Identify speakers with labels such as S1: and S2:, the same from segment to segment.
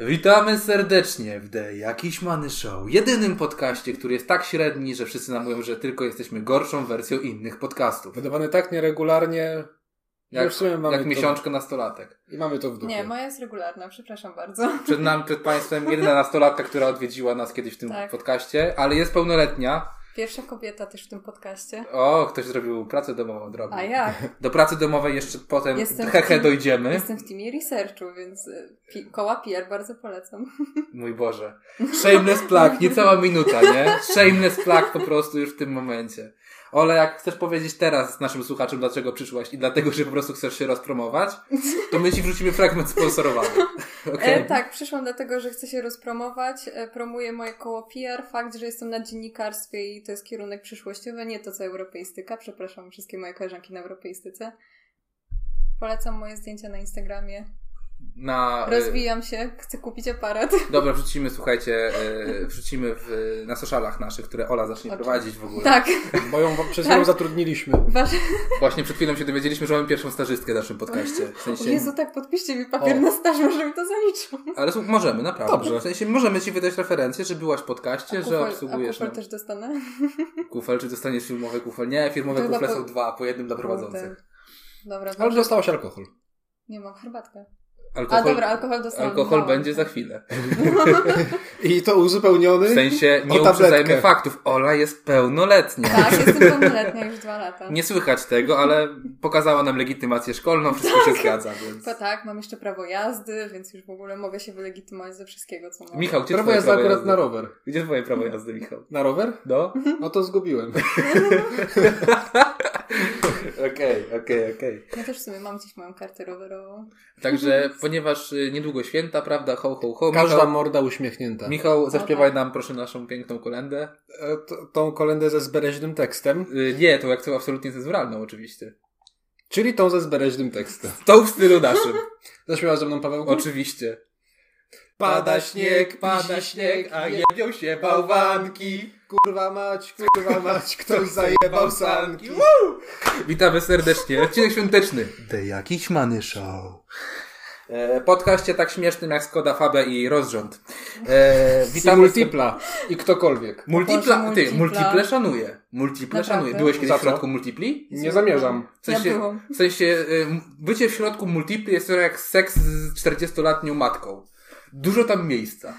S1: Witamy serdecznie w The Jakiś Many Show, jedynym podcaście, który jest tak średni, że wszyscy nam mówią, że tylko jesteśmy gorszą wersją innych podcastów.
S2: Wydawane tak nieregularnie,
S1: Jak,
S2: że w sumie mamy
S1: jak
S2: to,
S1: miesiączka nastolatek.
S2: I mamy to w dupie.
S3: Nie, moja jest regularna, przepraszam bardzo.
S1: Przed nami, przed Państwem jedyna nastolatka, która odwiedziła nas kiedyś w tym
S3: Tak.
S1: podcaście, ale jest pełnoletnia.
S3: Pierwsza kobieta też w tym podcaście.
S1: O, ktoś zrobił pracę domową drobną.
S3: A jak?
S1: Do pracy domowej jeszcze potem
S3: Jestem
S1: hehe
S3: tym-
S1: dojdziemy.
S3: Jestem w teamie researchu, więc y, pi- koła PR bardzo polecam.
S1: Mój Boże. Shameless plug, niecała minuta, nie? Shameless plug po prostu już w tym momencie. Ole, jak chcesz powiedzieć teraz naszym słuchaczom, dlaczego przyszłaś i dlatego, że po prostu chcesz się rozpromować, to my ci wrzucimy fragment sponsorowany. Okej?
S3: E, tak, przyszłam dlatego, że chcę się rozpromować. E, promuję moje koło PR. Fakt, że jestem na dziennikarstwie i to jest kierunek przyszłościowy, nie to co europeistyka. Przepraszam wszystkie moje koleżanki na europeistyce. Polecam moje zdjęcia na Instagramie.
S1: Na, e,
S3: Rozwijam się, chcę kupić aparat.
S1: dobra, wrzucimy, słuchajcie, e, wrzucimy w, na socialach naszych, które Ola zacznie
S3: Oczy-
S1: prowadzić w ogóle.
S3: Tak,
S2: Bo ją przez
S3: Tak.
S2: nią zatrudniliśmy.
S3: wasze...
S1: Właśnie przed chwilą się dowiedzieliśmy, że mamy pierwszą stażystkę w naszym podcaście. W
S3: O
S1: sensie,
S3: Jezu, tak, podpiszcie mi papier
S2: O.
S3: na staż, może mi to zaliczą.
S1: Ale słuch- możemy, naprawdę.
S2: Dobrze.
S1: W sensie możemy ci wydać referencję, że byłaś w podcaście, że
S3: Kufel-
S1: obsługujesz.
S3: A kufel
S1: nam-
S3: też dostanę?
S1: Kufel, czy dostaniesz filmowy kufel? Nie, filmowe
S3: To
S1: kufle
S3: chyba
S1: są
S3: po-
S1: dwa, po jednym dla prowadzących.
S3: Kurde. Dobra,
S2: Ale
S3: dobrze.
S2: dostałaś alkohol.
S3: Nie mam herbatkę.
S1: Alkohol,
S3: A dobra, alkohol dostałem.
S1: alkohol
S3: Dałam.
S1: będzie za chwilę.
S2: I to uzupełniony.
S1: W sensie nie
S2: O tabletkę.
S1: uprzedzajmy faktów. Ola jest pełnoletnia.
S3: Tak, jestem pełnoletnia już dwa lata.
S1: Nie słychać tego, ale pokazała nam legitymację szkolną, wszystko się zgadza, więc...
S3: To tak, mam jeszcze prawo jazdy, więc już w ogóle mogę się wylegitymować ze wszystkiego, co mam.
S1: Michał, gdzie
S2: Prawo
S1: twoje
S2: jazdy
S1: prawo
S2: akurat
S1: jazdy?
S2: na rower.
S1: Gdzie twoje prawo jazdy, Michał?
S2: Na rower?
S1: No?
S2: No to zgubiłem.
S1: Okej, okej, okej.
S3: Ja też w sumie mam gdzieś moją kartę rowerową.
S1: Także, ponieważ y, niedługo święta, prawda, ho, ho, ho.
S2: Każda
S1: Michał,
S2: morda uśmiechnięta.
S1: Michał, zaśpiewaj
S3: Okej.
S1: nam proszę naszą piękną kolendę.
S2: E, t- tą kolendę ze zbereźnym tekstem.
S1: Y, Nie, tą akcją absolutnie cenzuralną oczywiście.
S2: Czyli tą ze zbereźnym tekstem.
S1: Tą w stylu naszym.
S2: Zaśmiała ze mną Paweł.
S1: Oczywiście.
S2: Pada śnieg, pada śnieg, a
S1: jebią się
S2: bałwanki. Kurwa mać, kurwa mać, ktoś zajebał sanki.
S1: Witamy serdecznie. Odcinek świąteczny. The Jakiś Many Show. E, Podcaście tak śmiesznym jak Skoda Fabia i Rozrząd. E,
S2: I
S1: witamy ser-
S2: multipla. I ktokolwiek.
S1: Multipla,
S3: Boże,
S1: ty,
S3: multipla.
S1: multiple szanuję. Multiple
S3: Naprawdę?
S1: szanuję. Byłeś kiedyś
S2: Za
S1: w
S2: co?
S1: środku multipli?
S2: Nie zamierzam.
S1: W sensie,
S3: Ja byłam.
S1: w sensie y, m- bycie w środku multipli jest trochę jak seks z 40-letnią matką. Dużo tam miejsca.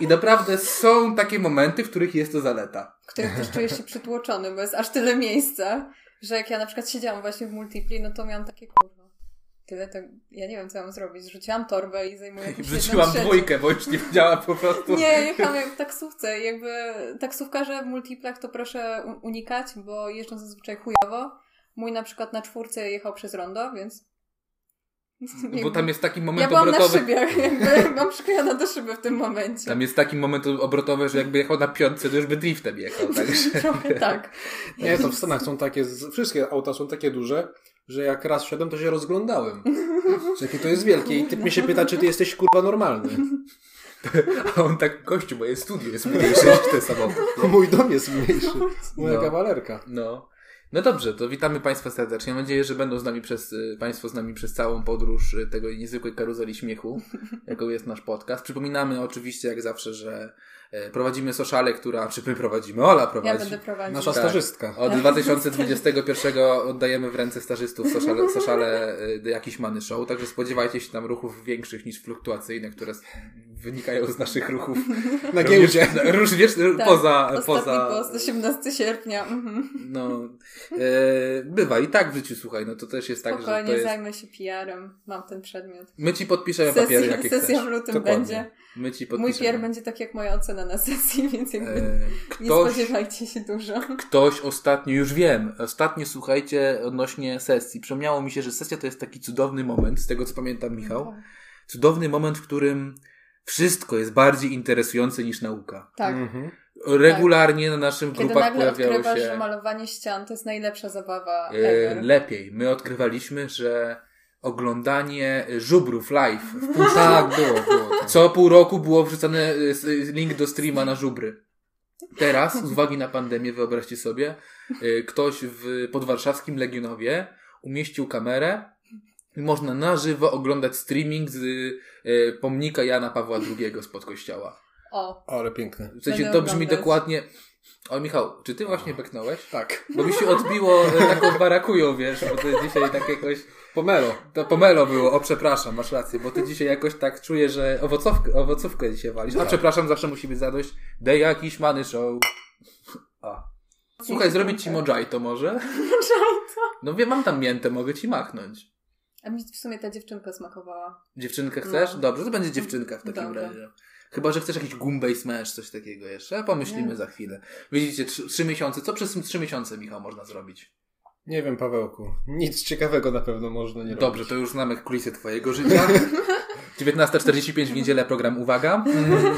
S1: I naprawdę są takie momenty, w których jest to zaleta.
S3: W których też czujesz się przytłoczony, bo jest aż tyle miejsca, że jak ja na przykład siedziałam właśnie w multipli, no to miałam takie kurwa. Tyle to... Ja nie wiem, co mam zrobić. Zrzuciłam torbę i zajmuję jakieś jedną
S1: Wrzuciłam
S3: trzecią.
S1: dwójkę, bo już nie wiedziała po prostu.
S3: Nie, jechałam jak w taksówce. Jakby taksówkarze w multiplach to proszę u- unikać, bo jeżdżą zazwyczaj chujowo. Mój na przykład na czwórce jechał przez rondo, więc...
S1: Bo tam jest taki moment
S3: ja byłam na
S1: obrotowy.
S3: szybie, jakby mam przyklejona do szyby w tym momencie.
S1: Tam jest taki moment obrotowy, że jakby jechał na piątce, to już by driftem
S3: No.
S1: jechał. Także.
S3: Trochę tak.
S2: Nie, to w Stanach są takie, z- wszystkie auta są takie duże, że jak raz wszedłem, to się rozglądałem. Że Jakie to jest wielkie i typ mnie się pyta, czy ty jesteś kurwa normalny.
S1: A on tak, kościół, moje studio jest mniejsze niż te samochody.
S2: Mój dom jest mniejszy. Moja
S1: No.
S2: kawalerka.
S1: No. No dobrze, to witamy Państwa serdecznie. Mam nadzieję, że będą z nami przez, y, Państwo z nami przez całą podróż y, tego niezwykłej karuzeli śmiechu, jaką jest nasz podcast. Przypominamy oczywiście, jak zawsze, że y, prowadzimy sociale, która, czy my prowadzimy, Ola
S3: Ja
S1: prowadzi.
S3: będę prowadzić.
S2: Nasza
S1: Tak.
S2: stażystka.
S1: Od 2021 oddajemy w ręce stażystów sociale, sociale y, The Jakiś Many Show, także spodziewajcie się tam ruchów większych niż fluktuacyjne, które s- wynikają z naszych ruchów.
S2: Na giełdzie.
S1: Również, również
S3: Tak,
S1: poza,
S3: Ostatni
S1: poza...
S3: post, 18 sierpnia. Mhm.
S1: No, e, bywa i tak w życiu, słuchaj, no to też jest tak, że
S3: Spokojnie,
S1: to jest...
S3: zajmę się PR-em. Mam ten przedmiot.
S1: My ci podpiszemy papiery,
S3: Sesja,
S1: jakie
S3: sesja
S1: chcesz.
S3: w lutym
S1: Dokładnie.
S3: będzie.
S1: My ci podpiszemy.
S3: Mój PR będzie tak jak moja ocena na sesji, więc jakby
S1: E,
S3: nie
S1: ktoś,
S3: spodziewajcie się dużo.
S1: ktoś ostatnio, już wiem, ostatnio słuchajcie odnośnie sesji. Przypomniało mi się, że sesja to jest taki cudowny moment, z tego co pamiętam
S3: No
S1: Michał,
S3: tak.
S1: cudowny moment, w którym wszystko jest bardziej interesujące niż nauka.
S3: Tak.
S2: Mhm.
S1: Regularnie na naszych
S3: Kiedy
S1: grupach
S3: nagle
S1: pojawiały
S3: odkrywasz,
S1: się...
S3: że malowanie ścian to jest najlepsza zabawa
S1: E,
S3: ever.
S1: Lepiej. My odkrywaliśmy, że oglądanie żubrów live w pół
S2: Tak, było, było. Tak.
S1: Co pół roku było wrzucany y, s- y, link do streama na żubry. Teraz, z uwagi na pandemię, wyobraźcie sobie, y, ktoś w podwarszawskim Legionowie umieścił kamerę Można na żywo oglądać streaming z e, pomnika Jana Pawła II spod kościoła.
S3: O,
S2: Ale piękne.
S1: W sensie
S3: Będę
S1: to brzmi
S3: oglądać.
S1: dokładnie... O Michał, czy ty właśnie beknąłeś?
S2: Tak.
S1: Bo mi się odbiło e, taką barakują, wiesz, bo to dzisiaj tak jakoś...
S2: Pomelo.
S1: To pomelo było, o przepraszam, masz rację, bo ty dzisiaj jakoś tak czuję, że owocówkę, owocówkę dzisiaj walisz. A przepraszam, zawsze musi być zadość. The jakiś many show. A. Słuchaj, zrobić ci mojito może? No wiem, mam tam miętę, mogę ci machnąć.
S3: a mi w sumie ta dziewczynka smakowała.
S1: Dziewczynkę chcesz?
S3: No.
S1: Dobrze, to będzie dziewczynka w takim
S3: Dobra.
S1: razie. Chyba, że chcesz jakiś gumbej smash, coś takiego jeszcze. A pomyślimy
S3: Nie.
S1: za chwilę. Widzicie, trzy, trzy miesiące. Co przez trzy miesiące, Michał, można zrobić?
S2: Nie wiem, Pawełku. Nic ciekawego na pewno można nie
S1: Dobrze,
S2: robić.
S1: to już znamy kulisy twojego życia. 19.45 w niedzielę, program Uwaga.
S3: Mhm.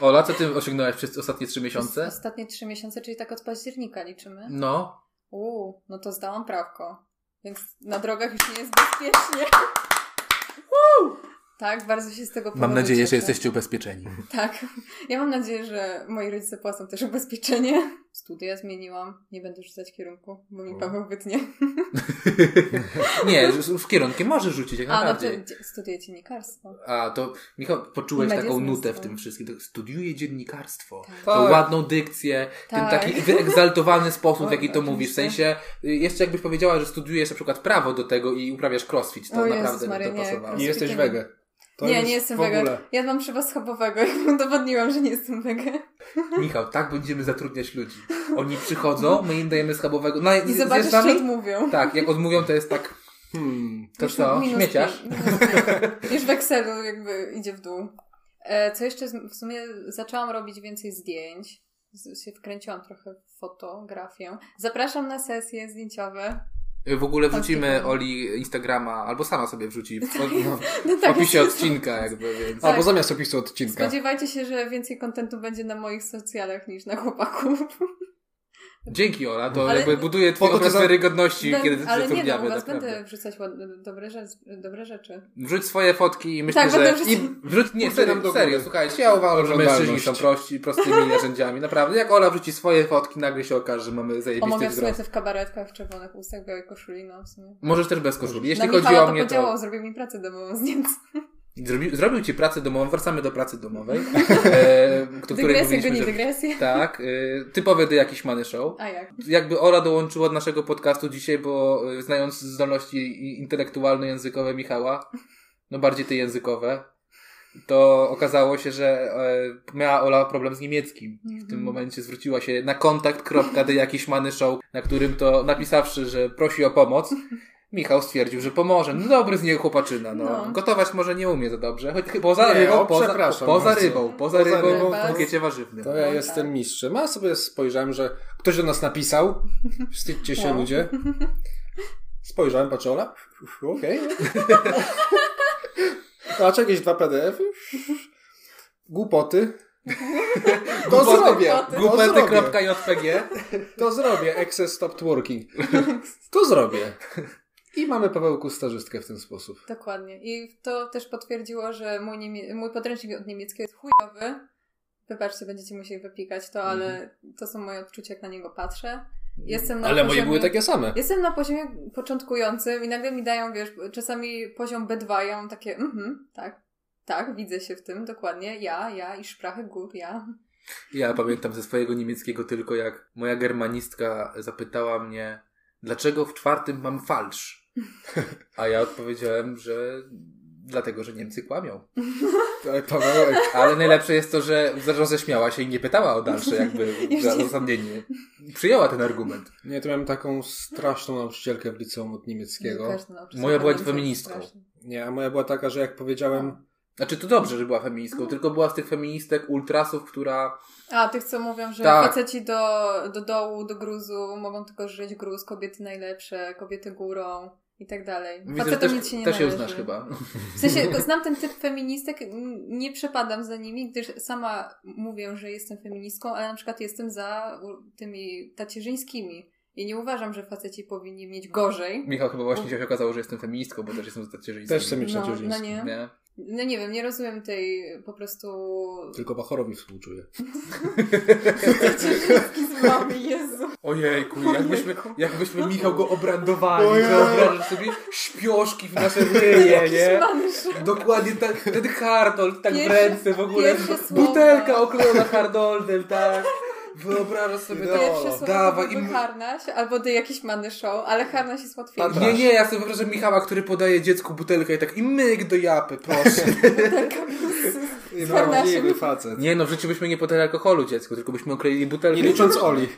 S1: Ola, co ty osiągnąłeś przez ostatnie trzy miesiące?
S3: Ostatnie trzy miesiące, czyli tak od października liczymy.
S1: No,
S3: Uuu, no to zdałam prawko. Więc na drogach już nie jest bezpiecznie. Tak, bardzo się z tego powodu
S1: mam nadzieję,
S3: cieszę.
S1: że jesteście ubezpieczeni.
S3: Tak. Ja mam nadzieję, że moi rodzice płacą też ubezpieczenie. Studia zmieniłam. Nie będę rzucać kierunku, bo mi
S2: O.
S3: Paweł wytnie.
S1: Nie, z, z kierunkiem możesz rzucić, jak
S3: A, no
S1: najbardziej.
S3: to dzie- studiuję dziennikarstwo.
S1: A, to Michał, poczułeś
S3: Media
S1: taką nutę w
S3: związkowe.
S1: tym wszystkim. To Studiuję dziennikarstwo.
S3: no. Tak.
S1: tą
S2: Tak.
S1: ładną dykcję,
S3: Tak.
S1: ten taki wyegzaltowany sposób, w
S2: Tak,
S1: jaki to mówisz. W sensie, y, jeszcze jakbyś powiedziała, że studiujesz na przykład prawo do tego i uprawiasz crossfit, to
S3: O Jezus
S1: naprawdę
S3: Maria,
S1: by to
S3: nie.
S1: pasowało.
S2: Nie jesteś
S3: Rozpitanie.
S2: wege. To
S3: nie,
S2: już
S3: nie jestem
S2: w ogóle.
S3: wege. Ja mam szyba schabowego i udowodniłam, że nie jestem wege.
S1: Michał, tak będziemy zatrudniać ludzi. Oni przychodzą, my im dajemy schabowego. No,
S3: I
S1: z-
S3: zobaczysz,
S1: zjeżdżamy?
S3: co odmówią.
S1: Tak, jak odmówią, to jest tak,
S2: Hmm.
S1: to
S3: Już
S1: co,
S3: minus
S1: śmieciarz?
S3: pięć, minus pięć. Już w Excelu jakby idzie w dół. E, Co jeszcze, z- w sumie zaczęłam robić więcej zdjęć. Z- się wkręciłam trochę w fotografię. Zapraszam na sesje zdjęciowe.
S1: W ogóle wrzucimy
S3: Odpytamy.
S1: Oli Instagrama, albo sama sobie wrzuci w, no,
S3: No
S1: w opisie
S3: jest-
S1: odcinka jakby, więc...
S3: Tak.
S2: Albo zamiast opisu odcinka.
S3: Spodziewajcie się, że więcej kontentu będzie na moich socjalach niż na chłopaków.
S1: Dzięki Ola, to
S3: Ale-
S1: jakby buduje twój
S2: Po to,
S1: obraz
S2: że-
S1: wiarygodności,
S3: Ben-
S1: kiedy ty
S3: ale nie, no, u
S1: zatrudniamy,
S3: was
S1: naprawdę.
S3: będę wrzucać ładne, dobre, rzecz, dobre rzeczy.
S1: Wrzuć swoje fotki i myślę,
S3: Tak,
S1: że...
S3: będę
S1: I
S3: wrzucać-
S1: wrzuć, nie,
S2: Wrzuć nam
S1: serio,
S2: do
S1: serio,
S2: góry.
S1: słuchajcie, ja uważam, że mężczyźni
S2: Oglądalność.
S1: są prości, prostymi narzędziami, naprawdę. Jak Ola wrzuci swoje fotki, nagle się okaże, że mamy zajebisty
S3: Omawiam w sumie
S1: wzrost.
S3: te w kabaretkach, w czerwonych ustach, białej koszuli, no w sumie.
S1: Możesz też bez koszuli. Jeśli
S3: na
S1: chodzi
S3: Michała
S1: o mnie,
S3: to podziałało,
S1: to
S3: zrobił mi pracę domową z Niemcy.
S1: zrobił, zrobił ci pracę domową, wracamy do pracy domowej, e, do której
S3: Dygresje
S1: mówiliśmy,
S3: goni
S1: że...
S3: dygresje.
S1: Tak, e, typowy The Jakiś Money Show.
S3: A jak?
S1: Jakby Ola dołączyła od naszego podcastu dzisiaj, bo e, znając zdolności i- intelektualno-językowe Michała, no bardziej te językowe, to okazało się, że e, miała Ola problem z niemieckim. W
S3: Mhm.
S1: tym momencie zwróciła się na kontakt.dejakiśmany.show, na którym to napisawszy, że prosi o pomoc, Michał stwierdził, że pomoże. No dobry z niej chłopaczyna, no.
S3: No.
S1: Gotować może nie umie za dobrze, choć poza
S2: Nie,
S1: rybą,
S2: o,
S1: poza,
S2: przepraszam
S1: poza
S2: bardzo.
S1: rybą, poza
S2: Poza
S1: rybą
S2: rybą
S1: w
S3: to-
S1: bukiecie warzywnym.
S2: To ja
S3: No,
S2: jestem
S3: tak.
S2: mistrzem. A sobie spojrzałem, że ktoś do nas napisał. Wstydźcie się,
S3: No.
S2: ludzie. Spojrzałem, patrzę, Ola. Uf, Okej. A czy jakieś dwa PDF? Głupoty. To
S1: Głupoty.
S2: zrobię. To zrobię.
S1: Grupety.jpg
S2: To zrobię. Excess stopped working. To zrobię. I mamy Pawełku stażystkę w ten sposób.
S3: Dokładnie. I to też potwierdziło, że mój, niemie- mój podręcznik od niemieckiego jest chujowy. Wybaczcie, będziecie musieli wypikać to, ale to są moje odczucia, jak na niego patrzę. Jestem na
S2: Ale moje
S3: poziomie-
S2: były takie same.
S3: Jestem na poziomie początkującym i nagle mi dają, wiesz, czasami poziom B2, ja mam takie, mhm, tak, tak, widzę się w tym, dokładnie, ja, ja i szprachy gór, ja.
S1: Ja pamiętam ze swojego niemieckiego tylko, jak moja germanistka zapytała mnie, dlaczego w czwartym mam falsz? A ja odpowiedziałem, że dlatego, że Niemcy kłamią.
S2: Ale Pawełek.
S1: Ale najlepsze jest to, że roześmiała się i nie pytała o dalsze jakby
S3: Już
S1: za-
S3: nie.
S1: uzasadnienie. Przyjęła ten argument.
S2: Nie, to miałem taką straszną nauczycielkę w liceum od niemieckiego.
S3: Każdy nauczyciel
S1: Moja była
S3: powinien być
S1: feministką.
S3: straszny.
S2: Nie, a moja była taka, że jak powiedziałem,
S1: Znaczy to dobrze, że była feministką, tylko była z tych feministek ultrasów, która...
S3: A, tych, co mówią, że
S1: Tak.
S3: faceci do, do dołu, do gruzu mogą tylko żyć gruz, kobiety najlepsze, kobiety górą i tak dalej.
S1: Widzę, że
S3: Facetom
S1: też,
S3: nic się nie
S1: też ją
S3: należy.
S1: znasz chyba.
S3: W sensie, tylko znam ten typ feministek, n- nie przepadam za nimi, gdyż sama mówię, że jestem feministką, ale na przykład jestem za u- tymi tacierzyńskimi. I nie uważam, że faceci powinni mieć gorzej.
S1: Michał chyba właśnie się okazało, że jestem feministką, bo też jestem z tacierzyńskim.
S2: też chcę mieć
S3: No,
S2: na
S3: no nie.
S1: Nie?
S3: No nie wiem, nie rozumiem tej po prostu...
S2: Tylko Bachorowi współczuję.
S3: Ciężki z wami, Jezu.
S1: Ojejku,
S3: Ojejku.
S1: jakbyśmy, jakbyśmy Michał go obrandowali,
S2: Ojej.
S1: wyobrażasz sobie śpioszki w nasze ryje, nie?
S3: Szmasz.
S1: Dokładnie ten, ten kartol, tak
S3: Pierwsze-
S1: w ręce w ogóle.
S3: pierwsze słowa.
S1: Butelka oklejona kardoldem, tak. Wyobrażasz sobie
S2: Pierwsze
S1: to.
S3: Pierwsze słowo
S1: no, Dawaj,
S3: to byłby
S1: im- No.
S3: harnaś, albo the jakiś manny show, ale harnaś jest łatwiejszy.
S2: Harnaś.
S1: Nie, nie, ja sobie wyobrażam Michała, który podaje dziecku butelkę i tak i myk do japy, proszę.
S3: Butelka plus- Z
S2: Niemożliwy
S3: harnaszem.
S2: facet.
S1: Nie no, w życiu byśmy nie podali alkoholu dziecku, tylko byśmy okleili butelkę.
S2: Nie licząc Oli.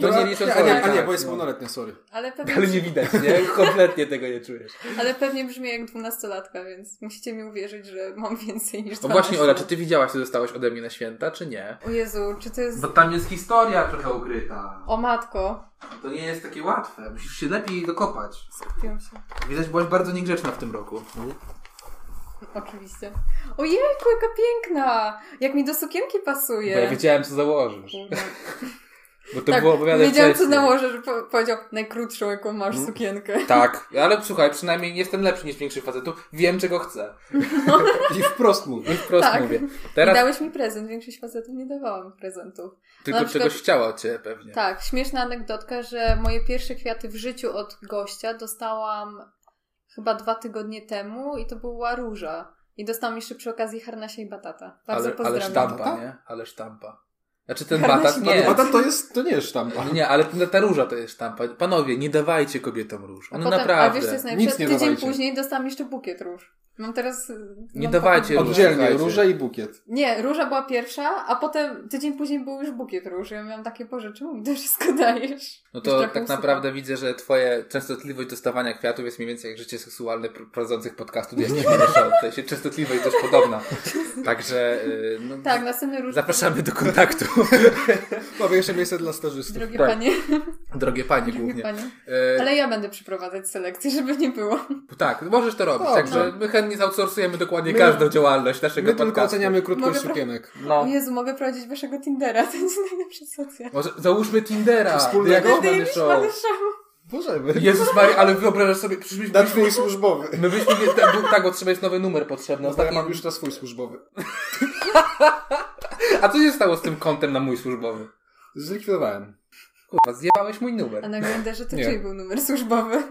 S1: No nie licząc
S2: a,
S1: Oli,
S2: nie, a nie,
S1: tak,
S2: bo jest
S1: no.
S2: pełnoletnia, sorry.
S3: Ale pewnie,
S1: Ale nie widać, nie? Kompletnie tego nie czujesz.
S3: ale pewnie brzmi jak dwunastolatka, więc musicie mi uwierzyć, że mam więcej niż
S1: No
S3: 12
S1: właśnie, Ola,
S3: lat.
S1: czy ty widziałaś, co dostałaś ode mnie na święta, czy nie?
S3: O Jezu, czy to jest...
S1: tam jest historia trochę ukryta.
S3: O matko,
S1: To nie jest takie łatwe. Musisz się lepiej dokopać.
S3: skupiłam się.
S1: Widać, byłaś bardzo niegrzeczna w tym roku.
S3: Oczywiście. Ojejku, jaka piękna! Jak mi do sukienki
S1: Bo ja
S3: pasuje.
S1: wiedziałem, co założysz. Bo to
S3: Tak,
S1: było opowiadane
S3: wiedziałam, co
S1: wcześniej. Mm.
S3: nałożę, że po- powiedział najkrótszą, jaką masz sukienkę.
S1: Tak, ale słuchaj, przynajmniej nie jestem lepszy niż większość facetów. Wiem, czego chcę.
S2: I wprost mówię.
S1: I wprost
S3: Tak.
S1: mówię.
S3: I
S1: Teraz
S3: dałeś mi prezent, większość facetów nie dawała mi prezentów.
S1: tylko
S3: na przykład-
S1: czegoś chciała od ciebie pewnie.
S3: Tak, śmieszna anegdotka, że moje pierwsze kwiaty w życiu od gościa dostałam chyba dwa tygodnie temu i to była róża. I dostałam jeszcze przy okazji harnasia i batata. Bardzo
S1: ale, ale
S3: pozdrawiam.
S1: sztampa,
S2: Batata?
S1: nie? Ale sztampa. Znaczy ten
S3: Harnaś
S1: batat
S3: i
S1: nie.
S2: A tam to jest, to nie jest sztampa.
S1: Nie, ale ta, ta róża to jest sztampa. Panowie, nie dawajcie kobietom róż. One
S3: Potem,
S1: naprawdę.
S3: A wiesz, co jest
S2: No Nic
S3: najlepsze?
S2: nie
S3: Tydzień
S2: dawajcie.
S3: później dostałam jeszcze bukiet róż. Mam teraz... y,
S1: Nie
S3: mam
S1: dawajcie
S3: potem-
S1: róż.
S2: Oddzielnie,
S1: Słuchajcie.
S2: róże i bukiet.
S3: Nie, róża była pierwsza, a potem tydzień później był już bukiet róż. Ja miałam takie, Boże, czemu mi to wszystko dajesz?
S1: No
S3: Jeszcze
S1: to
S3: jaką
S1: tak
S3: usuwam.
S1: naprawdę widzę, że twoje częstotliwość dostawania kwiatów jest mniej więcej jak życie seksualne pr- prowadzących podcastu Diagniki Show. W sensie częstotliwość dość podobna. Także y, no,
S3: Tak, następny róż...
S1: zapraszamy do kontaktu.
S2: Mamy jeszcze miejsce dla stażystów.
S3: Drogie
S1: Tak.
S3: panie,
S1: Drogie panie
S3: drogie
S1: głównie.
S3: panie.
S1: E,
S3: Ale ja będę przeprowadzać selekcję, żeby nie było.
S1: Tak, możesz to robić.
S2: Dobrze.
S3: no.
S1: Także my chętnie outsourcujemy dokładnie
S2: My-
S1: każdą działalność
S2: My
S1: naszego
S2: tylko
S1: podcastu.
S2: oceniamy krótkość
S3: Mogę pra-
S2: sukienek.
S1: No.
S3: O Jezu, mogę prowadzić waszego Tindera, to jest najlepszy socjal.
S1: Może załóżmy Tindera.
S2: Wspólnego?
S1: Jakiś
S3: Ty
S1: mamy
S3: już
S1: show.
S3: masz szału.
S2: Możemy.
S1: Jezus Maria, ale wyobrażasz sobie, przyszliśmy...
S2: Na twój służbowy.
S1: My byśmy, nie- tak, bo- tak, bo trzeba jest nowy numer potrzebny.
S2: No, ja
S1: Ostatni-
S2: mam już na swój służbowy.
S1: A co się stało z tym kontem na mój służbowy?
S2: Zlikwidowałem.
S1: Kurwa, zjebałeś mój
S3: A
S1: numer.
S3: na Grindrze to
S2: Nie.
S3: czyj był numer służbowy?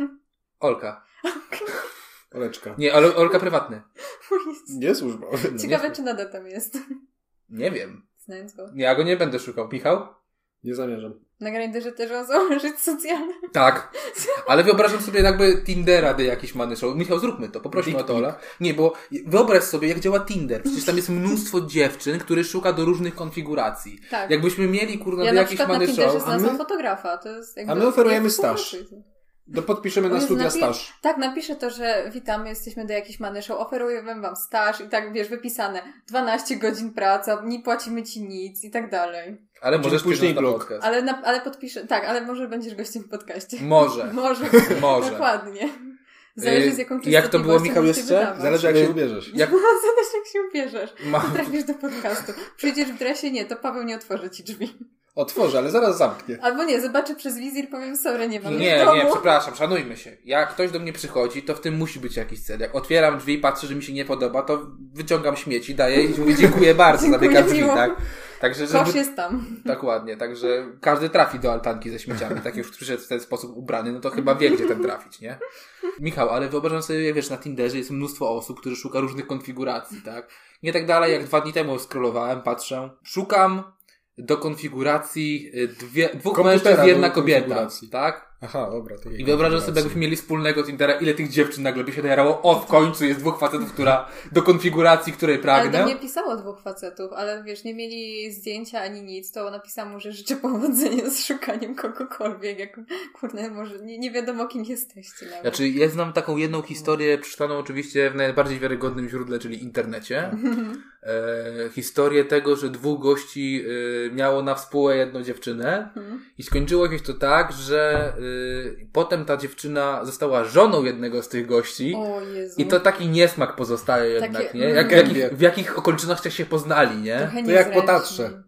S1: Olka.
S2: Oleczka.
S1: Nie, ale Olka prywatny.
S2: Nie służbowy.
S3: Ciekawe, czy nadal tam jest.
S1: Nie wiem.
S3: Znając go.
S1: Ja go nie będę szukał. Michał?
S2: Nie zamierzam.
S3: Na Grindrze też on założyć socjalne.
S1: Tak. Ale wyobrażam sobie jakby Tindera de jakiś many show. Michał, zróbmy to. Poprosimy
S2: Dick
S1: o to, Ola. Nie, bo wyobraź sobie, jak działa Tinder. Przecież tam jest mnóstwo dziewczyn, które szuka do różnych konfiguracji.
S3: Tak.
S1: Jakbyśmy mieli, kurna,
S3: ja
S1: do
S3: na
S1: jakiś
S3: przykład na
S1: many
S3: Tinderze
S1: show.
S3: znalazłam
S2: my-
S3: fotografa. To jest jakby,
S2: a my oferujemy
S3: jak
S2: staż.
S3: współpracy.
S2: Do No podpiszemy
S3: O
S2: na
S3: Jezu,
S2: studia
S3: napi-
S2: staż.
S3: Tak, napiszę to, że witamy, jesteśmy do jakiejś many show, oferujemy wam staż i tak, wiesz, wypisane 12 godzin praca, nie płacimy ci nic i tak dalej.
S1: Ale
S2: Czyli
S1: możesz
S2: później
S1: później na
S2: blog.
S1: podcast.
S3: Ale, na, ale podpiszę, tak, ale może będziesz gościem w podcaście.
S1: Może.
S3: Może.
S1: Może.
S3: Dokładnie. Zależy
S1: Yy,
S3: z jaką
S1: i jak to było,
S3: częstotliwością
S1: Michał,
S3: będziesz
S1: jeszcze?
S3: wydawać.
S2: Zależy jak
S1: Y-
S2: się ubierzesz.
S1: Jak
S3: No, Zależy jak się ubierzesz.
S1: ma...
S3: Trafisz do podcastu. Przyjdziesz w dresie? Nie, to Paweł nie otworzy ci drzwi.
S2: Otworzę, ale zaraz zamknie.
S3: Albo nie, zobaczę przez wizir, powiem sorry, No nie mam jej w
S1: Nie,
S3: domu.
S1: nie, przepraszam, szanujmy się. Jak ktoś do mnie przychodzi, to w tym musi być jakiś cel. Jak otwieram drzwi, patrzę, że mi się nie podoba, to wyciągam śmieci, daję i mówię dziękuję bardzo,
S3: Dziękuję,
S1: zamykam drzwi,
S3: miło.
S1: tak? Także,
S3: Kosz
S1: żeby...
S3: jest tam.
S1: Dokładnie, także każdy trafi do altanki ze śmieciami. Tak jak już przyszedł w ten sposób ubrany, no to chyba wie, gdzie ten trafić, nie? Michał, ale wyobrażam sobie, jak wiesz, na Tinderze jest mnóstwo osób, które szuka różnych konfiguracji, tak? Nie tak dalej, jak dwa dni temu scrollowałem, patrzę, szukam do konfiguracji y, dwie, dwóch
S2: Komputera
S1: mężczyzn,
S2: do
S1: jedna kobieta,
S2: konfiguracji.
S1: tak?
S2: Aha, dobra. to jej
S1: I wyobrażam sobie,
S2: konfiguracja.
S1: jakbyśmy mieli wspólnego Tindera, ile tych dziewczyn nagle by się najarało. O, w końcu jest dwóch facetów, która do konfiguracji, której
S3: Ale do
S1: pragnę.
S3: mnie pisało dwóch facetów, ale wiesz, nie mieli zdjęcia ani nic, to napisałam mu, że życzę powodzenia z szukaniem kogokolwiek, jak kurde, może nie, nie wiadomo kim jesteście nawet.
S1: Znaczy, ja znam taką jedną historię, przeczytaną oczywiście w najbardziej wiarygodnym źródle, czyli internecie. E, historię tego, że dwóch gości e, miało na współę jedną dziewczynę
S3: Mhm.
S1: i skończyło się to tak, że e, potem ta dziewczyna została żoną jednego z tych gości.
S3: O Jezu.
S1: I to taki niesmak pozostaje
S3: Takie-
S1: jednak, nie? Jak, w,
S2: Mm.
S1: jakich, w jakich okolicznościach się poznali, nie?
S3: Trochę
S2: to jak po
S3: niezręcznie.
S2: Tatrze.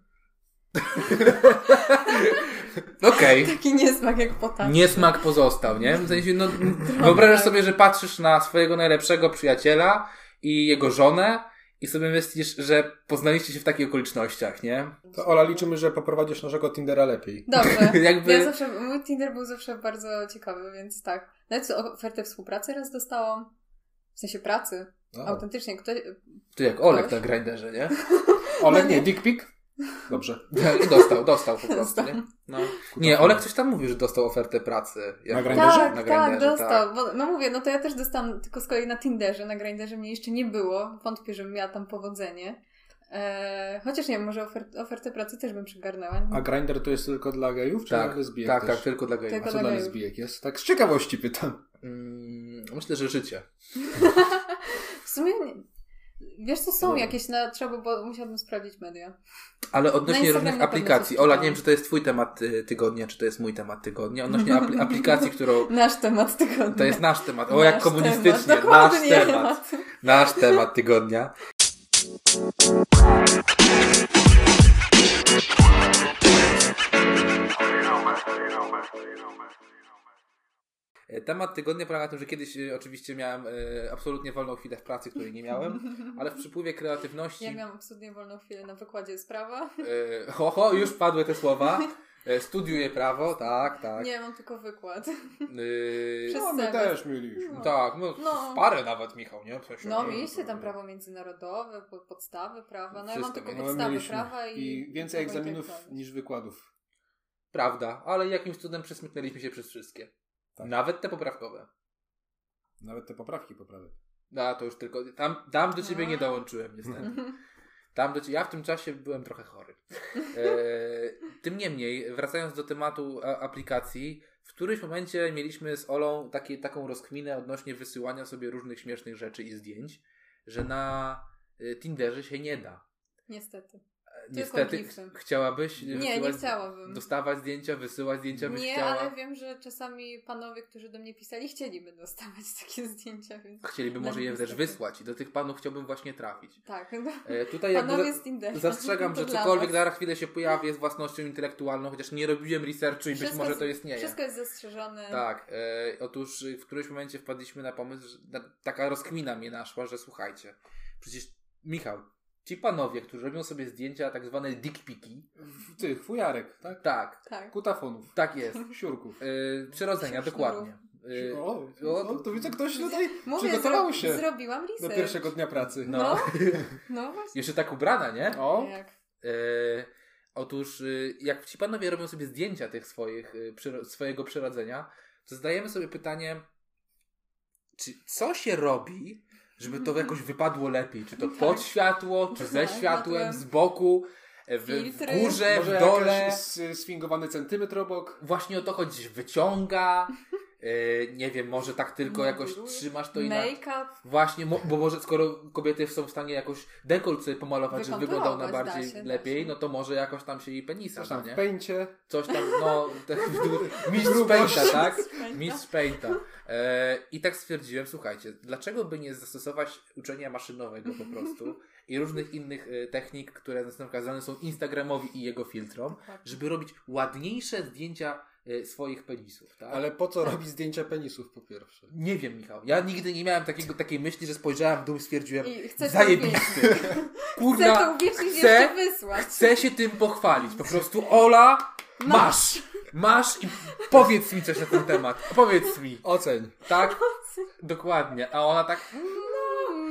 S1: Okej.
S3: Taki niesmak jak po tatrze.
S1: Niesmak pozostał, nie? W sensie, no, wyobrażasz sobie, że patrzysz na swojego najlepszego przyjaciela i jego żonę i sobie myślisz, że poznaliście się w takich okolicznościach, nie?
S2: To Ola, liczymy, że poprowadzisz naszego Tindera lepiej.
S3: Dobrze.
S1: Jakby-
S3: Tak. Ja zawsze, mój Tinder był zawsze bardzo ciekawy, więc tak. Nawet ofertę współpracy raz dostałam. W sensie pracy.
S2: O.
S3: Autentycznie. Ktoś,
S1: To jak Olek
S3: Ktoś?
S1: na grinderze, nie?
S2: Olek,
S3: No
S2: nie,
S3: nie.
S2: dick pic? Dobrze.
S1: tak, I dostał, dostał po prostu,
S3: Dostał.
S1: nie? No. Nie, Olek coś tam mówił, że dostał ofertę pracy. Jak-
S2: Na Grinderze?
S3: tak,
S1: Na
S3: tak,
S1: Grinderze,
S3: dostał. Bo, no mówię, no to ja też dostałam, tylko z kolei na Tinderze, na Grinderze mnie jeszcze nie było. Wątpię, żebym miała tam powodzenie. Eee, chociaż nie wiem, może ofert, ofertę pracy też bym przygarnęła.
S2: A grinder to jest tylko dla gejów, czy
S1: Tak,
S2: dla lesbijek
S1: tak,
S2: też?
S1: tak, tylko dla gejów.
S2: A
S3: Tylko
S2: co
S3: dla
S2: dla
S3: gejów.
S2: lesbijek jest? Tak z ciekawości pytam.
S1: Mm, myślę, że życie.
S3: W sumie, nie, wiesz co, są
S2: Dobra.
S3: jakieś, na, trzeba by było, musiałabym sprawdzić media.
S1: Ale
S3: Na
S1: odnośnie
S3: No Instagram
S1: różnych
S3: na pewno
S1: aplikacji.
S3: coś
S1: Ola,
S3: czytałam.
S1: nie wiem, czy to jest twój temat y, tygodnia, czy to jest mój temat tygodnia. Odnośnie apl- aplikacji, którą...
S3: Nasz temat tygodnia.
S1: To jest nasz temat. O, jak
S3: Nasz
S1: komunistycznie.
S3: temat,
S1: Nasz
S3: dokładnie.
S1: temat. Nasz temat tygodnia. Temat tygodnia polega na tym, że kiedyś y, oczywiście miałem y, absolutnie wolną chwilę w pracy, której nie miałem, ale w przypływie kreatywności.
S3: Ja miałam absolutnie wolną chwilę na wykładzie z prawa.
S1: y, ho, ho, już padły te słowa. Y, Studiuję prawo, tak, tak.
S3: Nie, mam tylko wykład.
S1: Y,
S3: Przez-
S2: No, my
S3: Serio?
S2: też mieliśmy.
S1: tak, no,
S3: No.
S1: parę nawet, Michał, nie? W sensie,
S3: No,
S1: nie,
S3: mieliście tam
S1: nie.
S3: prawo międzynarodowe, po- podstawy prawa. No ja mam
S1: Wszystko
S3: tylko
S1: mieliśmy.
S2: No, my
S3: podstawy
S2: mieliśmy.
S3: prawa i...
S2: I więcej
S3: prawo
S2: egzaminów
S3: intelektualne.
S2: niż wykładów.
S1: Prawda, ale jakimś cudem przesmyknęliśmy się przez wszystkie.
S2: Tak.
S1: Nawet te poprawkowe.
S2: Nawet te poprawki poprawię.
S1: No, to już tylko. Tam, tam do ciebie
S3: A.
S1: nie dołączyłem, niestety. Tam do ciebie. Ja w tym czasie byłem trochę chory. E, tym niemniej, wracając do tematu a, aplikacji, w którymś momencie mieliśmy z Olą takie, taką rozkminę odnośnie wysyłania sobie różnych śmiesznych rzeczy i zdjęć, że na y, Tinderze się nie da.
S3: Niestety.
S1: E, Niestety,
S3: gify.
S1: chciałabyś. y,
S3: Nie, nie
S1: wysyłać-
S3: chciałabym.
S1: Dostawać zdjęcia, wysyłać zdjęcia, byś
S3: Nie,
S1: chciała.
S3: ale wiem, że czasami panowie, którzy do mnie pisali, chcieliby dostawać takie zdjęcia, więc
S1: Chcieliby
S3: Dla
S1: może
S3: mnie
S1: je też
S3: no, niestety.
S1: wysłać i do tych panów chciałbym właśnie trafić.
S3: tak. No.
S1: E, tutaj jakby
S3: Panowie
S1: za-
S3: z Tindera.
S1: zastrzegam,
S3: To
S1: że
S3: dla
S1: cokolwiek
S3: was.
S1: za chwilę się pojawi jest własnością intelektualną, chociaż nie robiłem researchu i być
S3: Wszystko
S1: może
S3: z-
S1: to istnieje.
S3: Wszystko jest zastrzeżone.
S1: Tak, e, otóż w którymś momencie wpadliśmy na pomysł, że na, taka rozkmina mnie naszła, że słuchajcie, przecież Michał, ci panowie, którzy robią sobie zdjęcia tak zwane dickpiki,
S2: W tych fujarek, tak?
S1: tak,
S3: Tak.
S2: Kutafonów,
S1: tak jest,
S2: siurków.
S1: e, przerodzenia,
S3: Sznurów.
S1: dokładnie. E,
S2: O,
S1: o,
S2: o, to widzę ktoś tutaj
S3: Mówię,
S2: przygotował
S3: zro-
S2: się
S3: zrobiłam research.
S2: do pierwszego dnia pracy.
S1: no.
S3: No. No właśnie.
S1: Jeszcze tak ubrana, nie?
S2: O,
S3: Jak?
S1: E, otóż, y, jak ci panowie robią sobie zdjęcia tych swoich, y, przyro- swojego przyrodzenia, to zdajemy sobie pytanie, czy co się robi, żeby to jakoś wypadło lepiej? Czy to pod światło, czy ze
S3: Tak,
S1: światłem,
S3: światłem.
S1: z boku, e, w, w
S3: Filtry.
S1: górze,
S2: może
S1: w dole?
S2: jakiś s- sfingowany centymetr obok.
S1: Właśnie o to chodzi, wyciąga, y, nie wiem, może tak tylko jakoś
S3: Modeluje.
S1: trzymasz to inaczej.
S3: Make-up.
S1: Właśnie, mo- bo może skoro kobiety są w stanie jakoś dekolt sobie pomalować, żeby wyglądał na
S3: Wykonturować, da
S1: bardziej
S3: się, da
S1: lepiej,
S3: się.
S1: no to może jakoś tam się jej penisa,
S2: Coś tam
S1: da,
S2: w
S1: nie?
S2: pęcie.
S1: Coś tam, no, tak, mistrz
S2: Grubość.
S1: pęta, tak?
S3: Spędza.
S1: Mistrz pęta. E, I tak stwierdziłem, słuchajcie, dlaczego by nie zastosować uczenia maszynowego po prostu i różnych innych e, technik, które nakazane są Instagramowi i jego filtrom, żeby robić ładniejsze zdjęcia e, swoich penisów, tak?
S2: Ale po co robi zdjęcia penisów po pierwsze?
S1: Nie wiem, Michał. Ja nigdy nie miałem takiego, takiej myśli, że spojrzałem w dół i stwierdziłem,
S3: I chcę to uwiecznić.
S1: zajebisty.
S3: Chcę to
S1: Kurna,
S3: uwiecznić i
S1: chcę-
S3: jeszcze wysłać.
S1: chcę się tym pochwalić. Po prostu Ola, masz. Masz i powiedz mi coś na ten temat. Powiedz mi.
S2: Oceń.
S1: Tak? Dokładnie. A ona tak,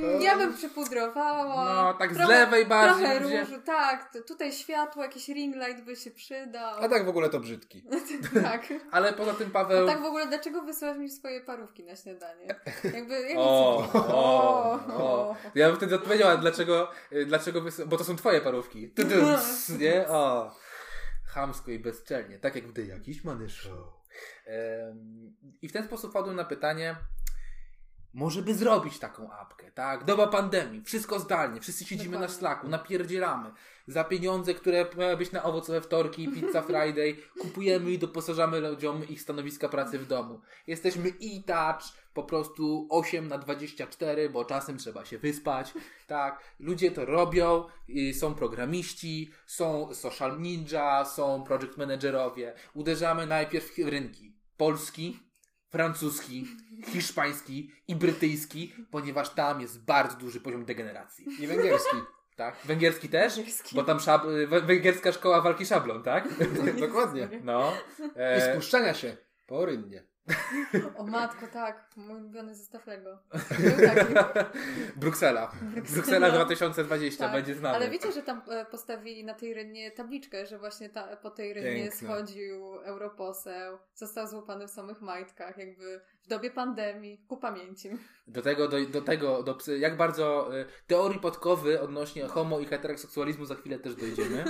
S3: Mm, Ja bym przypudrowała.
S1: no, tak z lewej bardziej.
S3: Trochę
S1: będzie.
S3: różu, tak. t- Tutaj światło, jakiś ring light by się przydał.
S2: A tak w ogóle to brzydki.
S3: tak.
S1: Ale poza tym
S3: A
S1: Paweł...
S3: tak w ogóle, dlaczego wysyłasz mi swoje parówki na śniadanie? Jakby, jakby
S1: O,
S3: co-
S1: o, o. Ja bym wtedy odpowiedział, ale dlaczego, y, dlaczego wys... bo to są twoje parówki. Ty, ty, nie? O. Chamsko i bezczelnie, tak jak gdy jakiś many show. Em, I w ten sposób padłem na pytanie, może by zrobić taką apkę, tak? Doba pandemii, wszystko zdalnie, wszyscy siedzimy na
S3: Dokładnie.
S1: szlaku, napierdzielamy. Za pieniądze, które miały być na owocowe wtorki, pizza Friday, kupujemy i doposażamy ludziom ich stanowiska pracy w domu. Jesteśmy e-touch, po prostu 8 na 24, bo czasem trzeba się wyspać, tak? Ludzie to robią, y, są programiści, są social ninja, są project managerowie. Uderzamy najpierw w rynki. Polski, francuski, hiszpański i brytyjski, ponieważ tam jest bardzo duży poziom degeneracji.
S2: I węgierski.
S1: Tak? Węgierski też?
S3: Węgierski.
S1: Bo tak, tam szab... wę- węgierska szkoła walki szablą, tak?
S2: Dokładnie.
S1: No.
S2: I
S1: E,
S2: spuszczania się po rynnie.
S3: O matko, tak. Mój ulubiony zestaw Lego. Był taki.
S1: Bruksela. Bruksela 2020 będzie znany.
S3: Tak, Ale wiecie, że tam e, postawili na tej rynnie tabliczkę, że właśnie ta, po tej rynnie
S2: Piękne.
S3: schodził europoseł, został złapany w samych majtkach, jakby w dobie pandemii, ku pamięci.
S1: Do tego, do, do tego, do psy, jak bardzo y, teorii podkowy odnośnie homo i heteroseksualizmu za chwilę też dojdziemy.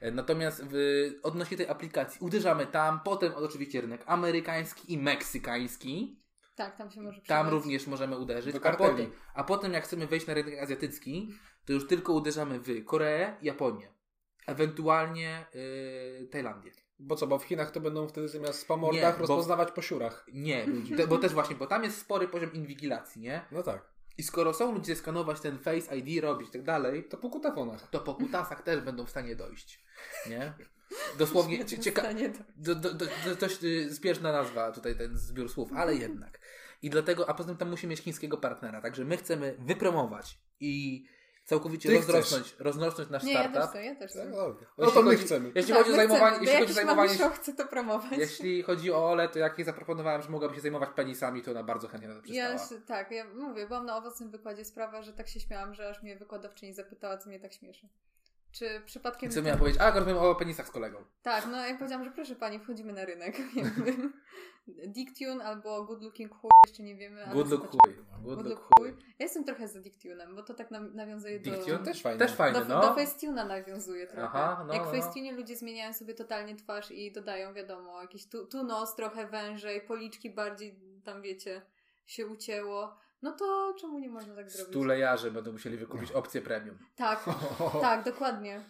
S1: E, Natomiast w, odnośnie tej aplikacji uderzamy tam, potem oczywiście rynek amerykański i meksykański.
S3: Tak, tam się może przydać.
S1: Tam również możemy uderzyć.
S2: Do
S1: A
S2: karteli.
S1: potem, a potem jak chcemy wejść na rynek azjatycki, to już tylko uderzamy w Koreę, Japonię. Ewentualnie y, Tajlandię.
S2: Bo co, bo w Chinach to będą wtedy zamiast po mordach
S1: bo-
S2: rozpoznawać po siurach.
S1: Nie, te, bo też właśnie, bo tam jest spory poziom inwigilacji, nie?
S2: No tak.
S1: I skoro są ludzie skanować ten Face ID, robić i tak dalej,
S2: To po kutafonach.
S1: to po kutasach też będą w stanie dojść. Nie? Dosłownie cie- cieka-
S3: Stanie to.
S1: do, do, do, do, dość y, zbieżna nazwa tutaj ten zbiór słów, ale jednak. I dlatego, a poza tym tam musi mieć chińskiego partnera, także my chcemy wypromować i całkowicie
S2: Ty
S1: rozrosnąć, rozrosnąć nasz
S3: Nie, ja też
S1: startup.
S3: chcę, ja też chcę.
S2: Tak,
S3: Tak,
S2: no. no to my chcemy.
S1: Jeśli chodzi o
S3: my chcemy,
S1: zajmowanie,
S3: bo
S1: jeśli chodzi o
S3: jakiś
S1: zajmowanie
S3: mamusią chce to promować.
S1: jeśli chodzi o Ole, to jak jej zaproponowałem, że mogłaby się zajmować penisami, to ona bardzo chętnie na to przystała.
S3: Ja się, tak, ja mówię, byłam na owocnym wykładzie sprawa, że tak się śmiałam, że aż mnie wykładowczyni zapytała, co mnie tak śmieszy. Czy
S1: I
S3: przypadkiem...
S1: Co miałem powiedzieć? A, rozumiem o penisach z kolegą.
S3: Tak, no ja powiedziałam, że proszę pani, wchodzimy na rynek. Dictune albo Good Looking Chuj, jeszcze nie wiemy. ale
S1: Good look
S3: zobaczymy.
S1: chuj. Good
S3: Good
S1: look
S3: Look
S1: chuj.
S3: Chuj. Ja jestem trochę za Dictune'em, bo to tak nam- nawiązuje do...
S1: Dictune?
S2: Też fajne.
S1: Też fajny,
S3: Do,
S1: no.
S3: do Facetune'a nawiązuje trochę.
S1: Aha, no,
S3: Jak
S1: no.
S3: w Facetune ludzie zmieniają sobie totalnie twarz i dodają, wiadomo, jakiś tu, tu nos trochę wężej, policzki bardziej, tam wiecie, się ucięło. No to czemu nie można tak zrobić?
S1: Stulejarze będą musieli wykupić
S2: No.
S1: opcję premium.
S3: Tak, tak, dokładnie.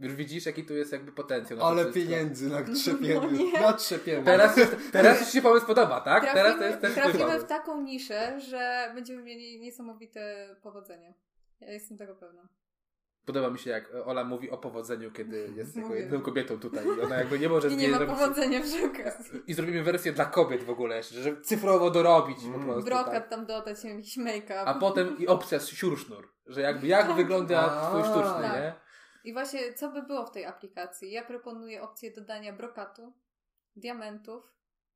S1: Już widzisz, jaki tu jest jakby potencjał. na to
S2: Ale
S1: wszystko.
S2: pieniędzy
S3: No
S2: natrzepiemy.
S3: nie.
S2: Natrzepiemy.
S1: Teraz, teraz już się pomysł podoba, tak? teraz to
S3: Trafimy,
S1: jest ten twój
S3: trafimy
S1: pomysł.
S3: w taką niszę, że będziemy mieli niesamowite powodzenie. Ja jestem tego pewna.
S1: Podoba mi się, jak Ola mówi o powodzeniu, kiedy jest jako
S3: Mówię.
S1: jedyną kobietą tutaj. I Ona jakby nie może
S3: I
S1: z
S3: nie
S1: niej
S3: ma
S1: zrobić.
S3: powodzenia przy okazji.
S1: I zrobimy wersję dla kobiet w ogóle, jeszcze, żeby cyfrowo dorobić po
S2: Mm.
S1: prostu. Tak.
S3: Brokat tam dodać, nie wiem, jakiś make-up.
S1: A potem i opcja z siursznur, że jakby jak wygląda
S2: A.
S1: twój sztuczny,
S3: Tak.
S1: nie?
S3: I właśnie, co by było w tej aplikacji? Ja proponuję opcję dodania brokatu, diamentów,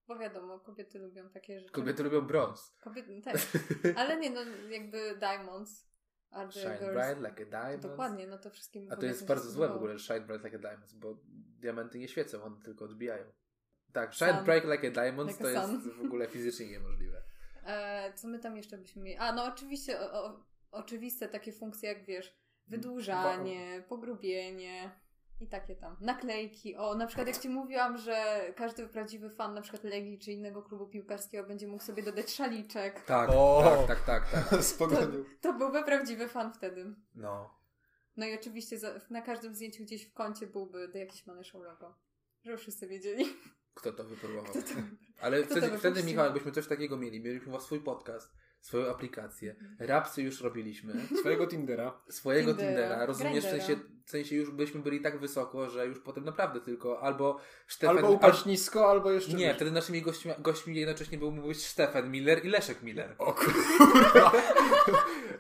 S3: bo wiadomo, kobiety lubią takie rzeczy.
S1: Kobiety lubią brąz.
S3: Kobiety też. Ale nie, no jakby diamonds. Are the
S1: Shine
S3: girls.
S1: bright like a diamond.
S3: Dokładnie, no to wszystkim
S1: A to jest
S3: kobietom
S1: bardzo
S3: się
S1: złe w
S3: spodobało.
S1: ogóle, że shine bright like a diamond, bo diamenty nie świecą, one tylko odbijają. Tak, shine
S3: Sun.
S1: bright like a diamond
S3: Like
S1: to
S3: a
S1: jest
S3: sun.
S1: w ogóle fizycznie niemożliwe.
S3: E, co my tam jeszcze byśmy mieli? A, no oczywiście, o, o, oczywiste takie funkcje jak, wiesz, wydłużanie, pogrubienie i takie tam. Naklejki. O, na przykład jak Ci mówiłam, że każdy prawdziwy fan na przykład Legii czy innego klubu piłkarskiego będzie mógł sobie dodać szaliczek.
S1: Tak,
S2: O!
S1: tak, tak, tak, tak.
S2: Spogonił.
S3: To byłby prawdziwy fan wtedy.
S1: No.
S3: No i oczywiście za, na każdym zdjęciu gdzieś w kącie byłby jakiś maneszą logo. Żeby wszyscy wiedzieli.
S1: Kto to wypróbował?
S3: Kto to...
S1: Ale
S3: kto to
S1: wtedy,
S3: wypuścił?
S1: wtedy, Michał, jakbyśmy coś takiego mieli, mieliśmy swój podcast, swoją aplikację,
S3: Mhm.
S1: rapsy już robiliśmy,
S2: Swojego Tindera.
S1: swojego
S3: Tindera,
S1: Tindera, rozumiesz, w
S3: Grindera.
S1: sensie, w sensie już byśmy byli tak wysoko, że już potem naprawdę tylko albo Stefan...
S2: Albo upaść nisko, albo jeszcze
S1: Nie,
S2: wyżej.
S1: wtedy naszymi gośćmi, gośćmi jednocześnie był mógł być Stefan Miller i Leszek Miller.
S2: O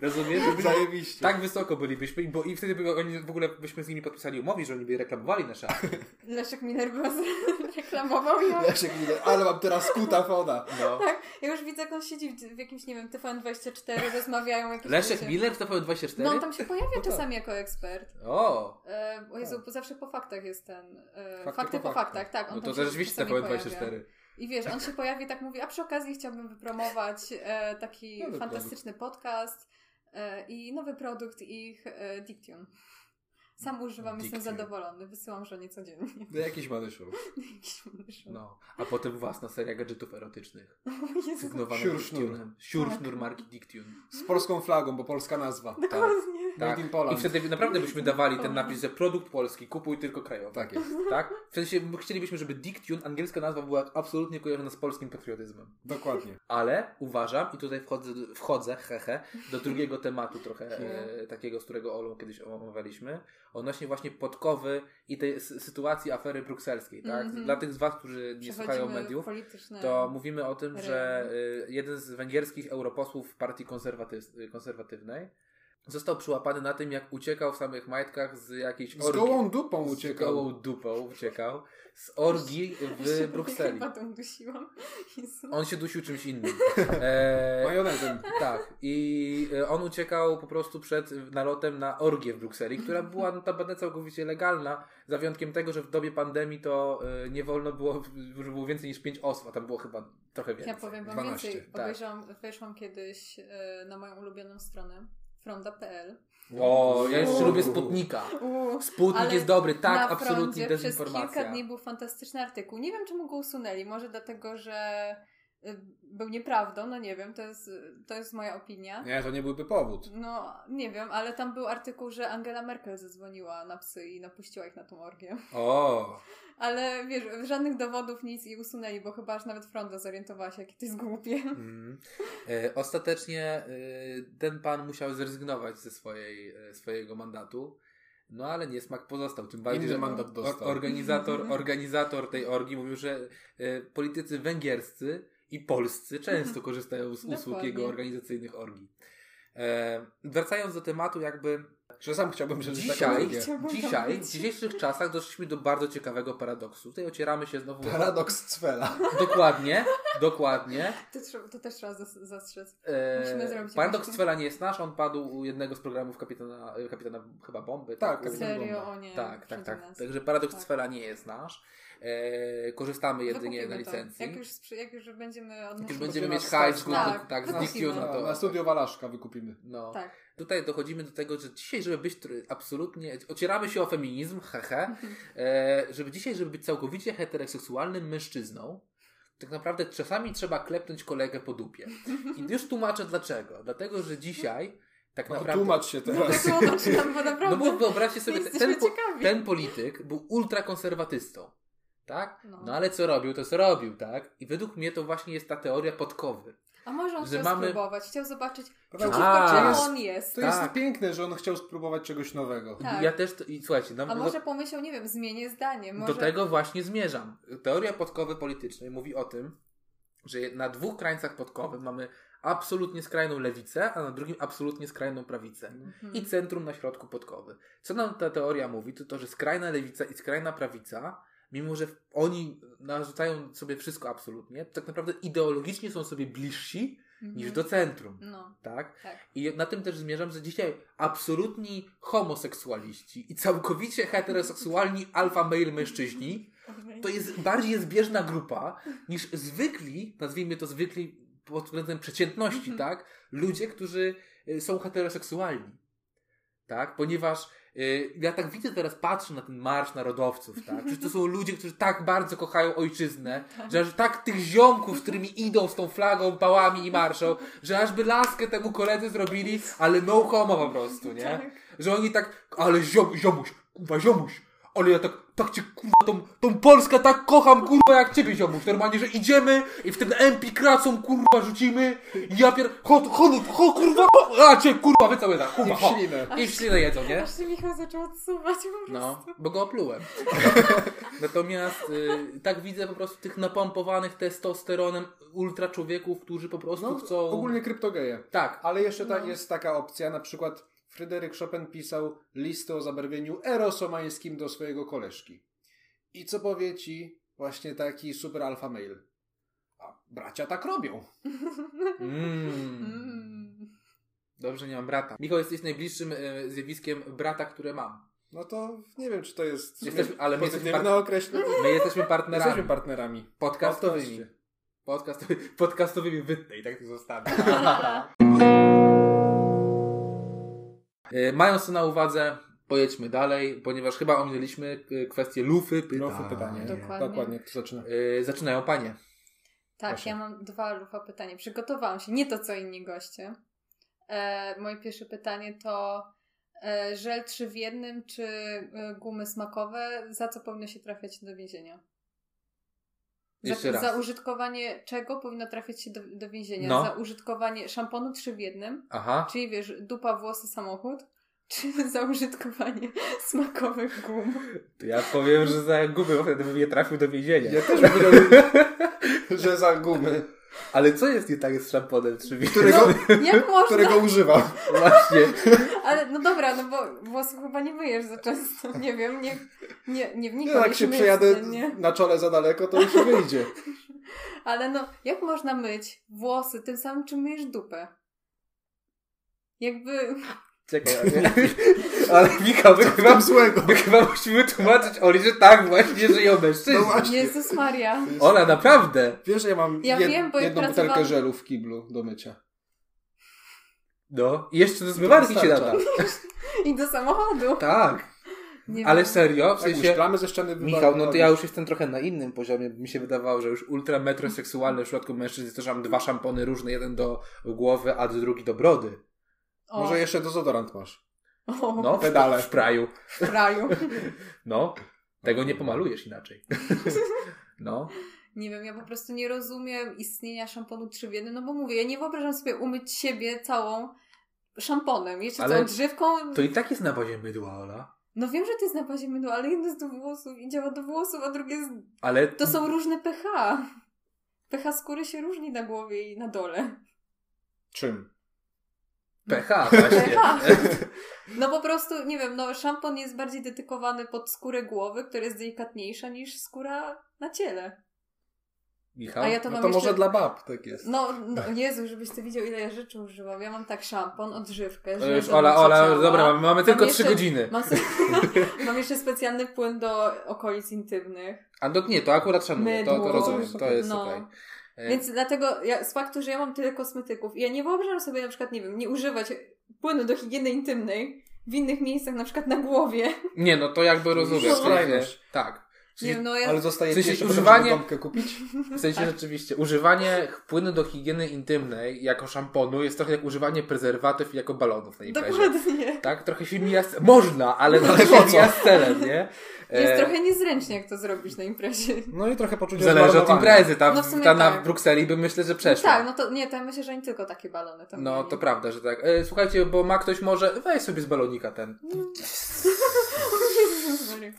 S1: Rozumiesz?
S2: Zajebiście.
S1: Tak wysoko bylibyśmy, bo i wtedy by oni, w ogóle byśmy z nimi podpisali umowę, że oni by reklamowali nasze akty.
S3: Leszek Miner go z- reklamował. Ja,
S2: Leszek Miller, ale mam teraz kutafona.
S1: No.
S3: ja już widzę, jak on siedzi w, w jakimś, nie wiem, TVN24, rozmawiają jakieś
S1: Leszek
S3: ludzie.
S1: Miller w TVN24?
S3: No, on tam się pojawia
S2: No tak.
S3: czasami jako ekspert.
S1: O!
S3: E,
S1: Tak.
S3: o Jezu, bo zawsze po faktach jest ten. E,
S2: Fakty
S3: fakty,
S2: po
S3: po, faktach, tak. On
S1: No
S3: tam
S1: to
S3: się
S1: rzeczywiście
S3: czasami
S1: TVN24.
S3: pojawia. I wiesz, on się pojawi i tak mówi, a przy okazji chciałbym wypromować e, taki
S1: No,
S2: Nowy
S3: fantastyczny podcast e, i nowy produkt ich e, Dictune. Sam używam,
S1: Dictune.
S3: jestem zadowolony. Wysyłam żonie codziennie.
S2: No jakiś manyszu.
S3: Jakiś mnóstwo.
S1: No, a potem własna seria gadżetów erotycznych.
S3: Jezu,
S1: Sygnowana
S2: Siursznur.
S1: Dictunem.
S3: Tak.
S1: Siursznur marki Dictune.
S2: Z polską flagą, bo polska nazwa.
S3: dokładnie.
S1: Tak.
S2: in Poland.
S1: I wtedy naprawdę byśmy dawali ten napis, że produkt polski, kupuj tylko krajowy.
S2: Tak jest.
S1: Tak? W sensie my chcielibyśmy, żeby Dictune, angielska nazwa, była absolutnie kojarzona z polskim patriotyzmem.
S2: Dokładnie.
S1: Ale uważam, i tutaj wchodzę, wchodzę hehe, do drugiego tematu trochę e, takiego, z którego Olą kiedyś omawialiśmy, odnośnie właśnie Podkowy i tej s- sytuacji afery brukselskiej, tak?
S3: Mhm.
S1: Dla tych z Was, którzy nie słuchają
S3: Przechodzimy
S1: mediów,
S3: polityczne.
S1: to mówimy o tym,
S3: Rejm.
S1: że y, jeden z węgierskich europosłów partii konserwatyw- y, konserwatywnej został przyłapany na tym, jak uciekał w samych majtkach z jakiejś
S2: Z gołą dupą
S1: Z
S2: uciekał.
S1: gołą dupą uciekał. Z orgii w Brukseli.
S3: Chyba tą dusiłam. Jezu.
S1: On się dusił czymś innym. E,
S2: Majonezem.
S1: tak. I e, on uciekał po prostu przed nalotem na orgię w Brukseli, która była notabene całkowicie legalna, za wyjątkiem tego, że w dobie pandemii to e, nie wolno było, że było więcej niż pięć osób, a tam było chyba trochę więcej.
S3: Ja powiem wam
S2: 12,
S3: więcej.
S1: tak.
S3: Obejrzałam, weszłam kiedyś e, na moją ulubioną stronę. Fronda.pl.
S1: O, ja jeszcze
S3: Uuu.
S1: lubię Sputnika.
S3: Uuu,
S1: Sputnik
S3: Ale
S1: jest dobry, tak,
S3: na
S1: absolutnie
S3: frondzie przez kilka
S1: dezinformacja.
S3: dni był fantastyczny artykuł. Nie wiem, czemu go usunęli. Może dlatego, że y, był nieprawdą. No nie wiem, to jest, to jest moja opinia.
S2: Nie, to nie byłby powód.
S3: No, nie wiem, ale tam był artykuł, że Angela Merkel zadzwoniła na psy i napuściła ich na tą orgię.
S1: O,
S3: Ale wiesz, żadnych dowodów, nic i usunęli, bo chyba aż nawet Fronda zorientowała się, jakie to jest głupie.
S1: Mm. E, Ostatecznie e, ten pan musiał zrezygnować ze swojej, e, swojego mandatu. No ale niesmak pozostał, tym bardziej,
S2: Inny
S1: że
S2: mandat dostał.
S1: organizator, organizator tej orgi mówił, że e, politycy węgierscy i polscy często korzystają z usług
S3: Dokładnie.
S1: jego organizacyjnych orgi. E, Wracając do tematu, jakby
S2: Że sam chciałbym tak przeżyć taką
S1: dzisiaj,
S2: religię.
S3: Chciałabym
S1: dzisiaj,
S3: tam
S1: w
S3: być.
S1: dzisiejszych czasach doszliśmy do bardzo ciekawego paradoksu. Tutaj ocieramy się znowu.
S2: Paradoks Cwela.
S1: Dokładnie, dokładnie.
S3: To, trzeba- to też trzeba zas- zastrzec.
S1: E,
S3: Musimy zrobić
S1: Paradoks
S3: jakąś-
S1: Cwela nie jest nasz, on padł u jednego z programów kapitana, e, kapitana chyba bomby.
S2: Tak,
S1: u-
S2: Kapitan
S3: Serio,
S2: Bomba.
S3: o nie.
S1: tak, tak,
S3: przyjdzie
S1: tak.
S3: nas.
S1: Także paradoks
S3: Tak.
S1: Cwela nie jest nasz. E, korzystamy jedynie
S3: Wykupimy
S1: na
S3: to.
S1: licencji.
S3: Jak już, sprzy- jak już będziemy
S1: Jak
S3: odnosić...
S1: już będziemy mieć
S2: Będziemy
S1: hajs,
S2: stać
S1: tak,
S3: na-
S1: tak, tak,
S3: na-
S1: zniknił na to.
S2: Na studio Walaszka wykupimy.
S1: No.
S3: Tak.
S1: Tutaj dochodzimy do tego, że dzisiaj, żeby być tr- absolutnie, ocieramy się o feminizm, hehe, e, żeby dzisiaj, żeby być całkowicie heteroseksualnym mężczyzną, tak naprawdę czasami trzeba klepnąć kolegę po dupie. I już tłumaczę dlaczego. Dlatego, że dzisiaj tak
S2: No,
S1: naprawdę...
S2: tłumacz się teraz.
S3: Tłumacz nam, bo
S1: No
S3: naprawdę...
S1: bo wyobraźcie sobie,
S3: Jesteśmy
S1: ten, po,
S3: ciekawi.
S1: ten polityk był ultrakonserwatystą, tak?
S3: No.
S1: No ale co robił, to co robił, tak? I według mnie to właśnie jest ta teoria podkowy.
S3: A może on
S1: że
S3: chciał
S1: mamy-
S3: spróbować, chciał zobaczyć,
S2: Prawda?
S3: przeciwko
S1: A,
S3: czemu
S1: jest-
S3: on jest.
S2: znaczy, To
S1: Tak.
S2: jest piękne, że on chciał spróbować czegoś nowego.
S3: Tak.
S1: Ja też, to, i słuchajcie, no,
S3: A
S1: no-
S3: może pomyślał, nie wiem, zmienię zdanie. Może...
S1: Do tego właśnie zmierzam. Teoria podkowy politycznej mówi o tym, że na dwóch krańcach podkowy mamy absolutnie skrajną lewicę, a na drugim absolutnie skrajną prawicę.
S3: Mhm.
S1: I centrum na środku podkowy. Co nam ta teoria mówi, to to, że skrajna lewica i skrajna prawica, mimo że oni narzucają sobie wszystko absolutnie, to tak naprawdę ideologicznie są sobie bliżsi
S3: Mhm.
S1: niż do centrum.
S3: No,
S1: Tak?
S3: tak.
S1: I na tym też zmierzam, że dzisiaj absolutni homoseksualiści i całkowicie heteroseksualni alfa male mężczyźni to jest bardziej zbieżna grupa niż zwykli, nazwijmy to zwykli pod względem przeciętności, tak? Ludzie, którzy y, są heteroseksualni. Tak? Ponieważ y, ja tak widzę teraz, patrzę na ten marsz narodowców, tak? Przecież to są ludzie, którzy tak bardzo kochają ojczyznę, że aż tak tych ziomków, z którymi idą z tą flagą, pałami i marszą, że aż by laskę temu koledzy zrobili, ale no homo po prostu, nie? Że oni tak, ale ziom, ziomuś, kurwa ziomuś, ale ja tak, tak cię kurwa, tą, tą Polskę tak kocham kurwa jak ciebie ziomuś, normalnie, że idziemy i w ten MP kracą kurwa rzucimy i ja pier... Chodź, chodź, chodź kurwa, ho, a cię kurwa wycałuję tak,
S2: I
S1: kurwa,
S2: w
S1: ho.
S2: ślinę.
S1: I w ślinę jedzą, nie?
S3: Aż się Michał zaczął odsuwać po
S1: No,
S3: prostu.
S1: bo go oplułem. Natomiast y, tak widzę po prostu tych napompowanych testosteronem ultra człowieków, którzy po prostu
S2: No,
S1: chcą...
S2: ogólnie kryptogeje.
S1: Tak,
S2: Ale jeszcze
S3: No.
S2: ta, jest taka opcja, na przykład Fryderyk Chopin pisał listę o zabarwieniu erosomańskim do swojego koleżki. I co powie ci właśnie taki super alfa male? A bracia tak robią.
S1: mm.
S3: Mm.
S1: Dobrze, nie mam brata. Michał, jesteś najbliższym e, zjawiskiem brata, które mam.
S2: No to nie wiem, czy to jest
S1: Jesteśmy- ale my jesteśmy
S2: pozytywne określenie.
S1: My jesteśmy partnerami.
S2: No, Jesteśmy partnerami.
S1: podcastowymi. Podcastowy, podcastowymi wytnę i tak to zostawię. E, Mając to na uwadze, pojedźmy dalej, ponieważ chyba ominęliśmy e, kwestię lufy pytań.
S2: Profu pytanie.
S3: Dokładnie.
S2: Dokładnie, to zaczyna.
S1: E, Zaczynają panie.
S3: Tak,
S2: Proszę.
S3: ja mam dwa lufa pytania. Przygotowałam się, nie to co inni goście. E, moje pierwsze pytanie to e, żel trzy w jednym, czy e, gumy smakowe, za co powinno się trafiać do więzienia?
S1: Jeszcze
S3: za,
S1: raz.
S3: za użytkowanie czego powinno trafiać się do, do więzienia?
S1: No.
S3: Za użytkowanie szamponu trzy w jednym,
S1: Aha.
S3: czyli wiesz, dupa, włosy, samochód, czy za użytkowanie smakowych gum.
S1: To ja powiem, że za gumy bo wtedy bym nie trafił do więzienia.
S2: Ja też powiedziałem, że za gumy,
S1: Ale co jest nie tak z szamponem? Czy wiesz?
S2: którego,
S3: No, Jak można?
S2: którego używam.
S1: Właśnie.
S3: Ale no dobra, no bo włosów chyba nie myjesz za często. Nie wiem, nie, nie, nie
S2: Nie,
S3: wnikam.
S2: jak
S3: jak
S2: się
S3: myjesz
S2: przejadę
S3: codziennie.
S2: na czole za daleko, to już wyjdzie.
S3: Ale no, jak można myć włosy tym samym, czym myjesz dupę? Jakby...
S1: Czekaj, ale, ale Michał, my chyba,
S2: Mam złego.
S1: my chyba musimy tłumaczyć Oli, że tak właśnie żyją
S2: No
S1: mężczyźni.
S2: właśnie.
S3: Jezus Maria.
S1: Ola, naprawdę.
S2: Wiesz, ja mam
S3: Ja
S2: jed,
S3: wiem, bo jak
S2: jedną
S3: pracowałam-
S2: butelkę żelu w kiblu do mycia.
S1: No. I jeszcze do zmywarki się
S2: wystarcza.
S1: nada.
S3: I do samochodu.
S1: Tak.
S3: Nie
S1: Ale
S3: wiem.
S1: serio, w
S2: Jak
S1: sensie...
S2: szklamy ze ściany wywa-
S1: Michał, no to
S2: robisz.
S1: ja już jestem trochę na innym poziomie. Mi się wydawało, że już ultra metroseksualne w przypadku mężczyzn to, że mam dwa szampony różne, jeden do głowy, a drugi do brody.
S3: O,
S2: Może jeszcze dezodorant masz.
S3: o
S1: No,
S2: Pedale.
S1: w praju.
S3: w kraju.
S1: No, tego nie pomalujesz inaczej. No,
S3: Nie wiem, ja po prostu nie rozumiem istnienia szamponu 3 w 1, no bo mówię, ja nie wyobrażam sobie umyć siebie całą szamponem, jeszcze
S1: Ale
S3: całą drzewką.
S1: to i tak jest na bazie mydła, Ola.
S3: No wiem, że to jest na bazie mydła, ale jedno jest do włosów i działa do włosów, a drugie jest...
S1: Ale
S3: To są różne pH. pH skóry się różni na głowie i na dole.
S2: Czym?
S1: pH właśnie.
S3: pH. No po prostu, nie wiem, no szampon jest bardziej dedykowany pod skórę głowy, która jest delikatniejsza niż skóra na ciele.
S1: Michał?
S3: A ja
S2: No
S3: to mam
S2: to
S3: jeszcze...
S2: może dla bab tak jest.
S3: No, no Jezu, żebyś ty widział, ile ja rzeczy używam. Ja mam tak szampon, odżywkę.
S1: To już
S3: żel do
S1: E, Ola,
S3: mycia
S1: Ola,
S3: ciała.
S1: dobra, mamy, mamy tylko
S3: Mam
S1: trzy
S3: jeszcze-
S1: godziny.
S3: Mam, sobie, mam jeszcze specjalny płyn do okolic intymnych.
S1: A do, nie, to akurat szanuję, to, to
S3: Mydło.
S1: rozumiem, to jest
S3: No.
S1: okej. E,
S3: Więc dlatego ja, z faktu, że ja mam tyle kosmetyków, ja nie wyobrażam sobie na przykład, nie wiem, nie używać płynu do higieny intymnej w innych miejscach, na przykład na głowie.
S1: Nie, no to jakby rozumiem.
S2: No.
S1: w sensie- Tak.
S3: Nie wiem, no ja
S2: Ale
S1: W
S2: zostaje w
S1: sensie
S2: sensie jeszcze
S1: używanie-
S2: używanie... gąbkę kupić?
S1: W sensie
S3: Tak.
S1: rzeczywiście, używanie płynu do higieny intymnej jako szamponu jest trochę jak używanie prezerwatyw jako balonów na imprezie.
S3: dokładnie.
S1: Tak? Trochę się mija z... Można, ale no,
S2: ale po
S1: się
S2: co?
S1: mija z celem, nie?
S3: Jest
S1: E,
S3: trochę niezręcznie, jak to zrobić na imprezie.
S2: No i trochę poczucie
S1: Zależy od
S2: zmarnowania.
S1: imprezy. Ta,
S3: No w sumie
S1: ta na
S3: tak.
S1: Brukseli by myślę, że
S3: No
S1: przeszła.
S3: tak, no to nie, to ja myślę, że nie tylko takie balony tam
S1: No
S3: mieli.
S1: to prawda, że tak. E, słuchajcie, bo ma ktoś może... Weź sobie z balonika ten.
S3: Jezus Maria.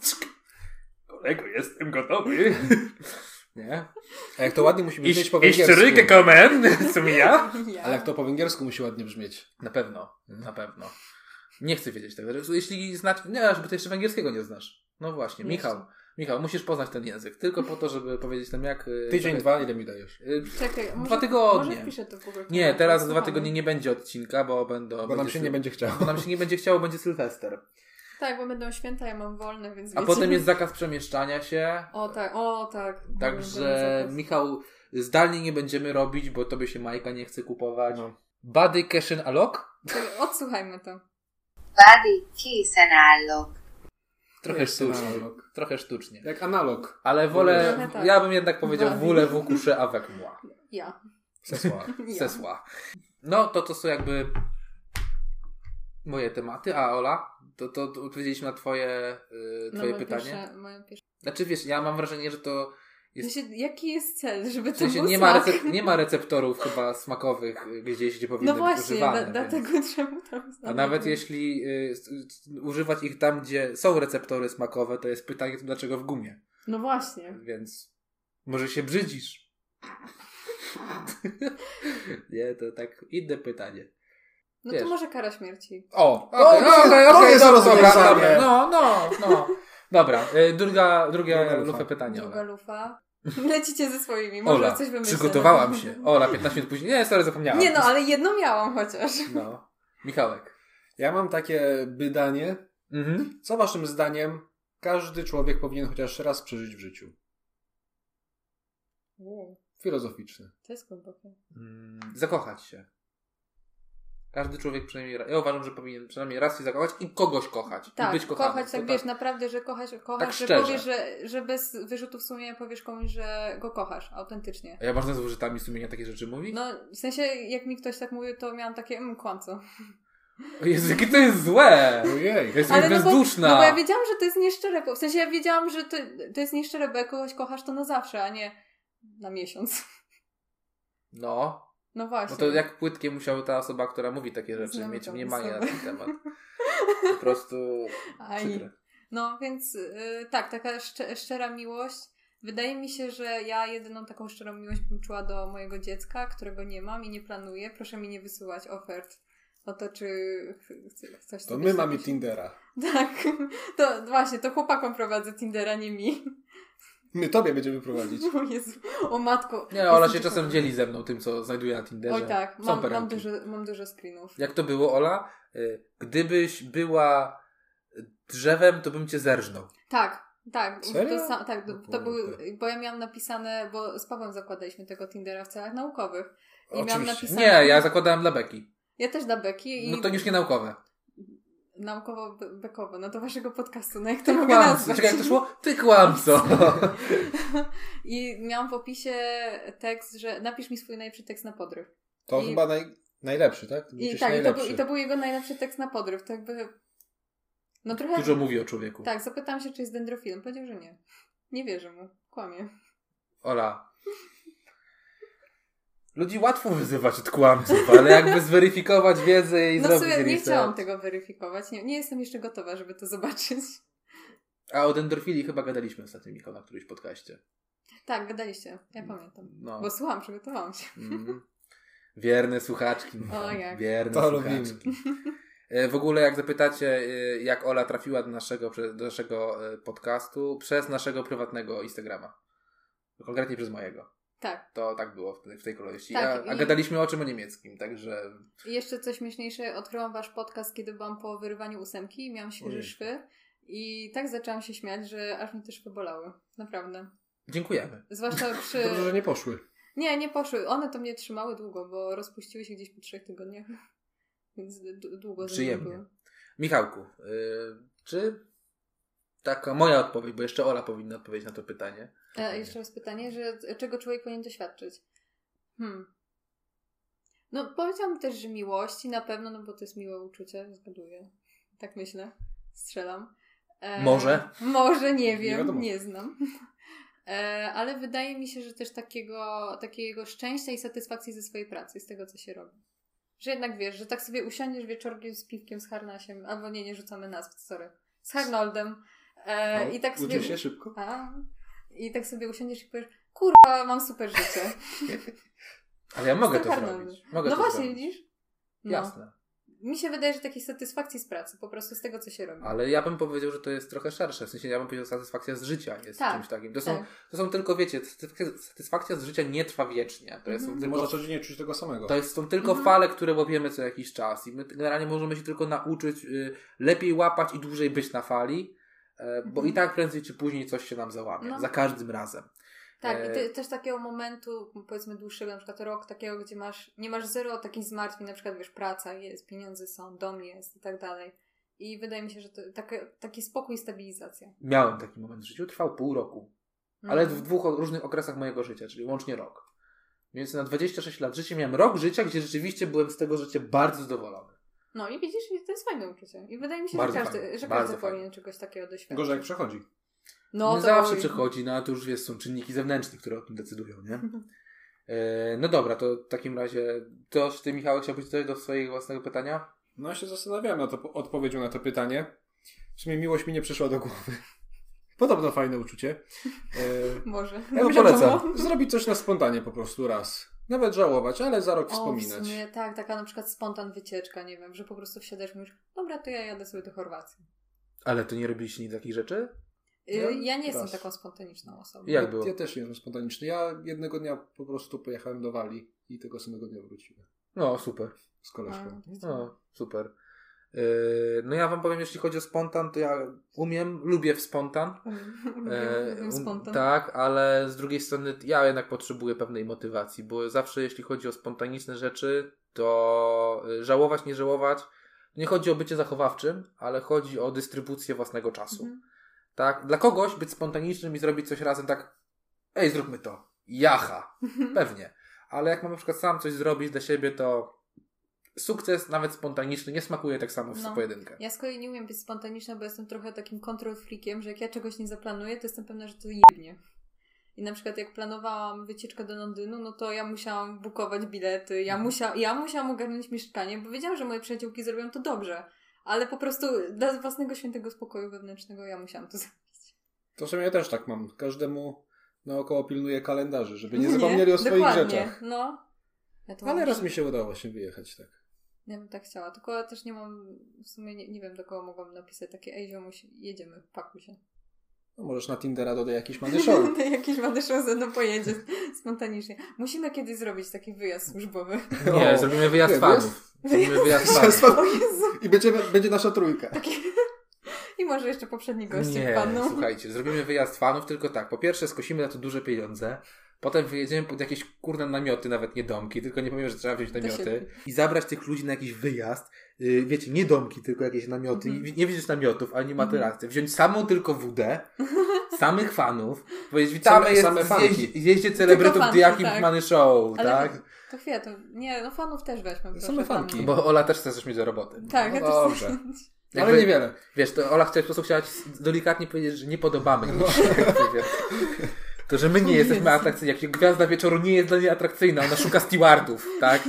S1: Kolego, jestem gotowy. Nie?
S2: A jak to ładnie musi brzmieć po
S1: Ich
S2: węgiersku.
S1: rykę komen, co mi ja?
S3: Ja.
S2: Ale jak to po węgiersku musi ładnie brzmieć.
S1: Na pewno, na pewno. Nie chcę wiedzieć tego. Jeśli znasz, nie, aż, bo ty jeszcze węgierskiego nie znasz. No właśnie,
S3: Nie
S1: Michał. Michał, musisz poznać ten język. Tylko po to, żeby powiedzieć nam jak... y,
S2: Tydzień,
S1: trochę-
S2: dwa, ile mi dajesz?
S1: y,
S3: Czekaj, może,
S1: tygodnie.
S3: Może wpiszę to w ogóle.
S1: Nie, teraz dwa tygodnie nie będzie odcinka, bo będą...
S2: Bo nam się nie będzie chciało.
S1: Bo nam się nie będzie chciało, będzie Sylwester.
S3: Tak, bo będą święta, ja mam wolne, więc
S1: A
S3: wiecie.
S1: potem jest zakaz przemieszczania się.
S3: O tak, o tak.
S1: Także
S3: Będę
S1: Michał, zdalnie nie będziemy robić, bo tobie się Majka nie chce kupować.
S2: No.
S1: Body Cashin Alok?
S3: zakaz- Odsłuchajmy to.
S4: Buddy Kiss and Allo.
S1: Trochę
S2: Jest
S1: sztucznie.
S2: analog.
S1: Trochę sztucznie.
S2: Jak analog.
S1: Ale wolę,
S3: Trochę tak.
S1: ja bym jednak powiedział,
S3: Body.
S1: wolę wukusze avec moi.
S3: Ja.
S2: Sesła.
S3: ja.
S1: Sesła. No, to to są jakby moje tematy. A Ola, to, to, to odpowiedzieliśmy na twoje, y,
S3: No,
S1: twoje
S3: moje
S1: pytanie.
S3: Pierwsze, moje pierwsze...
S1: Znaczy wiesz, ja mam wrażenie, że to Jest-
S3: Znaczy, jaki jest cel, żeby
S1: w
S3: to
S1: sensie
S3: był
S1: nie ma,
S3: smak?
S1: recep- nie ma receptorów chyba smakowych y, gdzieś, gdzie powinny
S3: No
S1: być
S3: właśnie,
S1: używane.
S3: da,
S1: więc-
S3: dlatego no trzeba tam
S1: A nawet jeśli y, s- s- używać ich tam, gdzie są receptory smakowe, to jest pytanie, dlaczego w gumie.
S3: No właśnie.
S1: Więc może się brzydzisz. Nie, to tak inne pytanie.
S3: No
S1: Wiesz.
S3: to może kara śmierci.
S1: O,
S2: okej,
S1: no,
S2: okej,
S1: to
S2: okej,
S1: jest
S2: dobra,
S1: rozwiązanie.
S2: dobra,
S1: No, no, no. Dobra, y, druga, druga
S2: Druga lufa.
S1: lufa pytania.
S3: Druga
S1: Ola.
S3: lufa. Lecicie ze swoimi, może
S1: Ola,
S3: coś wymyślę. no.
S1: przygotowałam się. Ola, 15 minut później. Nie, sorry, zapomniałam.
S3: Nie no, ale jedno miałam chociaż.
S1: No. Michałek.
S2: Ja mam takie bydanie.
S1: Mhm.
S2: Co waszym zdaniem każdy człowiek powinien chociaż raz przeżyć w życiu? Filozoficzne.
S3: To jest głębokie.
S1: Mm, Zakochać się. Każdy człowiek przynajmniej raz. Ja uważam, że powinien przynajmniej raz się zakochać i kogoś kochać.
S3: Tak,
S1: I być kochanym.
S3: kochać,
S1: To
S3: tak wiesz, naprawdę, że kochasz, kochasz,
S1: Tak
S3: że
S1: szczerze.
S3: powiesz, że, że bez wyrzutów sumienia powiesz komuś, że go kochasz, autentycznie.
S1: A ja można z użytami sumienia takie rzeczy mówić?
S3: No, w sensie, jak mi ktoś tak mówił, to miałam takie, mm, kłamco.
S1: O Jezu, jakie to jest złe!
S2: Ojej.
S1: Ja jestem
S3: no bo,
S1: bezduszna!
S3: no bo ja wiedziałam, że to jest nieszczere, bo- w sensie ja wiedziałam, że to, to jest nieszczere, bo jak kogoś kochasz, to na zawsze, a nie na miesiąc.
S1: No.
S3: No właśnie.
S1: No to jak płytkie musiała ta osoba, która mówi takie rzeczy,
S3: Znam
S1: mieć
S3: tą
S1: mniemanie na
S3: osobę.
S1: ten temat. Po prostu
S3: Aj.
S1: przykre.
S3: No więc y, tak, taka szcze, szczera miłość. Wydaje mi się, że ja jedyną taką szczerą miłość bym czuła do mojego dziecka, którego nie mam i nie planuję. Proszę mi nie wysyłać ofert o to, czy ch- ch- coś
S2: To my mamy Tindera.
S3: Tak, to właśnie, to chłopakom prowadzę Tindera, nie mi.
S2: My tobie będziemy prowadzić.
S3: O Jezu, o matko.
S1: Nie, no, Ola
S3: Jestem
S1: się
S3: ciekawa.
S1: czasem dzieli ze mną tym, co znajduje na Tinderze.
S3: Oj tak,
S1: Są
S3: mam, mam,
S1: perełki.
S3: dużo, mam dużo screenów.
S1: Jak to było, Ola? Y, Gdybyś była drzewem, to bym cię zerżnął.
S3: Tak, tak.
S2: Serio?
S3: To, sa- tak, to,
S1: No
S3: to był,
S2: Kurde.
S3: bo ja miałam napisane, bo z Pawłem zakładaliśmy tego Tindera w celach naukowych. I miałam
S2: Oczywiście.
S3: napisane...
S1: Nie, ja zakładałem dla Beki.
S3: Ja też dla Beki i
S1: No to już nie naukowe.
S3: naukowo-bekowo, no do waszego podcastu, no jak to
S1: Ty
S3: mogę
S1: kłamco.
S3: nazwać?
S1: Czekaj, jak to szło? Ty kłamco.
S3: I miałam w opisie tekst, że napisz mi swój najlepszy tekst na podryw.
S2: To
S3: I-
S2: chyba naj... najlepszy, tak? Ty
S3: I
S2: będziesz
S3: tak, i to, był,
S2: najlepszy.
S3: i to był jego najlepszy tekst na podryw, to jakby... No trochę...
S1: Dużo mówi o człowieku.
S3: Tak, zapytałam się, czy jest dendrofilem, powiedział, że nie. Nie wierzę mu, kłamie.
S1: Ola. Ludzi łatwo wyzywać od kłamców, ale jakby zweryfikować wiedzę i
S3: No w
S1: zrobić
S3: sumie nie
S1: research.
S3: chciałam tego weryfikować, nie, nie jestem jeszcze gotowa, żeby to zobaczyć.
S1: A o dendrofilii chyba gadaliśmy ostatnio, Michał, na którymś podcaście.
S3: Tak, gadaliście, ja pamiętam.
S1: No.
S3: Bo słucham, przygotowałam się.
S1: Mm. Wierne słuchaczki. Michał.
S3: O, jak.
S1: Wierne
S2: To
S1: słuchaczki.
S2: lubimy.
S1: E, W ogóle jak zapytacie, e, jak Ola trafiła do naszego, prze- do naszego e, podcastu przez naszego prywatnego Instagrama. Konkretnie przez mojego.
S3: Tak.
S1: To tak było w tej, w tej kolejności.
S3: Tak,
S1: a, a
S3: i-
S1: gadaliśmy o czym o niemieckim, także
S3: I jeszcze coś śmieszniejsze, odkryłam wasz podcast, kiedy byłam po wyrywaniu ósemki i miałam świeże
S2: Ojej.
S3: szwy. I tak zaczęłam się śmiać, że aż mi te szwy bolały. Naprawdę.
S1: dziękujemy.
S3: Zwłaszcza przy...
S2: Dobrze, że nie poszły.
S3: Nie, nie poszły. One to mnie trzymały długo, bo rozpuściły się gdzieś po trzech tygodniach. Więc d- długo ze mną
S1: Przyjemnie.
S3: były.
S1: Michałku, e, czy taka moja odpowiedź, bo jeszcze Ola powinna odpowiedzieć na to pytanie.
S3: E, jeszcze raz pytanie, że czego człowiek powinien doświadczyć? Hmm. No, powiedziałam też, że miłości na pewno, no bo to jest miłe uczucie, zgaduję. Tak myślę. Strzelam. E,
S1: Może?
S3: Może, nie
S2: Nie wiadomo.
S3: wiem, nie, znam. E, ale wydaje mi się, że też takiego, takiego szczęścia i satysfakcji ze swojej pracy, z tego, co się robi. Że jednak wiesz, że tak sobie usiądziesz wieczorkiem z piwkiem, z harnasiem, albo nie, nie rzucamy nazw, sorry, z Harnoldem. E, I tak sobie
S2: Uczy No, się szybko.
S3: a, I tak sobie usiądziesz i powiesz, kurwa, mam super życie.
S1: Ale ja mogę to
S3: Jestem karną.
S1: zrobić. Mogę
S3: no
S1: to
S3: właśnie,
S1: zrobić.
S3: widzisz? No.
S1: Jasne.
S3: Mi się wydaje, że takiej satysfakcji z pracy, po prostu z tego, co się robi.
S1: Ale ja bym powiedział, że to jest trochę szersze. W sensie ja bym powiedział, satysfakcja z życia jest
S3: Tak,
S1: czymś takim. To są
S3: Tak.
S1: To są tylko, wiecie, satysfakcja- satysfakcja z życia nie trwa wiecznie. To, jest, są
S3: Mhm.
S2: Ty
S1: tylko,
S2: można codziennie czuć tego samego.
S1: to jest, są tylko
S3: Mhm.
S1: fale, które łapiemy co jakiś czas. I my generalnie możemy się tylko nauczyć y, lepiej łapać i dłużej być na fali, e, bo
S3: Mhm.
S1: i tak prędzej czy później coś się nam załamie.
S3: No.
S1: Za każdym razem.
S3: Tak, i
S1: e-
S3: ty, też takiego momentu, powiedzmy dłuższego, na przykład rok takiego, gdzie masz, nie masz zero takich zmartwień, na przykład wiesz, praca jest, pieniądze są, dom jest i tak dalej. I wydaje mi się, że to taki, taki spokój i stabilizacja.
S1: Miałem taki moment w życiu, trwał pół roku,
S3: Mhm.
S1: ale w dwóch o- różnych okresach mojego życia, czyli łącznie rok. Więc na 26 lat życia miałem rok życia, gdzie rzeczywiście byłem z tego życia bardzo zadowolony.
S3: No i widzisz, i to jest fajne uczucie. I wydaje mi się,
S1: Bardzo
S3: że każdy,
S1: fajne,
S3: że
S1: bardzo
S3: każdy
S1: fajne.
S3: powinien czegoś takiego doświadczyć.
S2: Gorzej jak przechodzi.
S1: No,
S3: No,
S1: nie
S3: to
S1: zawsze przychodzi, no ale to już wiesz, są czynniki zewnętrzne, które o tym decydują, nie? E, No dobra, to w takim razie coś ty, Michał, chciałbyś coś do swojego własnego pytania?
S2: No ja się zastanawiałem nad op- odpowiedzią na to pytanie. W sumie miłość mi nie przyszła do głowy. Podobno fajne uczucie. E,
S3: Może.
S2: ja bym
S3: Dobrze,
S2: polecał.
S3: czemu?
S2: Zrobić coś na spontanie po prostu raz. Nawet żałować, ale za rok
S3: O, w
S2: wspominać.
S3: sumie tak, taka na przykład spontan wycieczka, nie wiem, że po prostu wsiadasz i mówisz, dobra, to ja jadę sobie do Chorwacji.
S1: Ale to nie robiliście nic takich rzeczy?
S3: Y,
S2: Ja-
S3: ja nie jestem
S2: raz.
S3: taką spontaniczną osobą.
S1: No, Ja- Jak
S2: ja,
S1: było?
S2: ja też nie jestem spontaniczny. Ja jednego dnia po prostu pojechałem do Walii i tego samego dnia wróciłem
S1: No, super.
S2: z koleżką.
S3: A, widzę.
S1: No, super. E, No ja wam powiem, jeśli chodzi o spontan, to ja umiem, lubię w spontan. E,
S3: Lubię- lubię
S1: um,
S3: Mhm, spontan.
S1: Tak, ale z drugiej strony ja jednak potrzebuję pewnej motywacji, bo zawsze jeśli chodzi o spontaniczne rzeczy, to y, żałować, nie żałować. Nie chodzi o bycie zachowawczym, ale chodzi o dystrybucję własnego czasu.
S3: Mhm.
S1: Tak? Dla kogoś być spontanicznym i zrobić coś razem tak, ej, zróbmy to. Jacha.
S3: Mhm.
S1: Pewnie. Ale jak mam na przykład sam coś zrobić dla siebie, to sukces, nawet spontaniczny, nie smakuje tak samo w
S3: No.
S1: pojedynkę.
S3: Ja z kolei nie umiem być spontaniczna, bo jestem trochę takim control freakiem, że jak ja czegoś nie zaplanuję, to jestem pewna, że to jebnie. I na przykład jak planowałam wycieczkę do Londynu, no to ja musiałam bukować bilety, ja,
S1: Mhm.
S3: musia, ja musiałam ogarnąć mieszkanie, bo wiedziałam, że moje przyjaciółki zrobią to dobrze. Ale po prostu dla własnego świętego spokoju wewnętrznego ja musiałam to zrobić.
S2: To w sumie ja też tak mam. Każdemu naokoło pilnuję kalendarzy, żeby nie zapomnieli o swoich
S3: dokładnie,
S2: rzeczach.
S3: No. Ja to
S2: Ale
S3: mam-
S2: raz mi się udało właśnie wyjechać tak.
S3: Ja bym tak chciała, tylko ja też nie mam, w sumie nie, nie wiem do kogo mogłam napisać takie ej ziomuś, jedziemy, pakuj się.
S2: No, możesz na Tindera dodać jakiś manny show.
S3: Jakiś młody show ze mną pojedzie spontanicznie. Musimy kiedyś zrobić taki wyjazd służbowy.
S1: No. Nie, zrobimy wyjazd
S2: Nie,
S1: fanów. Zrobimy wyjazd fanów.
S3: O Jezu.
S2: I będziemy, będzie nasza trójka.
S3: I może jeszcze poprzedni goście
S1: Nie,
S3: wpadną.
S1: słuchajcie, zrobimy wyjazd fanów, tylko tak. Po pierwsze skosimy na to duże pieniądze. Potem wyjedziemy pod jakieś kurne namioty, nawet nie domki, tylko nie powiem, że trzeba wziąć
S3: się-
S1: namioty i zabrać tych ludzi na jakiś wyjazd. Yy, Wiecie, nie domki, tylko jakieś namioty.
S3: Mhm.
S1: I Nie widzieć namiotów, ani materacy. Wziąć samą tylko wódę, samych fanów, powiedzieć witamy,
S2: Same-
S1: jest
S2: same fanki.
S1: zjeździe- zjeździe celebrytów
S3: fanki,
S1: Diakim
S3: tak.
S1: tak. Show,
S3: Ale
S1: tak?
S3: To chwila, to nie, no fanów też weźmy. proszę,
S2: no Same fanki.
S3: fanów.
S1: Bo Ola też chce coś mieć do roboty.
S3: Tak,
S2: No
S3: ja też
S2: dobrze.
S3: chcę-
S2: Ale niewiele.
S1: Wiesz, to Ola w ten sposób chciała ci delikatnie powiedzieć, że nie podobamy im się. wiesz. To, że my nie jesteśmy atrakcyjni. Jak Gwiazda Wieczoru nie jest dla niej atrakcyjna, ona szuka stewardów, tak?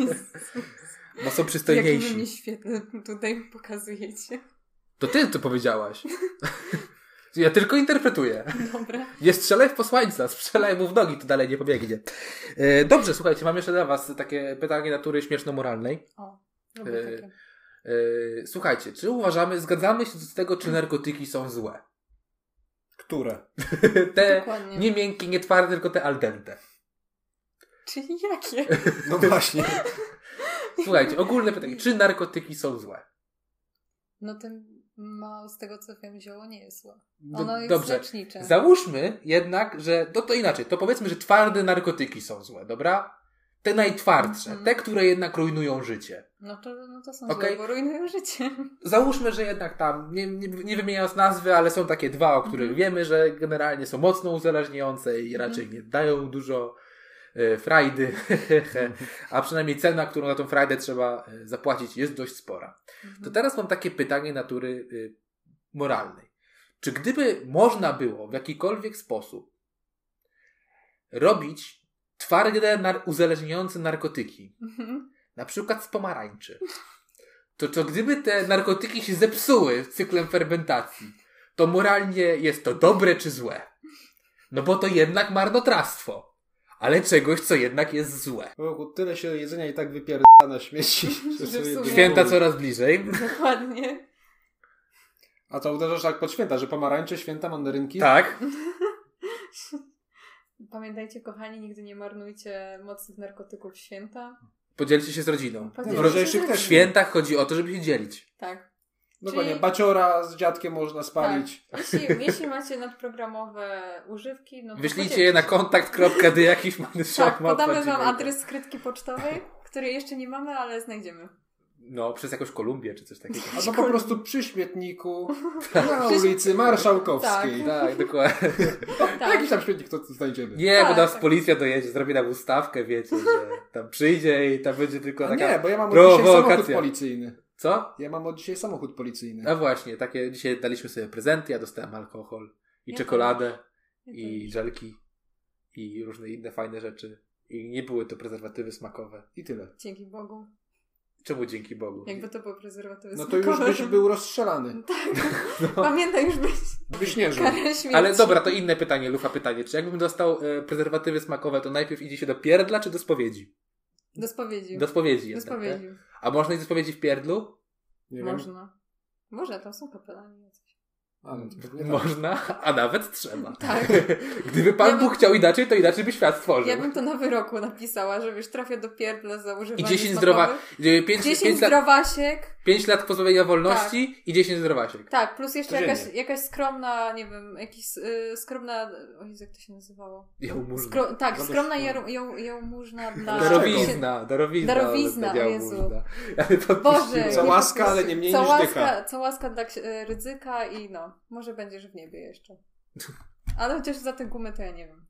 S1: Bo są
S3: Jakie wy mnie
S1: przystojniejsi.
S3: świetne tutaj pokazujecie.
S1: To ty to powiedziałaś. Ja tylko interpretuję.
S3: Dobra.
S2: E,
S1: Nie strzelaj w posłańca, strzelaj mu w nogi, to dalej nie pobiegnie. E, Dobrze, słuchajcie, mam jeszcze dla was takie pytanie natury śmieszno-moralnej.
S3: O, lubię
S1: Yy,
S3: takie.
S1: E, Słuchajcie, czy uważamy, zgadzamy się z tego, czy narkotyki są złe?
S2: Które?
S1: Te
S3: tak, Dokładnie.
S1: nie miękkie, nie twarde, tylko te al dente.
S3: Czyli jakie?
S2: No właśnie.
S1: Słuchajcie, ogólne pytanie. Czy narkotyki są złe?
S3: No ten mało z tego co wiem zioło nie jest złe.
S1: Do-
S3: Ono jest
S1: dobrze.
S3: lecznicze.
S1: Załóżmy jednak, że no to inaczej. To powiedzmy, że twarde narkotyki są złe, dobra? Te najtwardsze,
S3: Mhm.
S1: te, które jednak rujnują życie.
S3: No to, no to są
S1: Okej.
S3: złe, bo rujnują życie.
S1: Załóżmy, że jednak tam, nie, nie, nie wymieniając nazwy, ale są takie dwa, o których
S3: Mhm.
S1: wiemy, że generalnie są mocno uzależniające i raczej nie dają dużo e, frajdy,
S3: Mhm.
S1: a przynajmniej cena, którą na tą frajdę trzeba e, zapłacić, jest dość spora. To teraz mam takie pytanie natury y, moralnej. Czy gdyby można było w jakikolwiek sposób robić twarde nar- uzależniające narkotyki,
S3: Mhm.
S1: na przykład z pomarańczy, to, to gdyby te narkotyki się zepsuły cyklem fermentacji, to moralnie jest to dobre czy złe? No bo to jednak marnotrawstwo, ale czegoś, co jednak jest złe.
S2: Bogu, tyle się jedzenia i tak wypierda na śmieci.
S3: Że w
S2: sobie
S3: sumie-
S2: nie
S1: Święta
S2: kupuję.
S1: coraz bliżej.
S3: Dokładnie.
S2: A to uderzasz tak pod święta, że pomarańcze, święta, mandarynki?
S1: Tak.
S3: Pamiętajcie, kochani, nigdy nie marnujcie mocnych narkotyków w święta.
S1: Podzielcie się z rodziną.
S3: Podzielcie
S1: W ro-
S3: się
S2: lżejszych też
S3: z
S1: W
S3: rodziną.
S1: świętach chodzi o to, żeby się dzielić.
S3: Tak.
S2: Dokładnie,
S3: Czyli-
S2: baciora z dziadkiem można spalić.
S3: tak. Jeśli, jeśli macie nadprogramowe używki, no to
S1: Wyślijcie
S3: podzielcie
S1: je na
S3: się.
S1: kontakt.dyjakichmanyshock.
S3: Tak, podamy wam adres skrytki pocztowej, której jeszcze nie mamy, ale znajdziemy.
S1: No, przez jakąś Kolumbię czy coś takiego.
S2: Albo po prostu przy śmietniku na ulicy Marszałkowskiej.
S1: Tak, dokładnie.
S3: Tak.
S2: Jakiś tam śmietnik to znajdziemy.
S1: Nie,
S3: Tak,
S1: bo nas
S3: tak.
S1: policja dojedzie, zrobi nam ustawkę, wiecie, że tam przyjdzie i tam będzie tylko
S2: A
S1: taka...
S2: nie, bo ja mam od dzisiaj
S1: prowokacja.
S2: samochód policyjny.
S1: Co?
S2: Ja mam od dzisiaj samochód policyjny.
S1: No właśnie, takie dzisiaj daliśmy sobie prezenty, ja dostałem alkohol i
S3: Ja
S1: czekoladę
S3: Ja
S1: i
S3: też.
S1: żelki i różne inne fajne rzeczy. I nie były to prezerwatywy smakowe.
S2: I tyle.
S3: Dzięki Bogu.
S1: Czemu dzięki Bogu?
S3: Jakby to było prezerwatywy
S2: No to już
S3: smakowe,
S2: byś
S3: to-
S2: był rozstrzelany.
S3: Tak. Pamiętaj, już byś
S2: Byś nie żył.
S3: karę śmierci.
S1: No. Ale dobra, to inne pytanie, Lufa pytanie. Czy jakbym dostał e, prezerwatywy smakowe, to najpierw idzie się do pierdla czy do spowiedzi?
S3: Do spowiedzi.
S1: Do spowiedzi
S3: Do
S1: jednak, nie?
S3: spowiedzi.
S1: A można iść do spowiedzi w pierdlu?
S2: tak? Nie wiem.
S3: Można. Może, tam są kapelani. jacyś.
S2: A, no to pewnie tak.
S1: Można, a nawet trzeba.
S3: Tak.
S1: Gdyby Pan
S3: Ja bym-
S1: Bóg chciał inaczej, to inaczej by świat stworzył.
S3: Ja bym to na wyroku napisała, że wiesz, trafia do pierdla za używanie
S1: I 10
S3: smakowych.
S1: zdrowa... 5,
S3: 10
S1: lat,
S3: zdrowasiek.
S1: pięć lat pozbawienia wolności i 10 zdrowasiek.
S3: Tak, plus jeszcze jakaś,
S2: Codziennie.
S3: jakaś skromna, nie wiem, jakiś y, skromna, o Jezu, jak to się nazywało?
S1: Jałmużna.
S3: Skro, tak,
S2: Zadość-
S3: skromna jar, ją, jałmużna dla...
S1: Darowizna, darowizna.
S3: Darowizna,
S1: ale to
S3: o Jezu.
S1: jałmużna. Ale to
S3: Boże.
S1: odpuściłem.
S2: Co łaska, ale nie mniej
S3: co
S2: niż
S3: łaska,
S2: dycha.
S3: co łaska dla ksi- y, ryzyka i no, może będziesz w niebie jeszcze. Ale chociaż za tę gumę to ja nie wiem.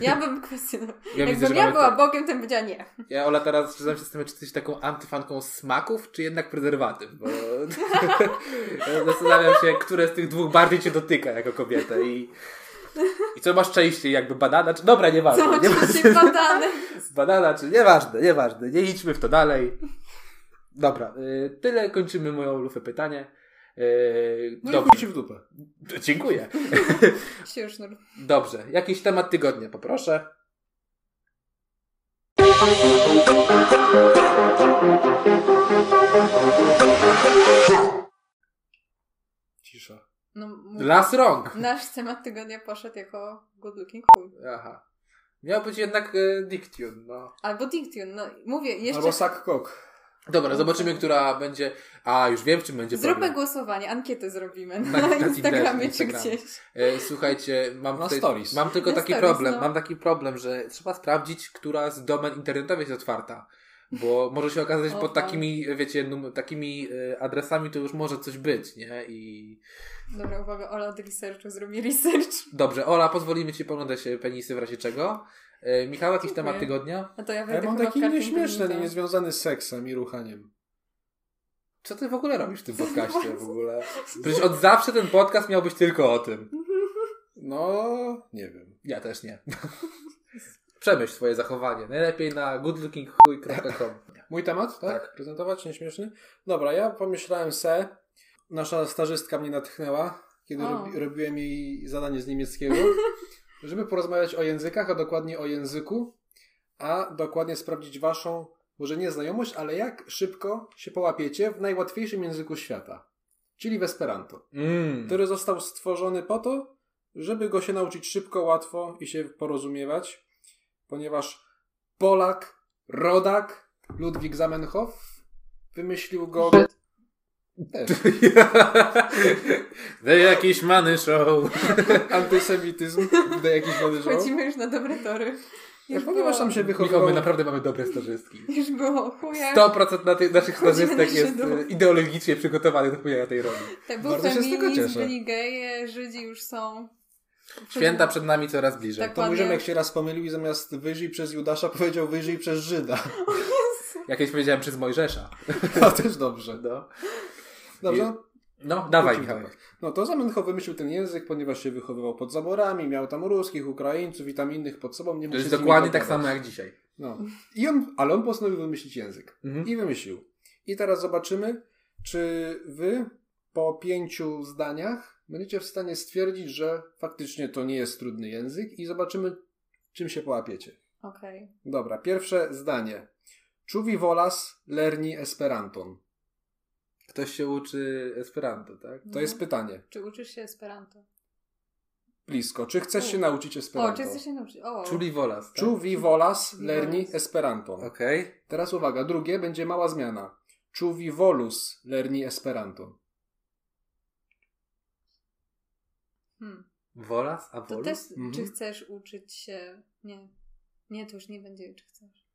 S3: Ja bym kwestionowała.
S1: Ja widzę, że
S3: Jakbym ja
S1: mamy
S3: była
S1: tak.
S3: Bogiem, to bym powiedziała nie.
S1: Ja Ola teraz przyznam się z tym, czy ty jesteś taką antyfanką smaków, czy jednak prezerwatyw, bo zastanawiam się, które z tych dwóch bardziej cię dotyka jako kobieta i, i co masz częściej, jakby banana, czy dobra, nieważne,
S3: Co
S1: nieważne,
S3: oczywiście badane.
S1: banana, czy nieważne, nieważne, nie idźmy w to dalej. Dobra, y, tyle kończymy moją lufę pytanie. Y,
S2: No
S1: dobrze.
S2: i chuj ci w dupę.
S1: Dziękuję.
S3: Siusznur.
S1: Dobrze, jakiś temat tygodnia poproszę.
S2: Cisza.
S3: No, mój...
S1: Las rąk.
S3: Nasz temat tygodnia poszedł jako good looking chuj.
S1: Aha. Miał być jednak y, Diktune, no.
S3: Albo Diction. No, mówię, jeszcze...
S2: Albo sak kok.
S1: Dobra, zobaczymy, która będzie. A, już wiem, w czym będzie
S3: Zróbmy
S1: problem.
S3: głosowanie, ankietę zrobimy na,
S1: Na- na Tinderze,
S3: Instagramie czy
S1: Instagramie.
S3: gdzieś.
S1: E, Słuchajcie, mam,
S2: Na
S1: tutaj,
S2: stories.
S1: mam tylko
S3: Na
S1: taki
S3: stories,
S1: problem.
S3: no.
S1: Mam taki problem, że trzeba sprawdzić, która z domen internetowych jest otwarta. Bo może się okazać
S3: O,
S1: pod
S3: tak.
S1: takimi, wiecie, num- takimi e, adresami to już może coś być, nie? I
S3: Dobra, uwaga, Ola od researchu zrobi research.
S1: dobrze, Ola, pozwolimy ci poglądać się penisy w razie czego. E, Michał, jakiś
S3: Dziękuję.
S1: temat tygodnia?
S3: A to ja
S2: Ja
S3: wejdę
S2: mam
S3: chyba w
S2: taki
S3: kartę
S2: nieśmieszny,
S3: badminton.
S2: niezwiązany z seksem i ruchaniem.
S1: Co ty w ogóle robisz w tym podcaście w ogóle? Przecież od zawsze ten podcast miał być tylko o tym.
S2: No, nie wiem.
S1: Ja też nie. Przemyśl swoje zachowanie. Najlepiej na goodlookingchuj.com.
S2: Mój temat, tak?
S1: Tak.
S2: Prezentować? Nieśmieszny? Dobra, ja pomyślałem se. Nasza stażystka mnie natchnęła, kiedy
S3: O.
S2: robi, robiłem jej zadanie z niemieckiego, żeby porozmawiać o językach, a dokładnie o języku, a dokładnie sprawdzić waszą, może nie znajomość, ale jak szybko się połapiecie w najłatwiejszym języku świata, czyli w Esperanto.
S1: Mm.
S2: który został stworzony po to, żeby go się nauczyć szybko, łatwo i się porozumiewać, ponieważ Polak, rodak Ludwik Zamenhof wymyślił go. Też.
S1: The jakiś many show.
S2: Antysemityzm, do jakiś
S3: Wchodzimy już na dobre tory.
S2: Ja
S3: Już
S2: ponieważ
S3: było.
S2: tam się
S1: Michał, my
S2: wychowywał.
S1: naprawdę mamy dobre stażystki.
S3: Już było, chuja.
S1: 100% na tych naszych
S3: Wchodzimy
S1: stażystek
S3: na
S1: jest
S3: szydło.
S1: e, ideologicznie przygotowanych do pełnienia tej roli.
S3: Tak, był
S2: Bardzo się z tego
S3: feminizm,
S2: cieszę.
S3: byli geje, Żydzi już są.
S1: Święta przed nami coraz bliżej.
S3: Tak.
S2: To mój
S3: Dokładnie.
S2: Rzymek się raz pomylił i zamiast wyżyj przez Judasza powiedział wyżyj przez Żyda.
S1: Jak kiedyś powiedziałem przez Mojżesza.
S2: To też dobrze.
S1: No,
S2: Dobrze,
S1: no dawaj
S2: Wrócimy
S1: Michał.
S2: do tego. No to Zamenhof wymyślił ten język, ponieważ się wychowywał pod zaborami, miał tam ruskich, Ukraińców i tam innych pod sobą.
S1: To
S2: Nie mógł
S1: jest
S2: się z nimi
S1: dokładnie tak
S2: dogadać.
S1: samo jak dzisiaj.
S2: No. I on, ale on postanowił wymyślić język.
S1: Mhm.
S2: I wymyślił. I teraz zobaczymy, czy wy po pięciu zdaniach będziecie w stanie stwierdzić, że faktycznie to nie jest trudny język i zobaczymy, czym się połapiecie.
S3: Okej.
S2: Dobra, pierwsze zdanie. Czuwi volas lerni esperanton.
S1: Ktoś się uczy Esperanto, tak?
S3: No.
S2: To jest
S3: Mhm.
S2: pytanie.
S3: Czy uczysz się Esperanto?
S2: Blisko. Czy chcesz się nauczyć
S3: O,
S2: esperanto?
S3: czy jesteś się nauczyć? O,
S1: Czuli Wolas, tak?
S2: Czuwi volas lerni esperanton.
S1: Okej.
S2: Teraz uwaga, drugie będzie mała zmiana. Czuwi volus lerni esperanton.
S3: Hmm.
S1: Wolas, a
S3: To
S1: Wolus?
S3: też,
S2: Mhm.
S3: czy chcesz uczyć się... Nie. Nie, to już nie będzie, czy chcesz.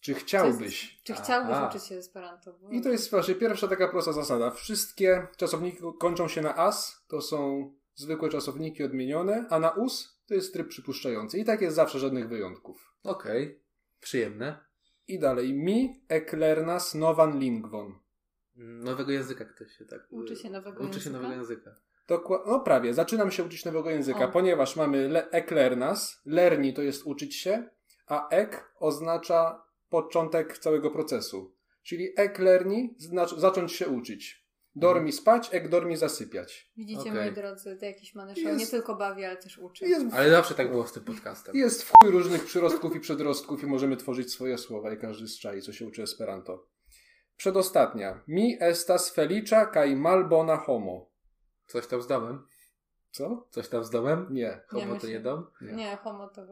S2: Czy
S3: Czy,
S2: chciałbyś?
S3: jest- czy chciałbyś
S1: Aha.
S3: uczyć się Esperanto? Bo...
S2: I to jest właśnie pierwsza taka prosta zasada. Wszystkie czasowniki kończą się na as, to są zwykłe czasowniki odmienione, a na us to jest tryb przypuszczający. I tak jest zawsze żadnych wyjątków.
S1: Okej. Przyjemne.
S2: I dalej. Mi eklernas novan lingvon.
S1: Nowego języka ktoś się tak...
S3: Uczy się nowego
S1: Uczy się
S3: języka?
S1: nowego języka.
S2: Dokła- no prawie, zaczynam się uczyć nowego języka,
S3: O.
S2: ponieważ mamy le- eklernas, lerni to jest uczyć się, a ek oznacza początek całego procesu. Czyli eklerni znaczy zacząć się uczyć. Dormi spać, ek dormi zasypiać.
S3: Widzicie,
S1: Okej.
S3: moi drodzy, to jakiś maneszo
S2: Jest-
S3: nie tylko bawi, ale też uczy.
S2: Jest,
S1: Ale zawsze tak było z tym podcastem.
S2: jest w chuj różnych przyrostków i przedrostków i możemy tworzyć swoje słowa i każdy zczai, co się uczy Esperanto. Przedostatnia. Mi estas felicia kaj malbona homo.
S1: Coś tam z domem?
S2: Co?
S1: Coś tam z domem?
S2: Nie.
S1: Homo to
S3: myślę.
S1: nie dom?
S3: Nie, homo to...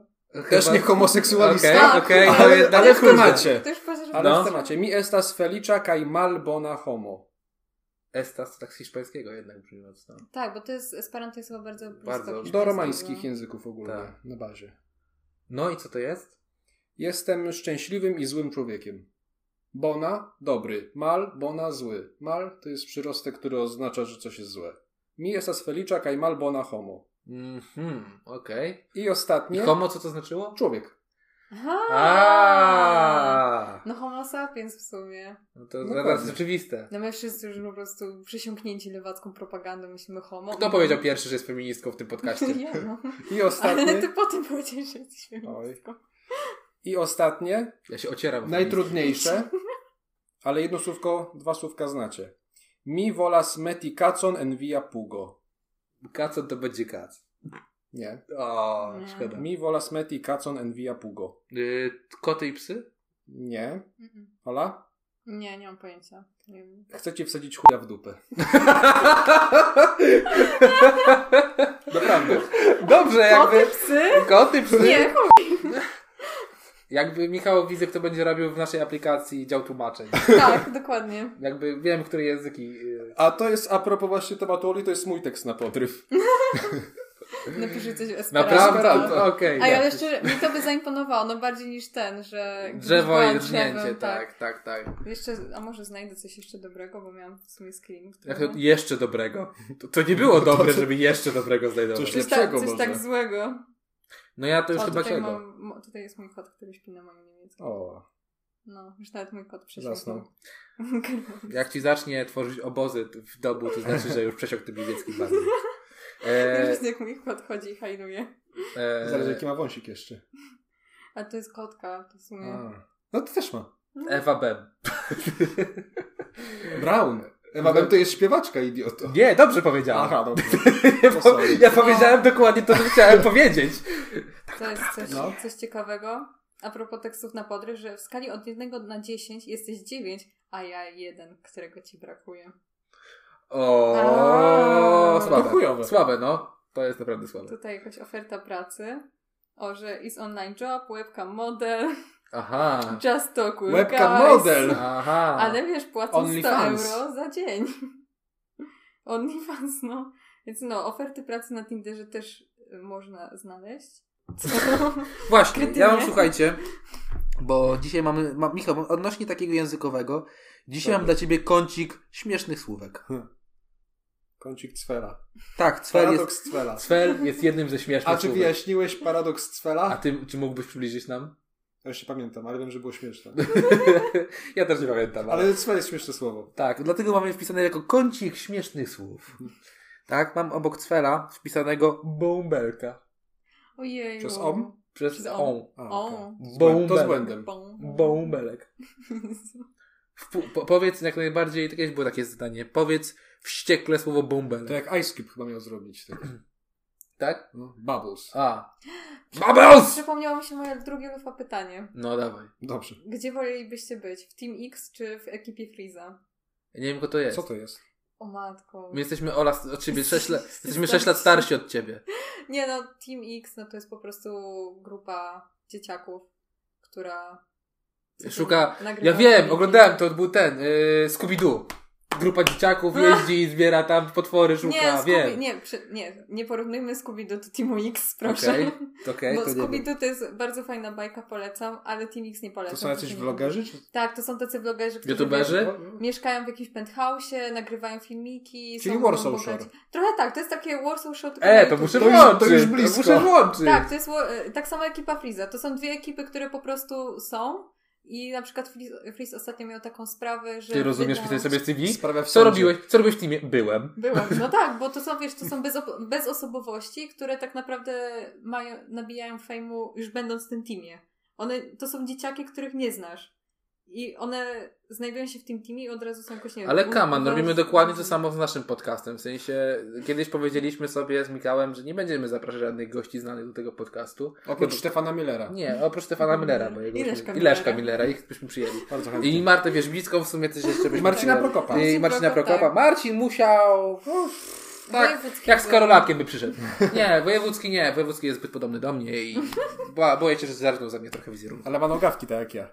S2: Też nie homoseksualista.
S1: Okej,
S3: Tak,
S1: okej,
S3: tak.
S1: to
S2: Ale-
S1: jednak
S2: ale w
S1: kurde.
S2: temacie.
S3: To już powiedziałeś,
S2: Ale
S1: No.
S2: w temacie. Mi estas felicia kaj malbona homo.
S1: Estas tak z hiszpańskiego jednak brzmi mocno.
S3: Tak, bo to jest, Esperanto jest chyba bardzo blisko. no.
S1: Bardzo. Do
S2: Do
S3: hiszpańskiego.
S2: romańskich języków ogólnie.
S1: Tak.
S2: Na bazie.
S1: No i co to jest?
S2: Jestem szczęśliwym i złym człowiekiem. Bona dobry, mal bona zły. Mal to jest przyrostek, który oznacza, że coś jest złe. Mi estas felicia kaj mal bona homo.
S1: Mhm, okej.
S2: I
S1: I
S2: ostatnie.
S1: homo co to znaczyło?
S2: Człowiek.
S3: Aha!
S1: A.
S3: No homo sapiens w sumie.
S1: No to
S2: Dokładnie.
S1: zaraz oczywiste.
S3: No my wszyscy już po prostu przysiąknięci lewacką propagandą, myślimy homo.
S1: Kto powiedział pierwszy, że jest feministką w tym podcaście?
S3: Ja, no.
S2: I
S3: Ale
S2: ostatnie.
S3: ty potem powiedziałeś, że jesteś feministką.
S2: I ostatnie,
S1: Ja się ocieram. o feministkę.
S2: najtrudniejsze. Ale jedno słówko, dwa słówka znacie. Mi volas meti cacon en via pugo.
S1: Kaco to będzie kac.
S2: Nie.
S1: O,
S3: Nie.
S1: szkoda.
S2: Mi volas meti cacon en via pugo.
S1: Y, koty i psy?
S2: Nie.
S3: Mm-mm.
S2: Ola?
S3: Nie, nie mam pojęcia. Nie wiem.
S2: Chcecie wsadzić chuja w dupę. Naprawdę.
S1: Dobrze,
S3: Koty,
S1: jakby...
S3: psy?
S1: Koty, psy?
S3: Nie, chuj.
S1: Jakby Michał Wizek to będzie robił w naszej aplikacji dział tłumaczeń.
S3: tak, dokładnie.
S1: Jakby wiem, które języki... y,
S2: A to jest, a propos właśnie tematu Oli, to jest mój tekst na podryw.
S3: Napiszę coś o Esperanto.
S1: Naprawdę?
S2: Esperanto.
S1: Okej.
S3: A
S1: ja-
S3: ale szczerze, mi to by zaimponowało, no bardziej niż ten, że... gdybyś
S1: Drzewo
S3: była
S1: i rżnięcie,
S3: drzewem,
S1: tak, tak, tak.
S3: Jeszcze, a może znajdę coś jeszcze dobrego, bo miałam w sumie screen.
S1: Jak
S3: którego-
S1: to jeszcze dobrego. To, No to nie było dobre, żeby jeszcze dobrego znajdować.
S2: Coś
S3: Coś,
S2: lepszego
S3: tak, coś
S2: może.
S3: tak złego.
S1: No ja to już
S3: o,
S1: chyba
S3: tutaj,
S1: czego.
S3: mam, mo- tutaj jest mój kot, który śpi na moim niemieckim.
S2: O,
S3: No, już nawet mój kot
S2: Zasnął.
S3: prześwietnął.
S1: Jak ci zacznie tworzyć obozy t- w domu, to znaczy, że już przesiąkł tym niemieckim bardziej. E,
S3: Już jak mój kot chodzi i hajnuje.
S1: e,
S2: zależy jaki ma wąsik jeszcze.
S3: A to jest kotka, to w sumie...
S2: A. No to też ma.
S1: Ewa Bem.
S2: Brown. Ewa Bem to jest śpiewaczka, idioto.
S1: Nie, dobrze powiedziałem.
S2: Aha, dobrze.
S1: ja,
S2: to
S1: po-
S2: sorry.
S1: ja powiedziałem dokładnie to, co chciałem powiedzieć.
S3: To jest coś,
S2: no.
S3: coś ciekawego. A propos tekstów na podryw, że w skali od 1 na 10 jesteś 9, a ja 1, którego ci brakuje.
S1: O,
S3: A.
S1: słabe.
S2: To chujowe.
S1: Słabe, no. To jest naprawdę słabe.
S3: Tutaj jakaś oferta pracy. O, że is online job, webcam model,
S1: Aha.
S3: just talk with
S2: Webcam
S3: guys.
S2: model.
S1: Aha.
S3: Ale wiesz, płacą
S2: Only
S3: 100
S2: fans.
S3: euro za dzień. OnlyFans, no. Więc no, oferty pracy na Tinderze też y, można znaleźć.
S1: Właśnie, ja mam,
S3: Kretynie.
S1: słuchajcie, bo dzisiaj mamy, ma, Michał, odnośnie takiego językowego, dzisiaj
S2: Dobra.
S1: mam dla ciebie kącik śmiesznych słówek.
S2: Kącik Cwela.
S1: Tak, cwel jest,
S2: Paradoks Cwela.
S1: cwel jest jednym ze śmiesznych
S2: A czy
S1: słówek.
S2: wyjaśniłeś paradoks
S1: A
S2: Cwela?
S1: ty, czy mógłbyś przybliżyć nam?
S2: Ja już się pamiętam, ale wiem, że było śmieszne.
S1: ja też nie pamiętam, ale...
S2: Ale Cwel jest śmieszne słowo.
S1: Tak, dlatego mamy wpisane jako kącik śmiesznych słów. Tak, mam obok cwela wpisanego bąbelka.
S3: Ojej.
S2: Przez om?
S1: Przez
S3: Przez
S1: on.
S2: A, okej.
S3: O.
S2: To z
S1: Bąbelek.
S2: błędem.
S1: Bąbelek. Wpu- po- Powiedz jak najbardziej, jakieś było takie zdanie, powiedz wściekle słowo bąbelek.
S2: To jak Ice Cube chyba miał zrobić. Tak.
S1: Tak?
S2: No, bubbles.
S1: A. Bubbles!
S3: Przypomniało mi się moje drugie lufa pytanie.
S1: No dawaj.
S2: Dobrze.
S3: Gdzie wolelibyście być? W Team X czy w ekipie Freeza?
S1: Ja nie wiem, kto to jest.
S2: Co to jest?
S3: O matko.
S1: My jesteśmy Ola od ciebie 6 lat. Jesteśmy 6 lat starsi od ciebie.
S3: Nie no, Team X no to jest po prostu grupa dzieciaków, która...
S1: Szuka-
S3: Nagrywa
S1: Ja wiem,
S3: filmiki.
S1: oglądałem to, był ten, yy, Scooby-Doo. Grupa dzieciaków jeździ i zbiera tam potwory, szuka,
S3: No. Nie, Scooby,
S1: wiem.
S3: nie, przy, nie, nie porównujmy Scooby-Doo do Teamu X, proszę.
S1: Okej, okej,
S3: Bo
S1: to nie wiem.
S3: Scooby-Doo to jest bardzo fajna bajka, polecam, ale Team X nie
S2: To
S3: polecam.
S2: są jacyś
S3: nie-
S2: vlogerzy? Czy...
S3: Tak, to są tacy vlogerzy, którzy
S1: YouTuberzy? Czy?
S2: O,
S3: mieszkają w jakimś penthouse'ie, nagrywają filmiki.
S2: Czyli
S3: są
S2: Warsaw
S3: bogaci.
S2: Shore.
S3: Trochę tak, to jest takie Warsaw Shore. tylko na
S1: E, to
S3: YouTube.
S1: muszę
S2: To już-
S1: włączyć.
S2: to już blisko.
S1: muszę włączyć.
S3: Tak, to jest wa- e, tak samo ekipa Freeza. To są dwie ekipy, które po prostu są i na przykład Freeze- Freeze ostatnio miał taką sprawę, że...
S1: Ty rozumiesz
S3: wydał-
S1: pisać sobie CV?
S2: Sprawia w
S1: Co
S2: sądzie.
S1: robiłeś? Co robiłeś w teamie? Byłem.
S3: Byłam. No tak, bo to są, wiesz, to są bezo- bezosobowości, które tak naprawdę mają, nabijają fejmu już będąc w tym teamie. One, to są dzieciaki, których nie znasz. I one znajdują się w tym teamie i od razu są jakoś, nie wiem...
S1: Ale
S3: u-
S1: Kaman,
S3: uważni.
S1: robimy dokładnie to samo z naszym podcastem. W sensie, kiedyś powiedzieliśmy sobie z Mikałem, że nie będziemy zapraszać żadnych gości znanych do tego podcastu.
S2: Oprócz Stefana Millera.
S1: Nie, oprócz Stefana Millera, bo jego
S3: I
S1: byśmy-
S3: Leszka
S1: i Leszka
S3: Millera.
S1: Millera, ich byśmy przyjęli.
S2: Bardzo chętnie.
S1: I Martę Wierzbicką w sumie też jeszcze byśmy
S2: Marcina
S1: przyjęli.
S2: Prokopa.
S1: I
S3: Marcin
S1: Marcina
S3: Prokop,
S1: Prokopa.
S3: tak. No
S1: Marcin musiał... Tak,
S3: Wojewódzkiego.
S1: jak z Karolakiem by przyszedł. Nie, Wojewódzki nie, Wojewódzki jest zbyt podobny do mnie i bo, boję się, że zarżnął za mnie trochę wizerunku.
S2: Ale ma nogawki, tak jak ja.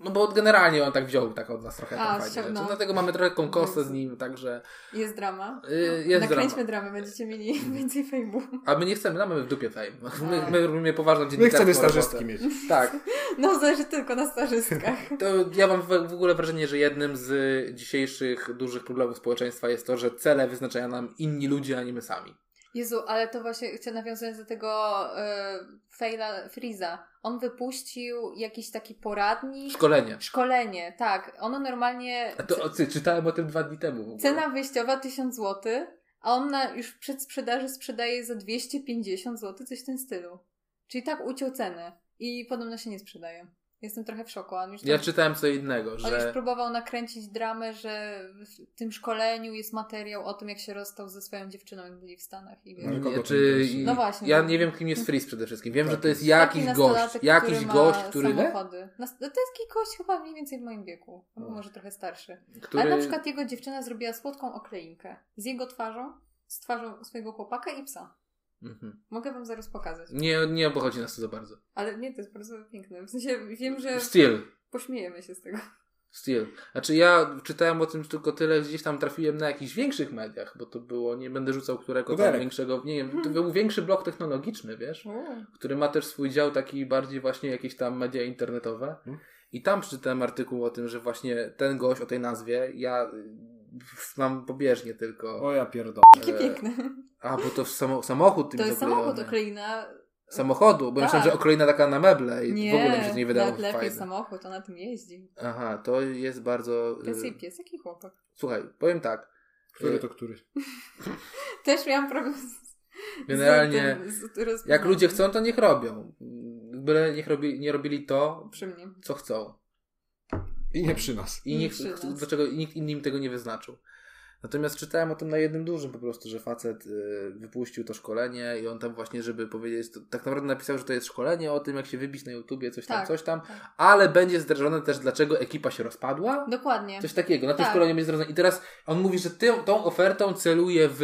S1: No bo generalnie on tak wziął tak od nas trochę
S3: A,
S1: tam fajne
S3: ściągnął.
S1: rzeczy. Dlatego mamy trochę tą kosę z nim, także
S3: Jest drama.
S1: y, jest drama.
S3: No, Nakręćmy dramę, będziecie mieli więcej fejmu.
S1: A my nie chcemy, mamy w dupie fame. No,
S3: Tak.
S1: My, my robimy poważną
S2: My
S1: dziennikarską
S2: chcemy
S1: robotę.
S2: starzystki mieć.
S1: Tak.
S3: No, zależy tylko na starzystkach.
S1: To ja mam w w ogóle wrażenie, że jednym z dzisiejszych dużych problemów społeczeństwa jest to, że cele wyznaczają nam inni ludzie, a nie my sami.
S3: Jezu, ale to właśnie chcę nawiązując do tego e, Fejla Friza. On wypuścił jakiś taki poradnik.
S1: Szkolenie.
S3: Szkolenie, tak. Ono normalnie.
S1: A to o, ty, czytałem o tym dwa dni temu. w ogóle.
S3: Cena wyjściowa 1000 zł, a on na, już w przedsprzedaży sprzedaje za 250 zł, coś w tym stylu. Czyli tak uciął cenę i podobno się nie sprzedaje. Jestem trochę w szoku. a On już,
S1: Ja
S3: tam-
S1: czytałem co innego,
S3: on już
S1: że
S3: próbował nakręcić dramę, że w tym szkoleniu jest materiał o tym, jak się rozstał ze swoją dziewczyną, jak byli w Stanach. I wiesz.
S2: No, kogo to
S1: czy...
S2: interesuje?
S3: No właśnie.
S1: Ja nie wiem, kim jest Freeze przede wszystkim. Wiem,
S2: Tak,
S1: że to jest
S2: jest
S1: jakiś
S3: Taki
S1: gość.
S3: nastolatek,
S1: Jakiś
S3: ma
S1: gość, który... ile?
S3: samochody. Nas- no To jest taki gość chyba mniej więcej w moim wieku. albo Może trochę starszy.
S1: który...
S3: Ale na przykład jego dziewczyna zrobiła słodką okleinkę z jego twarzą, z twarzą swojego chłopaka i psa.
S1: Mhm.
S3: Mogę wam zaraz pokazać.
S1: Nie, nie obchodzi nas to za bardzo.
S3: Ale nie, to jest bardzo piękne. W sensie wiem, że
S1: Still.
S3: pośmiejemy się z tego.
S1: Still. Znaczy ja czytałem o tym tylko tyle, że gdzieś tam trafiłem na jakichś większych mediach, bo to było, nie będę rzucał którego tam
S2: Uderek.
S1: większego, nie
S3: Mhm.
S1: wiem, to był większy blok technologiczny, wiesz, który ma też swój dział taki bardziej właśnie jakieś tam media internetowe
S2: Mhm.
S1: i tam przeczytałem artykuł o tym, że właśnie ten gość o tej nazwie, ja y, mam pobieżnie tylko,
S2: O ja pierdolę.
S3: Jakie
S1: E,
S3: piękne.
S1: a bo to w samo, samochód tym
S3: To jest samochód
S1: oklejony.
S3: okleina.
S1: Samochodu, bo
S3: Tak.
S1: myślałem, że okleina taka na meble i
S3: Nie,
S1: w ogóle mi się to nie wydało
S3: nawet lepiej
S1: fajne.
S3: samochód, on na tym jeździ.
S1: Aha, to jest bardzo... y,
S3: Pies i pies, jaki chłopak.
S1: Słuchaj, powiem tak,
S2: Który to który?
S3: Też miałam problem z
S1: Generalnie,
S3: z tym, z rozpoznaniem.
S1: Jak ludzie chcą, to niech robią. Byle niech robi, nie robili to,
S3: Przy mnie.
S1: co chcą.
S2: I nie przy nas.
S1: I niech,
S3: Przy nas.
S1: dlaczego nikt inny im tego nie wyznaczył. Natomiast czytałem o tym na jednym dużym po prostu, że facet y, wypuścił to szkolenie i on tam właśnie, żeby powiedzieć, to, tak naprawdę napisał, że to jest szkolenie o tym, jak się wybić na YouTubie, coś tam,
S3: Tak,
S1: coś tam,
S3: tak.
S1: ale będzie zdrażone też, dlaczego ekipa się rozpadła.
S3: Dokładnie.
S1: Coś takiego, na tym
S3: Tak.
S1: szkoleniu będzie zdradzone. I teraz on mówi, że ty, tą ofertą celuje w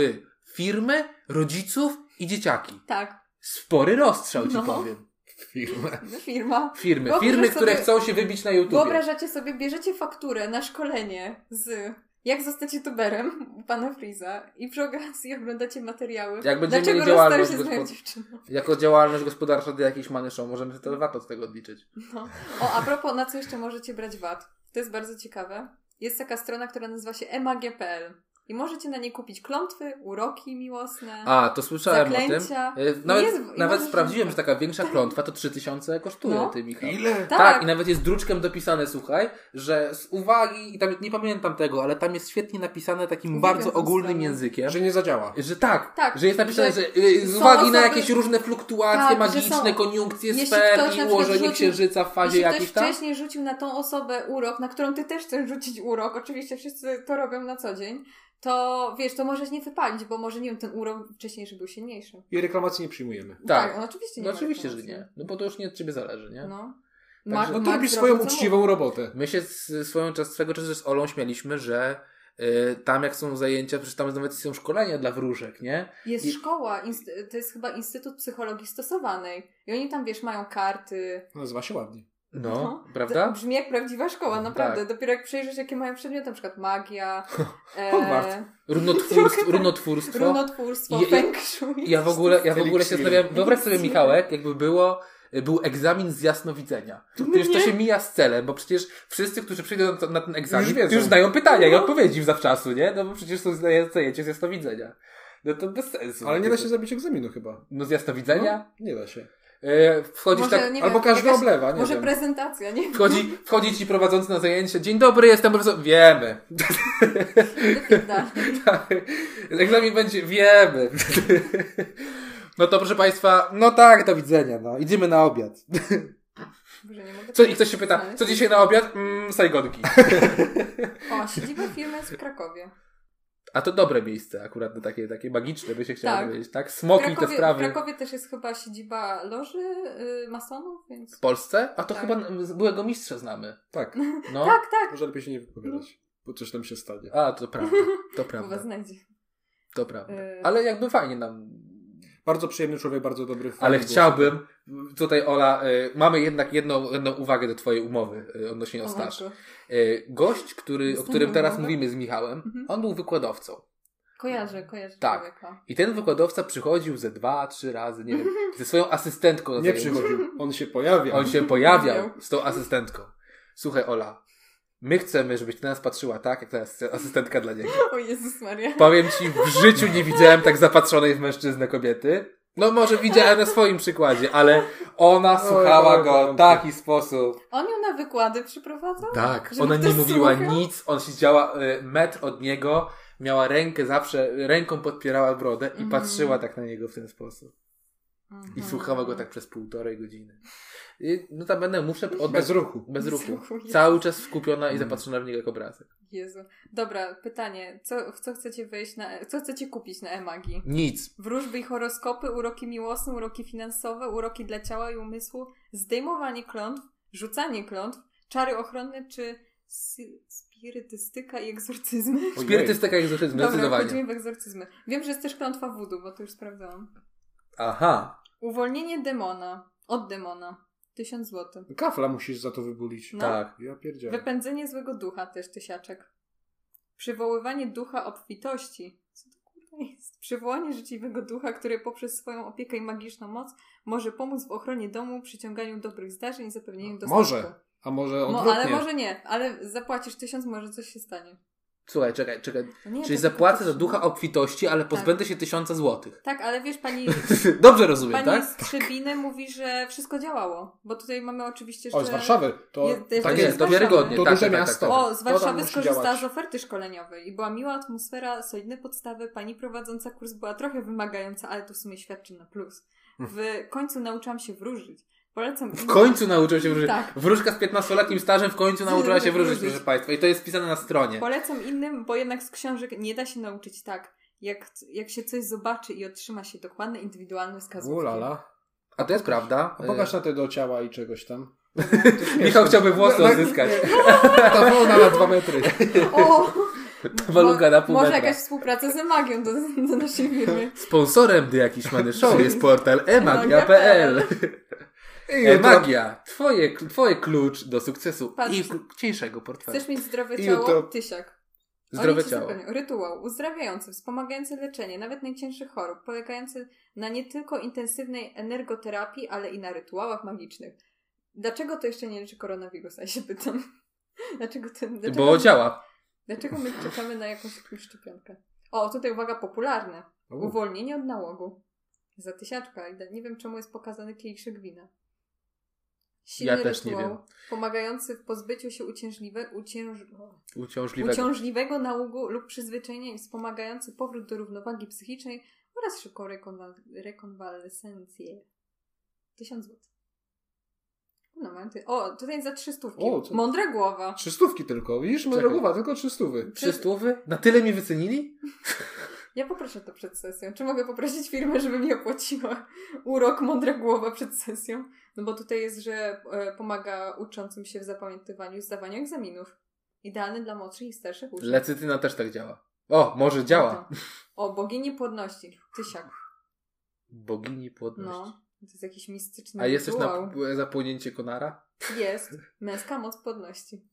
S1: firmy, rodziców i dzieciaki.
S3: Tak,
S1: Spory rozstrzał, ci
S3: No.
S1: powiem.
S2: Firmę.
S3: firma.
S1: Firmy,
S3: Wyobraź
S1: firmy,
S3: sobie-
S1: które chcą się wybić na YouTube.
S3: Wyobrażacie sobie, bierzecie fakturę na szkolenie z jak zostać youtuberem u pana Friza i przy okazji oglądacie materiały.
S1: Jak będziemy
S3: Dlaczego
S1: mieli działalność
S3: rozstał się z moją
S1: gospod-
S3: dziewczyną?
S1: Jako działalność gospodarcza dla jakiejś many show, możemy sobie to VAT od tego odliczyć.
S3: No. O, a propos, na co jeszcze możecie brać VAT? To jest bardzo ciekawe. Jest taka strona, która nazywa się emag.pl i możecie na niej kupić klątwy, uroki miłosne.
S1: A, to słyszałem
S3: Zaklęcia.
S1: o tym. E, Nawet,
S3: Jest- i
S1: nawet
S3: możesz-
S1: sprawdziłem, że taka większa klątwa to 3000 kosztuje,
S3: No.
S1: ty Michał.
S2: Ile?
S1: Tak. i nawet jest druczkiem dopisane, słuchaj, że z uwagi, i tam nie pamiętam tego, ale tam jest świetnie napisane takim
S3: Uwielbiam
S1: bardzo
S3: tą
S1: ogólnym
S3: stronę.
S1: językiem, że,
S2: Że nie zadziała.
S1: tak,
S3: Tak,
S1: że jest napisane,
S3: że
S1: że, y, z
S3: są
S1: uwagi na
S3: osoby-
S1: jakieś różne fluktuacje
S3: Tak, że
S1: magiczne,
S3: są-
S1: koniunkcje
S3: Jeśli
S1: sfer
S3: ktoś na
S1: i
S3: przykład
S1: ułożenie
S3: rzucił-
S1: księżyca w fazie
S3: Jeśli ktoś
S1: jakichś tam.
S3: wcześniej rzucił na tą osobę urok, na którą ty też chcesz rzucić urok, oczywiście wszyscy to robią na co dzień, to wiesz, to możesz nie wypalić, bo może nie wiem, ten urok wcześniejszy był silniejszy.
S2: I reklamacji nie przyjmujemy.
S1: Tak.
S3: no oczywiście nie.
S1: No
S3: ma
S1: oczywiście, że
S3: reklamacji.
S1: nie. No bo to już nie od ciebie zależy, nie?
S3: No.
S1: Także-
S2: No to
S3: Max
S2: robi
S3: zrobił,
S2: swoją
S3: co
S2: uczciwą robotę.
S1: My się z, swoją czas, swego czasu z Olą śmialiśmy, że y, tam jak są zajęcia, przecież tam nawet są szkolenia dla wróżek, nie?
S3: mógł. Jest
S1: I-
S3: szkoła, inst- to jest chyba Instytut Psychologii Stosowanej. I oni tam, wiesz, mają karty.
S2: Nazywa się ładnie.
S1: No,
S3: No. To
S1: prawda?
S3: brzmi jak prawdziwa szkoła, naprawdę.
S1: Tak.
S3: Dopiero jak przejrzysz, jakie mają przedmioty, na przykład magia,
S2: Hogwart.
S3: e,
S1: Runotwórstwo.
S3: Trochę tak.
S1: runotwórstwo.
S3: runotwórstwo,
S1: Ja- ja-
S3: feng shui.
S1: Ja w ogóle, ja w
S2: Eliksir.
S1: ogóle się zastanawiałem, wyobraź sobie
S3: Eliksir.
S1: Michałek, jakby było, y, był egzamin z jasnowidzenia. Przecież to
S2: nie.
S1: się mija z celem, bo przecież wszyscy, którzy przyjdą na, to- na ten egzamin,
S2: Już
S1: już,
S2: wiedzą.
S1: znają pytania i odpowiedzi zawczasu, nie? No bo przecież są zdaje- zajęcie z jasnowidzenia. No to bez sensu.
S2: Ale nie da się zrobić egzaminu chyba.
S1: No z jasnowidzenia?
S2: No, nie da się.
S1: Y, wchodzisz tak...
S3: nie
S2: Albo
S3: wiem,
S2: każdy
S3: jakaś-
S2: oblewa, nie
S3: Może
S2: wiem.
S3: prezentacja, nie wiem.
S1: Wchodzi, wchodzi ci prowadzący na zajęcie. Dzień dobry, jestem profesor. Wiemy.
S3: Lepiej dalej.
S1: Tak. Egzamin będzie. Wiemy. No to proszę Państwa, no tak, do widzenia. No. Idziemy na obiad.
S3: Boże, nie mogę
S1: Co, I
S3: tego
S1: ktoś się pyta,
S3: znaleźć.
S1: co dzisiaj na obiad? Mm, sajgonki.
S3: O, siedziba firmy jest w Krakowie.
S1: A to dobre miejsce akurat, no, takie, takie magiczne, by się chciało
S3: Tak.
S1: powiedzieć, tak?
S3: W
S1: Smoki, te
S3: Krakowie, w
S1: sprawy.
S3: Krakowie też jest chyba siedziba loży y, masonów, więc...
S1: W Polsce? A to
S3: Tak.
S1: chyba z byłego mistrza znamy.
S2: Tak.
S1: No.
S3: Tak, tak,
S2: Może lepiej się nie wypowiadać, bo coś tam się stanie.
S1: A, to prawda. To
S3: chyba
S1: prawda.
S3: znajdzie.
S1: To prawda.
S3: Yy.
S1: Ale jakby fajnie nam
S2: Bardzo przyjemny człowiek, bardzo dobry.
S1: Ale
S2: fajny głos.
S1: chciałbym, tutaj Ola, y, mamy jednak jedną, jedną uwagę do Twojej umowy y, odnośnie o
S3: O
S1: staż.
S3: matko.
S1: Y, Gość, który, o
S3: Dostałem
S1: którym teraz
S3: umowę?
S1: mówimy z Michałem,
S3: Mhm.
S1: on był wykładowcą.
S3: Kojarzę, kojarzę
S1: Tak.
S3: człowieka.
S1: I ten wykładowca przychodził ze dwa, trzy razy, nie wiem, ze swoją asystentką. na
S2: Nie
S1: zajęcie.
S2: przychodził, on się pojawia.
S1: On się pojawiał
S3: Pojawiał.
S1: z tą asystentką. Słuchaj Ola, my chcemy, żebyś ty na nas patrzyła tak, jak ta as- asystentka dla niego.
S3: O Jezus Maria.
S1: Powiem ci, w życiu nie widziałem tak zapatrzonej w mężczyznę kobiety. No może widziałem na swoim przykładzie, ale ona słuchała
S2: Oj,
S1: go
S2: oj,
S1: w taki sposób.
S3: On ją na wykłady przyprowadzał?
S1: Tak,
S3: Żeby
S1: ona nie
S3: ktoś
S1: mówiła
S3: słuchał?
S1: nic, on siedziała y, metr od niego, miała rękę zawsze, ręką podpierała brodę i
S3: Mhm. No.
S1: patrzyła tak na niego w ten sposób. I słuchała go tak przez półtorej godziny. I, no tam będę, muszę oddać...
S2: Bez ruchu.
S1: Bez
S3: Bez
S1: ruchu.
S3: ruchu, Jezu.
S1: Cały czas skupiona i
S2: Mm.
S1: zapatrzona w niego jak obrazek.
S3: Jezu. Dobra, pytanie. Co, w co chcecie wejść na... e, Co chcecie kupić na e-magii?
S1: Nic.
S3: Wróżby i horoskopy, uroki miłosne, uroki finansowe, uroki dla ciała i umysłu, zdejmowanie klątw, rzucanie klątw, czary ochronne czy sy- spirytystyka i egzorcyzmy.
S1: Spirytystyka jak zresztą
S3: Dobra,
S1: zdecydowanie.
S3: chodzimy w egzorcyzmy. Wiem, że jest też klątwa wudu, bo to już sprawdzałam.
S1: Aha.
S3: Uwolnienie demona. Od demona. 1000 zł.
S2: Kafla musisz za to wybulić.
S3: No.
S1: Tak.
S2: Ja pierdziałem.
S3: Wypędzenie złego ducha też tysiaczek. Przywoływanie ducha obfitości. Co to kurwa jest? Przywołanie życzliwego ducha, który poprzez swoją opiekę i magiczną moc może pomóc w ochronie domu, przyciąganiu dobrych zdarzeń i zapewnieniu dostępu.
S2: No, Może. A może
S3: No,
S2: odwrotnie.
S3: ale może nie. Ale zapłacisz tysiąc, może coś się stanie.
S1: Słuchaj, czekaj, czekaj.
S3: No nie,
S1: Czyli
S3: to tylko Tak.
S1: zapłacę
S3: coś-
S1: za ducha obfitości, ale pozbędę się tysiąca złotych.
S3: Tak, ale wiesz, pani,
S1: Dobrze rozumiem,
S3: pani
S1: tak?
S3: z Trzebiny mówi, że wszystko działało. Bo tutaj mamy oczywiście, że...
S2: O, z Warszawy. To
S3: Jest- jest-
S2: tak
S1: Tak
S3: nie,
S1: jest,
S2: jest.
S1: to
S3: Warszawy.
S1: wiarygodnie.
S2: To
S1: tak,
S2: duże
S1: tak, tak,
S2: miasto.
S1: Tak,
S3: O, z
S2: To tam
S3: Warszawy
S2: musi
S3: skorzystała
S2: działać.
S3: z oferty szkoleniowej i była miła atmosfera, solidne podstawy. Pani prowadząca kurs była trochę wymagająca, ale to w sumie świadczy na plus. W końcu nauczyłam się wróżyć. Polecam.
S1: W końcu nauczyła się wróżyć.
S3: Tak.
S1: Wróżka z 15-letnim stażem w końcu nauczyła się wróżyć,
S3: Wróżyć.
S1: proszę Państwa. I to jest wpisane na stronie.
S3: Polecam innym, bo jednak z książek nie da się nauczyć tak. Jak, jak się coś zobaczy i otrzyma się dokładne, indywidualne wskazówki.
S2: Ulala.
S1: A to jest prawda.
S2: A pokaż na te do ciała i czegoś tam.
S1: E. Michał chciałby włosy
S2: Na- na-
S1: odzyskać.
S2: Ta wolna na dwa metry.
S3: O!
S1: Waluga na E, pół
S3: Może
S1: metra. Tak.
S3: jakaś współpraca z magią do, do naszej firmy.
S1: Sponsorem The Jakiś Many Show jest portal emagia.pl. E,
S2: jutro-
S1: Emagia. Twoje, twoje klucz do sukcesu
S3: Patrz.
S1: i cieńszego portfela.
S3: Chcesz mieć zdrowe
S2: I
S3: ciało?
S2: jutro-
S3: Tysiak. Oni
S1: Zdrowe
S3: ci
S1: ciało.
S3: zapewnią Rytuał uzdrawiający, wspomagający leczenie nawet najcięższych chorób, polegający na nie tylko intensywnej energoterapii, ale i na rytuałach magicznych. Dlaczego to jeszcze nie leczy koronawirusa? Ja się pytam. Dlaczego ten. Dlaczego,
S1: Bo działa.
S3: Dlaczego my czekamy na jakąś szczepionkę? O, tutaj uwaga, popularne. Uwolnienie od nałogu. Za tysiaczka. I da- Nie wiem, czemu jest pokazany kieliszek wina. Silny
S1: Ja też nie
S3: rytuał,
S1: wiem.
S3: pomagający w pozbyciu się uciężliwe, ucięż... o,
S1: Uciążliwego.
S3: uciążliwego nałogu lub przyzwyczajenia i wspomagający powrót do równowagi psychicznej oraz szybką rekonwa- rekonwalescencję. 1000 zł. No, mam ty- o, tutaj za 300.
S2: O, co-
S3: Mądra głowa.
S2: Trzy stówki tylko, widzisz? Moja
S1: Czekaj.
S2: głowa, tylko trzy stówy.
S1: Trzy stówy? Na tyle mi wycenili?
S3: Ja poproszę to przed sesją. Czy mogę poprosić firmę, żeby mi opłaciła urok mądra głowa przed sesją? No bo tutaj jest, że e, pomaga uczącym się w zapamiętywaniu i zdawaniu egzaminów. Idealny dla młodszych i starszych uczniów.
S1: Lecytyna też tak działa. O, może działa.
S3: No. O, bogini płodności. Tysiak.
S1: Bogini płodności.
S3: No, to jest jakiś mistyczny
S1: A jest też na
S3: rytuał.
S1: zapłonięcie konara?
S3: Jest. Męska moc płodności.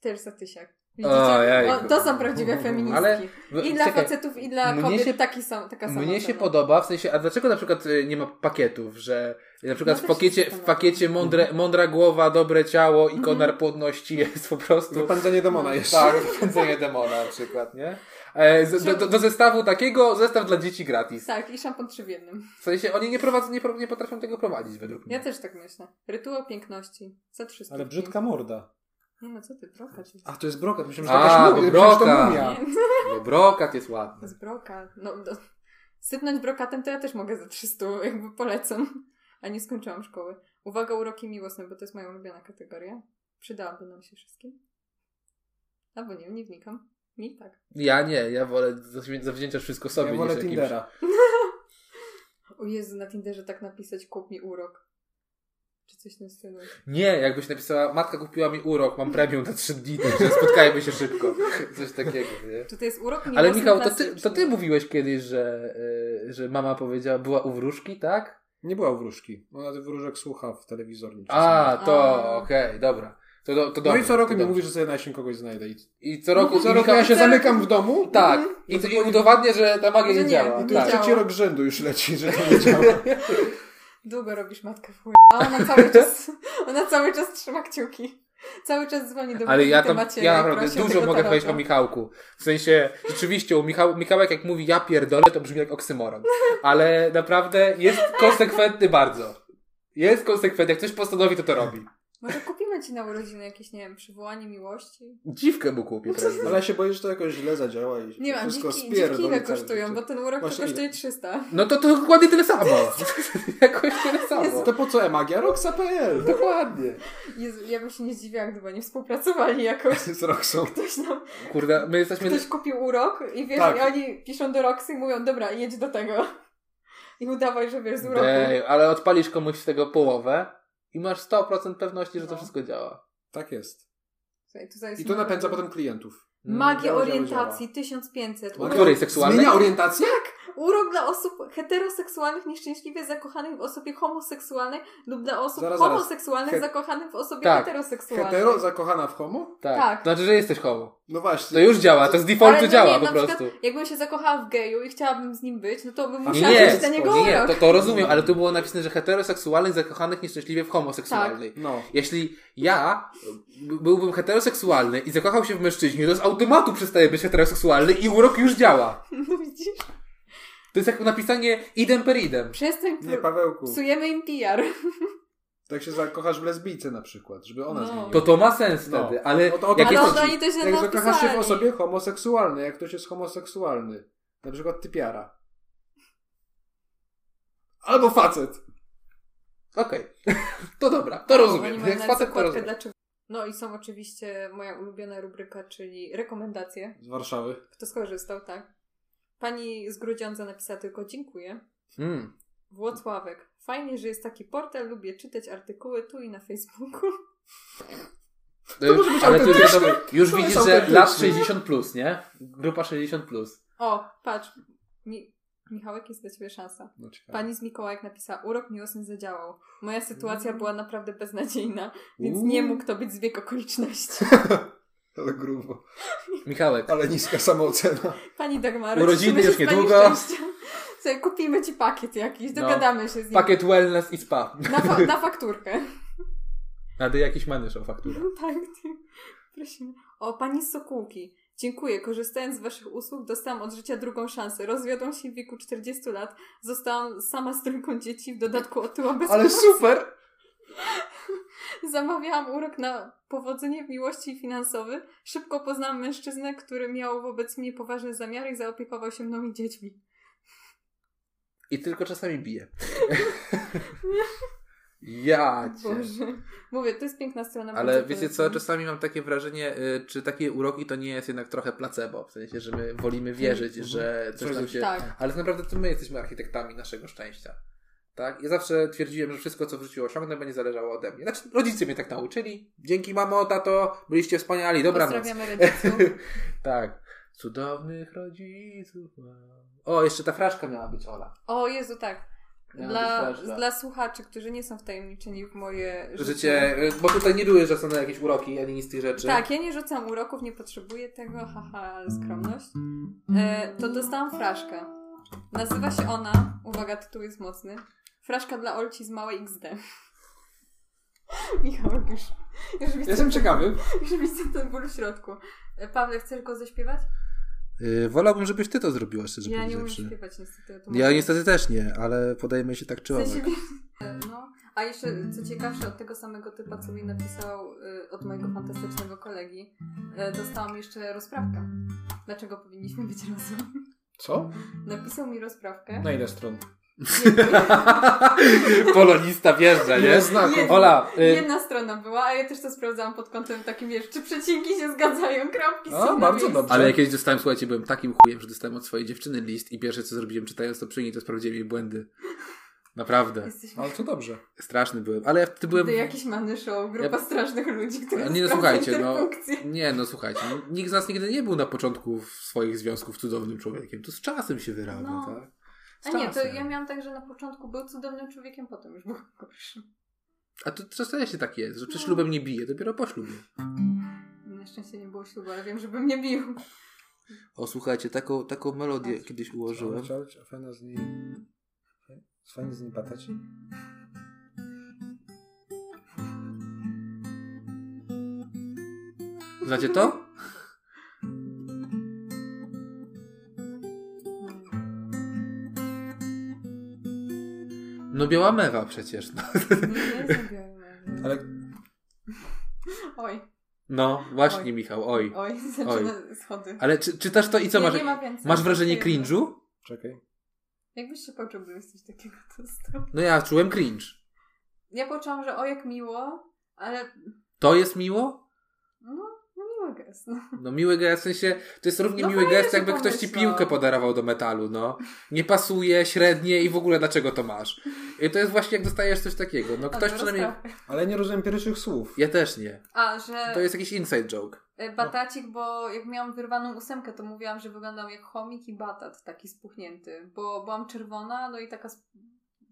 S3: Też za tysiak.
S1: O,
S3: Widzicie?
S1: jajku.
S3: O, to są prawdziwe feministki.
S1: Ale-
S3: I dla
S1: No, Czekaj,
S3: facetów, i dla
S1: mnie
S3: kobiet
S1: się-
S3: taki sam, taka sama
S1: Mnie się
S3: cena.
S1: podoba, w sensie, a dlaczego na przykład y, nie ma pakietów, że na przykład
S3: No
S1: w
S3: też
S1: pakiecie, w
S3: zastanawiam.
S1: pakiecie mądre, mądra głowa, dobre ciało i
S3: Mhm.
S1: konar płodności jest po prostu...
S2: Wypędzenie demona jeszcze.
S1: No Tak, pędzenie demona na przykład, nie? E, z, do, do, do zestawu takiego, zestaw dla dzieci gratis.
S3: Tak, i szampon trzy w jednym.
S1: W sensie, oni nie, prowadzą, nie, pro- nie potrafią tego prowadzić według mnie.
S3: Ja też tak myślę. Rytuał piękności. Za 300.
S2: Ale brzydka morda.
S3: Nie no, co ty, broka ci.
S2: A, to jest brokat. Myślałem,
S1: że to jakaś mumia. Przecież to mumia.
S3: Nie,
S1: Bo brokat jest ładny.
S3: z broka. No, do... Sypnąć brokatem to ja też mogę za 300, jakby polecam. A nie skończyłam szkoły. Uwaga, uroki miłosne, bo to jest moja ulubiona kategoria. Przydałaby nam się wszystkim. Albo nie, nie wnikam. Mi tak.
S1: Ja nie, ja wolę zawzi- zawdzięczać wszystko sobie
S2: Ja
S1: niż
S2: wolę
S1: jakimś...
S2: Tindera.
S3: O Jezu, na Tinderze tak napisać kup mi urok. Czy coś w tym stylu.
S1: Nie, jakbyś napisała, matka kupiła mi urok, mam premium na trzy dni, także spotkajmy się szybko. Coś takiego, nie?
S3: Czy to jest urok miłosny
S1: Ale Michał, to ty, to
S3: klasyczny?
S1: ty mówiłeś kiedyś, że, y, że mama powiedziała, była u wróżki, tak?
S2: Nie była u wróżki. Ona tych wróżek słucha w telewizorze.
S1: A, to
S3: A.
S1: okej, dobra. To, do, to
S2: No
S1: dobra,
S2: i co roku
S1: to
S2: mi
S1: dobrze.
S2: mówi, że sobie na jesień kogoś znajdę. I
S1: I co roku...
S2: co
S1: i
S2: roku
S1: Michał-
S2: ja się
S1: i co roku-
S2: zamykam w domu. Mhm.
S1: Tak. I, i udowadnia, że ta magia
S3: Że
S1: nie,
S3: nie,
S1: działa.
S3: i
S2: To
S3: Tak.
S2: już
S1: Tak.
S2: trzeci rok rzędu już leci, że to nie działa.
S3: Długo robisz matkę w chuj. A ona cały czas, ona cały czas trzyma kciuki. Cały czas dzwoni do mnie
S1: Ale
S3: w
S1: ja,
S3: tym
S1: tam,
S3: temacie
S1: ja
S3: i
S1: naprawdę
S3: prosi o
S1: dużo
S3: tego
S1: mogę
S3: tarota.
S1: powiedzieć o Michałku. W sensie, rzeczywiście, u Michał, Michałek jak mówi ja pierdolę, to brzmi jak oksymoron. Ale naprawdę jest konsekwentny bardzo. Jest konsekwentny. Jak coś postanowi, to to robi.
S3: Może kupimy ci na urodziny jakieś, nie wiem, przywołanie miłości?
S1: Dziwkę mu
S3: No
S1: kupię teraz.
S2: No Ale ja się boję, że to jakoś źle zadziała i
S3: Nie wiem,
S2: wszystko
S3: dziwki,
S2: spierdoli
S3: dziwki ile
S2: całe
S3: kosztują,
S2: życie.
S3: bo ten urok to
S2: Właśnie ile?
S3: kosztuje 300.
S1: No to to dokładnie tyle samo. Jakoś tyle samo.
S2: To po co Emagia? Roxa.pl!
S1: Dokładnie.
S3: Jezu, ja bym się nie zdziwiła, gdyby nie współpracowali jakoś.
S2: Z Roxą.
S3: Ktoś nam,
S1: Kurde, my jesteśmy...
S3: ktoś kupił urok i wiesz,
S2: Tak.
S3: i oni piszą do Roxy i mówią, dobra, jedź do tego. I udawaj, że wiesz z uroku.
S1: Ej, ale odpalisz komuś z tego połowę i masz 100% pewności, że to
S3: No.
S1: wszystko działa.
S2: Tak jest.
S3: Słuchaj, tutaj jest
S2: I to
S3: magia.
S2: napędza potem klientów.
S1: Mm.
S3: Magię
S2: Działa, działa,
S3: orientacji 1500.
S1: O
S3: Urok-
S1: której seksualnej?
S2: Zmienia orientację?
S3: Urok dla osób heteroseksualnych, nieszczęśliwie zakochanych w osobie homoseksualnej lub dla osób
S2: Zaraz, zaraz.
S3: homoseksualnych
S2: Het-
S3: zakochanych w osobie
S1: Tak.
S3: heteroseksualnej.
S2: Hetero zakochana w homo?
S1: Tak.
S3: Tak.
S1: Znaczy, że jesteś homo.
S2: No
S1: To
S2: właśnie.
S1: już działa, to z
S3: Ale
S1: defaultu
S3: no
S1: działa
S3: nie,
S1: po
S3: na
S1: prostu.
S3: Przykład, jakbym się zakochała w geju i chciałabym z nim być, no to bym
S1: Nie,
S3: musiała
S1: nie,
S3: mieć na niego
S1: nie,
S3: urok.
S1: to, to rozumiem, ale tu było napisane, że heteroseksualnych zakochanych nieszczęśliwie w homoseksualnej.
S2: No.
S1: Jeśli ja b- byłbym heteroseksualny i zakochał się w mężczyźnie, to z automatu przestaję być heteroseksualny i urok już działa.
S3: No widzisz?
S1: To jest jak napisanie idem per idem.
S3: Przestań,
S2: Nie,
S3: pr-
S2: Pawełku.
S3: psujemy im PR.
S2: Tak się zakochasz w lesbijce na przykład, żeby ona
S3: No.
S2: zmieniła.
S1: To to ma sens
S2: No.
S1: wtedy, ale
S2: O to- o to
S1: jak
S2: chodzi.
S3: Ale
S1: jesteś...
S2: to-
S3: oni to źle
S2: Jak zakochasz się w
S3: napisali.
S2: osobie homoseksualnej, jak ktoś jest homoseksualny. Na przykład typiara. Albo facet.
S1: Okej, to dobra, to rozumiem.
S3: No, Oni mają
S1: Jak
S3: nawet
S1: facet to
S3: zakładkę
S1: rozumiem.
S3: dla czy... No i są oczywiście moja ulubiona rubryka, czyli rekomendacje.
S2: Z Warszawy.
S3: Kto skorzystał, tak? Pani z Grudziądza napisała tylko dziękuję.
S1: Mm.
S3: Włocławek. Fajnie, że jest taki portal, lubię czytać artykuły tu i na Facebooku.
S1: To
S2: może być
S1: ale tu już,
S2: autentyczne.
S1: już
S2: To jest
S1: widzisz, że
S2: autentyczne.
S1: lat 60 plus, nie? Grupa 60 plus.
S3: O, patrz. Mi... Michałek, jest dla ciebie szansa.
S2: No,
S1: Tak.
S2: ciekawe.
S3: Pani z Mikołajek napisała, urok miłosny zadziałał. Moja
S1: Mm.
S3: sytuacja była naprawdę beznadziejna, więc
S2: Uuu.
S3: nie mógł to być zbieg okoliczności.
S2: Ale grubo.
S1: Michałek,
S2: Ale niska samoocena.
S3: Pani Dagmaro,
S1: Urodziny
S3: cieszymy się
S1: już
S3: z pani
S1: niedługo.
S3: szczęścia. Słuchaj, kupimy ci pakiet jakiś,
S1: No.
S3: dogadamy się z nim.
S1: pakiet wellness i spa.
S3: Na, fa- na fakturkę.
S1: Nady jakiś maniusz o fakturę.
S3: tak, ty. prosimy. O, pani z Sokółki. Dziękuję. Korzystając z Waszych usług, dostałam od życia drugą szansę. Rozwiodłam się w wieku 40 lat. Zostałam sama z trójką dzieci, w dodatku otyłam bez
S2: Ale
S3: pomocy.
S2: super!
S3: Zamawiałam urok na powodzenie w miłości i finansowy. Szybko poznałam mężczyznę, który miał wobec mnie poważne zamiary i zaopiekował się mną i dziećmi.
S1: I tylko czasami bije. ja cię.
S3: Boże. Mówię, to no. jest piękna strona.
S1: Ale
S3: bardzo
S1: wiecie co,
S3: polecam.
S1: czasami mam takie wrażenie, y, czy takie uroki to nie jest jednak trochę placebo, w sensie, że my
S3: Hmm,
S1: wolimy wierzyć,
S2: Mhm.
S1: że coś
S2: Coś
S1: nam
S2: jest-
S1: się...
S3: Tak.
S1: Ale tak naprawdę to my jesteśmy architektami naszego szczęścia. Tak? Ja zawsze twierdziłem, że wszystko, co w życiu osiągnę, będzie zależało ode mnie. Znaczy, rodzice mnie tak nauczyli. Dzięki mamo, tato, byliście wspaniali, dobranoc.
S3: Pozdrawiamy rodziców.
S1: tak. Cudownych rodziców mam. O, jeszcze ta fraszka miała być, Ola.
S3: O Jezu, tak.
S1: Miała
S3: Dla,
S1: być fraszka.
S3: dla słuchaczy, którzy nie są wtajemniczeni w moje życie.
S1: Życie, y, bo tutaj nie były rzucone jakieś uroki, ani nic z tych rzeczy.
S3: Tak, ja nie rzucam uroków, nie potrzebuję tego, haha, skromność. E, to dostałam fraszkę. Nazywa się ona, uwaga, tytuł jest mocny, Fraszka dla Olci z małej XD. Michał, już, już widzę,
S2: Jestem ciekawy.
S3: już widzę ten ból w środku. E, Pawle, chcesz go zaśpiewać?
S1: Y, wolałbym, żebyś ty to zrobiła, szczerze
S3: ja nie umiem
S1: powiedziawszy.
S3: śpiewać niestety. ja to
S1: Ja
S3: mówię.
S1: niestety też nie, ale podajemy się tak czy
S3: W
S1: owak.
S3: sensie, wiesz, no. A jeszcze, co ciekawsze, od tego samego typa, co mi napisał y, od mojego fantastycznego kolegi, y, dostałam jeszcze rozprawkę. Dlaczego powinniśmy być razem?
S2: Co?
S3: Napisał mi rozprawkę.
S1: No,
S2: Na ile stron?
S1: Polonista wjeżdża, nie?
S2: Ile znaków?
S3: Jest.
S1: Ola, y,
S3: Jedna strona była, a ja też to sprawdzałam pod kątem takim, wiesz, czy przecinki się zgadzają,
S2: A,
S3: kropki są na
S2: bardzo
S3: miejscu.
S2: dobrze.
S1: ale jakieś dostałem, słuchajcie, byłem takim chujem, że dostałem od swojej dziewczyny list i pierwsze co zrobiłem czytając to przy niej, to sprawdziłem jej błędy. Naprawdę.
S3: Jesteś
S2: Ale to dobrze.
S1: Straszny byłem, ale ja wtedy byłem...
S3: ty jakiś many show, grupa strasznych ludzi,
S1: A
S3: która
S1: nie, no
S3: sprawdza
S1: słuchajcie, no-
S3: interpunkcję.
S1: Nie, no słuchajcie, no, nikt z nas nigdy nie był na początku w swoich związków cudownym człowiekiem. To z czasem się wyrabia,
S3: No.
S1: tak? Z
S3: A nie, to
S1: czasem.
S3: ja miałam tak, że na początku był cudownym człowiekiem, potem już był gorszy.
S1: A to czasem się tak jest, że
S3: No.
S1: przed ślubem nie bije, dopiero po ślubie.
S3: Na szczęście nie było ślubu, ale wiem, że bym nie bił.
S1: O, słuchajcie, taką, taką melodię
S3: Tak.
S1: kiedyś ułożyłem.
S2: Chciałeś, a fajna z niej... Fajnie z niej pataci?
S1: Znacie to? No biała mewa przecież. No.
S3: No, Nie, nie, nie, nie.
S2: Ale
S3: Oj,
S1: No, właśnie
S3: Oj.
S1: Michał, oj.
S3: oj, zaczyna schody.
S1: Ale czy, czytasz to i co
S3: nie,
S1: masz?
S3: nie ma więcej.
S1: masz wrażenie
S3: Tylko jedno.
S1: cringe'u?
S2: Czekaj.
S3: Jakbyś się poczuł, gdybyś coś takiego dostał?
S1: No ja czułem cringe.
S3: Ja poczułam, że o jak miło, ale
S1: To jest miło?
S3: no, no miły gest. No.
S1: No miły gest, w sensie to jest równie
S3: No
S1: miły
S3: fajnie,
S1: gest,
S3: że
S1: jakby ktoś ci
S3: pomyślał.
S1: piłkę podarował do metalu, no. Nie pasuje, średnie i w ogóle dlaczego to masz? I to jest właśnie jak dostajesz coś takiego. No ktoś
S3: Dobra,
S1: przynajmniej...
S3: rozprawmy.
S2: Ale nie rozumiem pierwszych słów.
S1: Ja też nie.
S3: A, że
S1: To jest jakiś inside joke.
S3: y, batacik, bo jak miałam wyrwaną ósemkę, to mówiłam, że wyglądam jak chomik i batat, taki spuchnięty, bo byłam czerwona, no i taka... Z,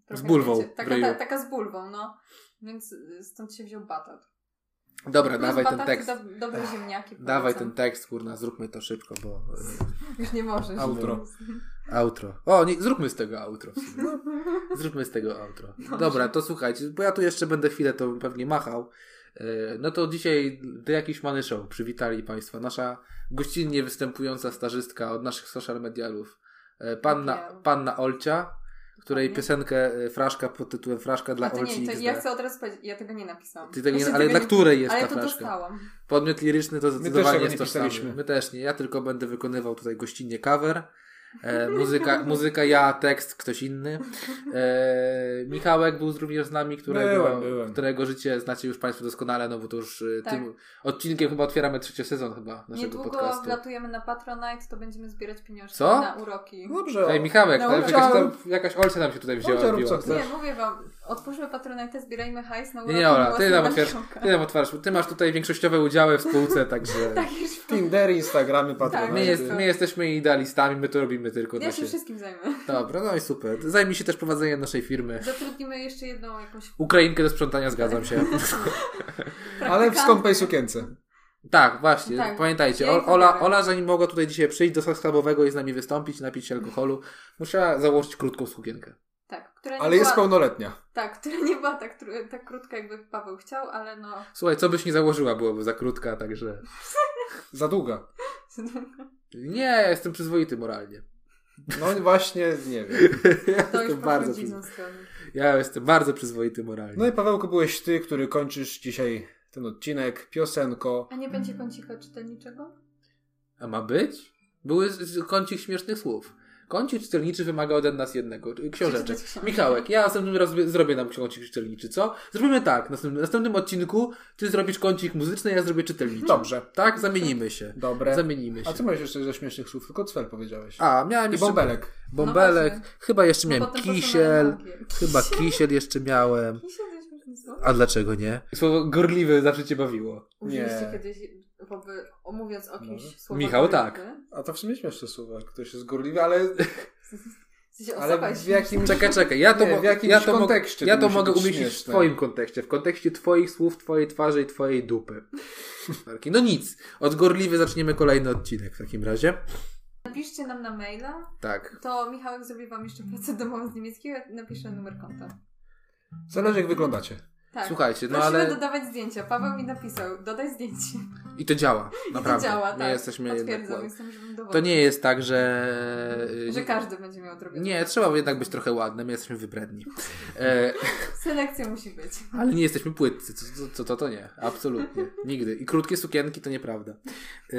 S3: trochę,
S1: bulwą
S3: wiecie,
S1: w
S3: taka,
S1: ryju.
S3: ta, taka z bulwą, no. Więc y, stąd się wziął batat.
S1: Dobra,
S3: Plus
S1: dawaj ten
S3: bataty,
S1: tekst.
S3: Do, dobre ziemniaki.
S1: Dawaj ten
S3: polecam.
S1: tekst, kurna, zróbmy to szybko, bo...
S3: Już nie możesz.
S1: Outro. e, Outro. O, nie, zróbmy z tego outro. w sumie. Zróbmy z tego outro.
S3: No,
S1: Dobra, to słuchajcie, bo ja tu jeszcze będę chwilę to pewnie machał. E, No to dzisiaj The Jakiś Many Show przywitali Państwa. Nasza gościnnie występująca stażystka od naszych social medialów, e,
S3: Tak
S1: panna,
S3: jest.
S1: panna Olcia, której
S3: Dokładnie. piosenkę e, Fraszka pod tytułem Fraszka dla A to
S1: Olci
S3: nie, to
S1: XD.
S3: ja chcę od razu powiedzieć, ja tego nie napisałam.
S1: Ty tego
S3: Ja
S1: nie,
S3: się
S1: ale
S3: tego
S1: dla
S3: nie-
S1: której jest
S3: Ale
S1: ta
S3: to
S1: fraszka?
S3: dostałam.
S1: Podmiot liryczny to zdecydowanie
S2: tego
S1: jest
S2: nie
S1: tożsamy.
S2: pisaliśmy.
S1: My też nie. Ja tylko będę wykonywał tutaj gościnnie cover. E, muzyka, muzyka ja, tekst ktoś inny. E, Michałek był również z nami, którego,
S2: Byłem, byłem.
S1: którego życie znacie już Państwo doskonale, no bo to już e,
S3: Tak.
S1: tym odcinkiem chyba otwieramy trzeci sezon chyba naszego
S3: Niedługo
S1: podcastu.
S3: wlatujemy na Patronite, to będziemy zbierać pieniążki
S1: Co?
S3: na uroki.
S2: Dobrze.
S1: Ej, Michałek,
S3: No,
S1: no, jakaś, tam,
S2: chciałem-
S1: jakaś Olcia nam się tutaj wzięła.
S2: Olcia rób
S1: biła.
S2: co chce.
S3: Nie, mówię wam, otwórzmy Patronite, zbierajmy hajs na
S1: Nie,
S3: uroki.
S1: nie, Ola,
S3: miłosne
S1: ty nam
S3: dla
S1: otwierasz,
S3: Michałka.
S1: ty nam otwarz, ty masz tutaj większościowe udziały w spółce, także
S3: Tak, już
S2: Tindery, Instagramy, Patronite.
S1: my, jest,
S3: tak.
S1: my jesteśmy idealistami, my to robimy tylko
S3: Ja
S1: dla
S3: się
S1: siebie.
S3: wszystkim zajmę.
S1: Dobra, no i super. Zajmij się też prowadzeniem naszej firmy.
S3: Zatrudnimy jeszcze jedną jakąś
S1: Ukrainkę do sprzątania, zgadzam się.
S2: Ale w skąpej sukience.
S1: tak, właśnie.
S3: Tak.
S1: Pamiętajcie,
S3: Ja
S1: O-
S3: ich
S1: Ola,
S3: zabieram.
S1: Ola, zanim mogła tutaj dzisiaj przyjść do skarbowego i z nami wystąpić, napić się alkoholu, musiała założyć krótką sukienkę.
S3: Tak, która nie
S2: Ale jest
S3: była,
S2: pełnoletnia.
S3: tak, która nie była tak, tru- tak krótka, jakby Paweł chciał, ale no...
S1: Słuchaj, co byś nie założyła, byłoby za krótka, także...
S2: Za długa.
S1: Nie, ja jestem przyzwoity moralnie.
S2: No właśnie, nie wiem.
S1: Ja
S3: To już
S1: jestem
S3: po
S1: bardzo
S3: rodzinną
S1: przyzwoity.
S3: stronę.
S1: Ja jestem bardzo przyzwoity moralnie.
S2: No i Pawełku, byłeś ty, który kończysz dzisiaj ten odcinek piosenko.
S3: A nie będzie kącika czytelniczego?
S1: A ma być? Były z- z- kącik śmiesznych słów. Kącik czytelniczy wymaga ode nas jednego. y, Książeczek.
S3: Przeczytać książkę.
S1: Michałek, ja następnym razem zrobię nam kącik czytelniczy, co? Zrobimy tak. W następnym, następnym odcinku ty zrobisz kącik muzyczny, ja zrobię czytelniczy.
S2: Dobrze.
S1: Tak? Zamienimy się.
S2: Dobre.
S1: Zamienimy się.
S2: A co miałeś jeszcze ze śmiesznych słów? Tylko cwel powiedziałeś.
S1: A, miałem
S2: I
S1: jeszcze...
S2: bąbelek.
S1: Bąbelek.
S3: No właśnie.
S1: chyba jeszcze
S3: No
S1: miałem
S3: potem no.
S1: kisiel.
S3: posunąłem nogi.
S1: Chyba kisiel jeszcze miałem.
S3: Kisiel to jest śmieszne słowo.
S1: A dlaczego nie? Słowo gorliwy zawsze cię bawiło.
S3: Użyliście
S2: Nie. No.
S3: kiedyś, woby, mówiąc o kimś
S2: Może.
S3: słowo
S1: Michał,
S3: gorliwy?
S1: tak.
S2: A to w sumie śmieszne słowo, jak ktoś jest gorliwy, ale,
S3: W sensie osoba
S2: ale
S3: jest
S2: w jakimś...
S1: Czekaj, czekaj, ja to,
S2: Nie,
S1: mo-
S2: w jakimś
S1: ja to, mo-
S2: kontekście
S1: ja
S2: to
S1: to
S2: musi
S1: mogę
S2: być
S1: umieścić w
S2: śmieszne.
S1: twoim kontekście, w kontekście twoich słów, twojej twarzy i twojej dupy. Marki. No nic, od gorliwy zaczniemy kolejny odcinek w takim razie.
S3: Napiszcie nam na maila,
S1: Tak.
S3: to Michałek zrobi wam jeszcze pracę domową z niemieckiego, ja napiszę numer konta.
S2: Zależy jak wyglądacie.
S3: Tak.
S1: Słuchajcie, no
S3: Prosimy
S1: ale
S3: dodawać zdjęcia. Paweł mi napisał, dodaj zdjęcie.
S1: i to działa,
S3: I
S1: naprawdę.
S3: to działa, tak.
S1: Nie jesteśmy jednak...
S3: Potwierdzam,
S1: ładni.
S3: jestem żywym dowodem.
S1: To nie jest tak, że...
S3: Że każdy będzie miał drogę.
S1: Nie, trzeba jednak być trochę ładnym, jesteśmy wybredni. E,
S3: Selekcja musi być.
S1: ale nie jesteśmy płytcy, co to, to, to, to nie, absolutnie, nigdy. I krótkie sukienki to nieprawda. E,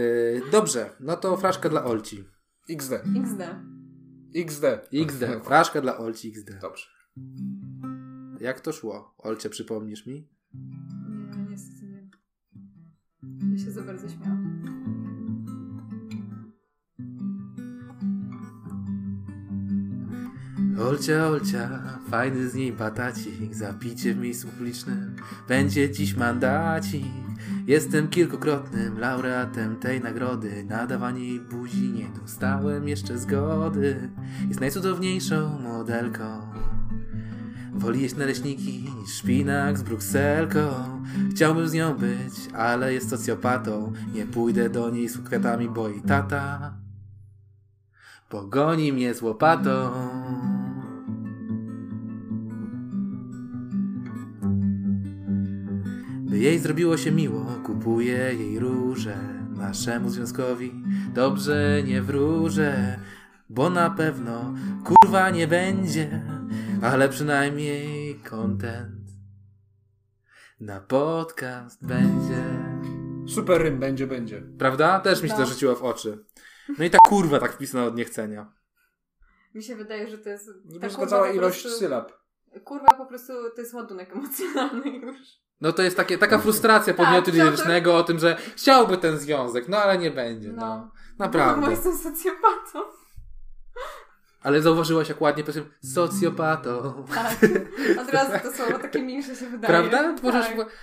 S1: dobrze, no to fraszka dla Olci.
S2: XD.
S3: XD.
S2: XD.
S1: XD, fraszka dla Olci XD.
S2: Dobrze.
S1: Jak to szło? Olcie, przypomnisz mi?
S3: Nie, niestety nie. Ja się za bardzo śmiałam.
S1: Olcia, Olcia, fajny z niej batacik, za picie w miejscu publicznym będzie dziś mandacik. Jestem kilkukrotnym laureatem tej nagrody, na dawanie jej buzi nie dostałem jeszcze zgody. Jest najcudowniejszą modelką. Woli jeść naleśniki niż szpinak z brukselką. Chciałbym z nią być, ale jest socjopatą. Nie pójdę do niej z kwiatami, bo jej tata Pogoni mnie z łopatą. By jej zrobiło się miło, kupuję jej róże. Naszemu związkowi dobrze nie wróżę, bo na pewno kurwa nie będzie, ale przynajmniej kontent. Na podcast będzie.
S2: Super rym będzie, będzie.
S1: Prawda? Też mi się
S3: No.
S1: to rzuciło w oczy. No i ta kurwa tak wpisana od niechcenia.
S3: Mi się wydaje, że to jest...
S2: Żeby zgadzała
S3: po
S2: ilość
S3: prostu-
S2: sylab.
S3: Kurwa po prostu to jest ładunek emocjonalny już.
S1: No to jest takie, taka frustracja podmiotu
S3: Tak, chciałbym-
S1: lirycznego o tym, że chciałby ten związek, no ale nie będzie. No.
S3: No.
S1: Naprawdę.
S3: Bo jestem socjopatą.
S1: Ale zauważyłaś jak ładnie po tym socjopatą.
S3: Tak. Od razu to słowo takie mniejsze się wydaje.
S1: Prawda? Możesz,
S3: Tak.